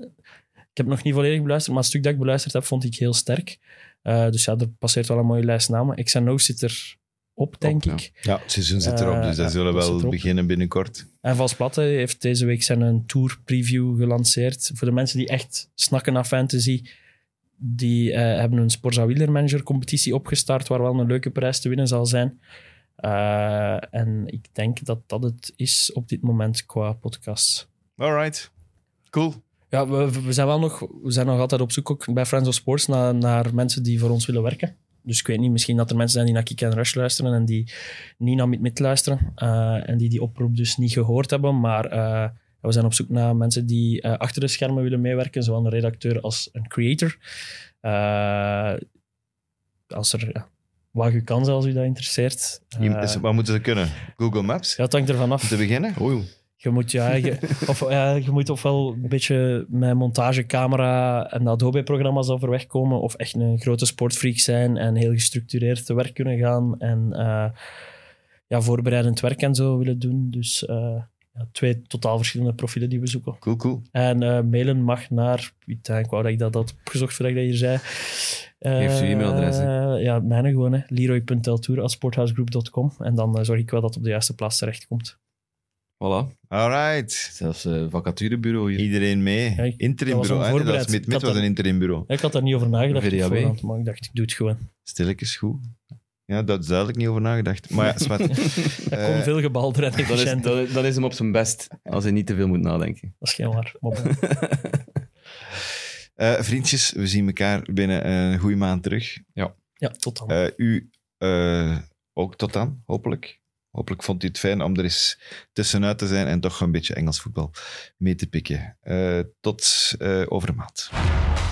S4: Ik heb nog niet volledig beluisterd, maar het stuk dat ik beluisterd heb, vond ik heel sterk. Eh, dus ja, er passeert wel een mooie lijst namen. XNO zit er op, denk
S3: ja.
S4: ik.
S2: Ja, het seizoen zit erop, dus dat
S4: Eh, ja,
S2: zullen
S4: dat zit
S2: wel
S4: erop.
S2: beginnen binnenkort.
S4: En Vals Platte heeft deze week zijn een tour preview gelanceerd. Voor de mensen die echt snakken naar fantasy, die eh, hebben een Sporza Wheeler Manager competitie opgestart, waar wel een leuke prijs te winnen zal zijn. Eh, en ik denk dat dat het is op dit moment qua podcast.
S2: All right. Cool.
S4: Ja, we, we zijn wel nog, we zijn nog altijd op zoek ook bij Friends of Sports naar, naar mensen die voor ons willen werken. Dus ik weet niet, misschien dat er mensen zijn die naar Kick and Rush luisteren en die niet naar Mid-Mid luisteren. eh, en die die oproep dus niet gehoord hebben. Maar eh, we zijn op zoek naar mensen die eh, achter de schermen willen meewerken, zowel een redacteur als een creator. Eh, als er, ja, waag uw kans als u dat interesseert. Eh,
S2: Je- is- dus, wat moeten ze kunnen? Google Maps?
S4: ja, het hangt ervan af.
S2: Om te beginnen? Oei.
S4: Je moet, ja, je, of, ja, je moet ofwel een beetje met montagecamera en Adobe-programma's overweg komen, of echt een grote sportfreak zijn en heel gestructureerd te werk kunnen gaan en eh, ja, voorbereidend werk en zo willen doen. Dus eh, ja, twee totaal verschillende profielen die we zoeken.
S2: Cool, cool.
S4: En eh, mailen mag naar, putain, ik wou dat ik dat had opgezocht voordat ik dat hier zei. Eh,
S3: Geef je e-mailadres,
S4: Ja, mijne gewoon, hè. leroy.teltour.sporthousegroep.com en dan eh, zorg ik wel dat het op de juiste plaats terechtkomt.
S3: Voilà.
S2: All right.
S3: Zelfs eh, vacaturebureau hier.
S2: Iedereen
S4: Ja,
S2: mee.
S4: ik- dat was
S2: Interimbureau. hè? Dat was
S4: onvoorbereid.
S2: Mit
S4: Ik
S2: Mit
S4: had
S2: was
S4: er-
S2: een interimbureau.
S4: Ja, Ik had daar niet over nagedacht, op
S3: VDAW.
S4: voorhand, maar ik dacht, ik doe het gewoon.
S2: Stilletjes goed. Ja, daar is duidelijk niet over nagedacht. Maar ja, zwart.
S4: Dat kon
S2: Eh,
S4: veel gebalder en
S3: Dan is,
S4: efficiënter. Dat,
S3: dan, dan is hem op zijn best, als hij niet te veel moet nadenken.
S4: is geen waar. Maar bon.
S2: eh, vriendjes, we zien elkaar binnen een goede maand terug.
S4: ja, tot dan.
S2: Eh, u eh, ook tot dan, hopelijk. Hopelijk vond u het fijn om er eens tussenuit te zijn en toch een beetje Engels voetbal mee te pikken. Eh, tot eh over een maand.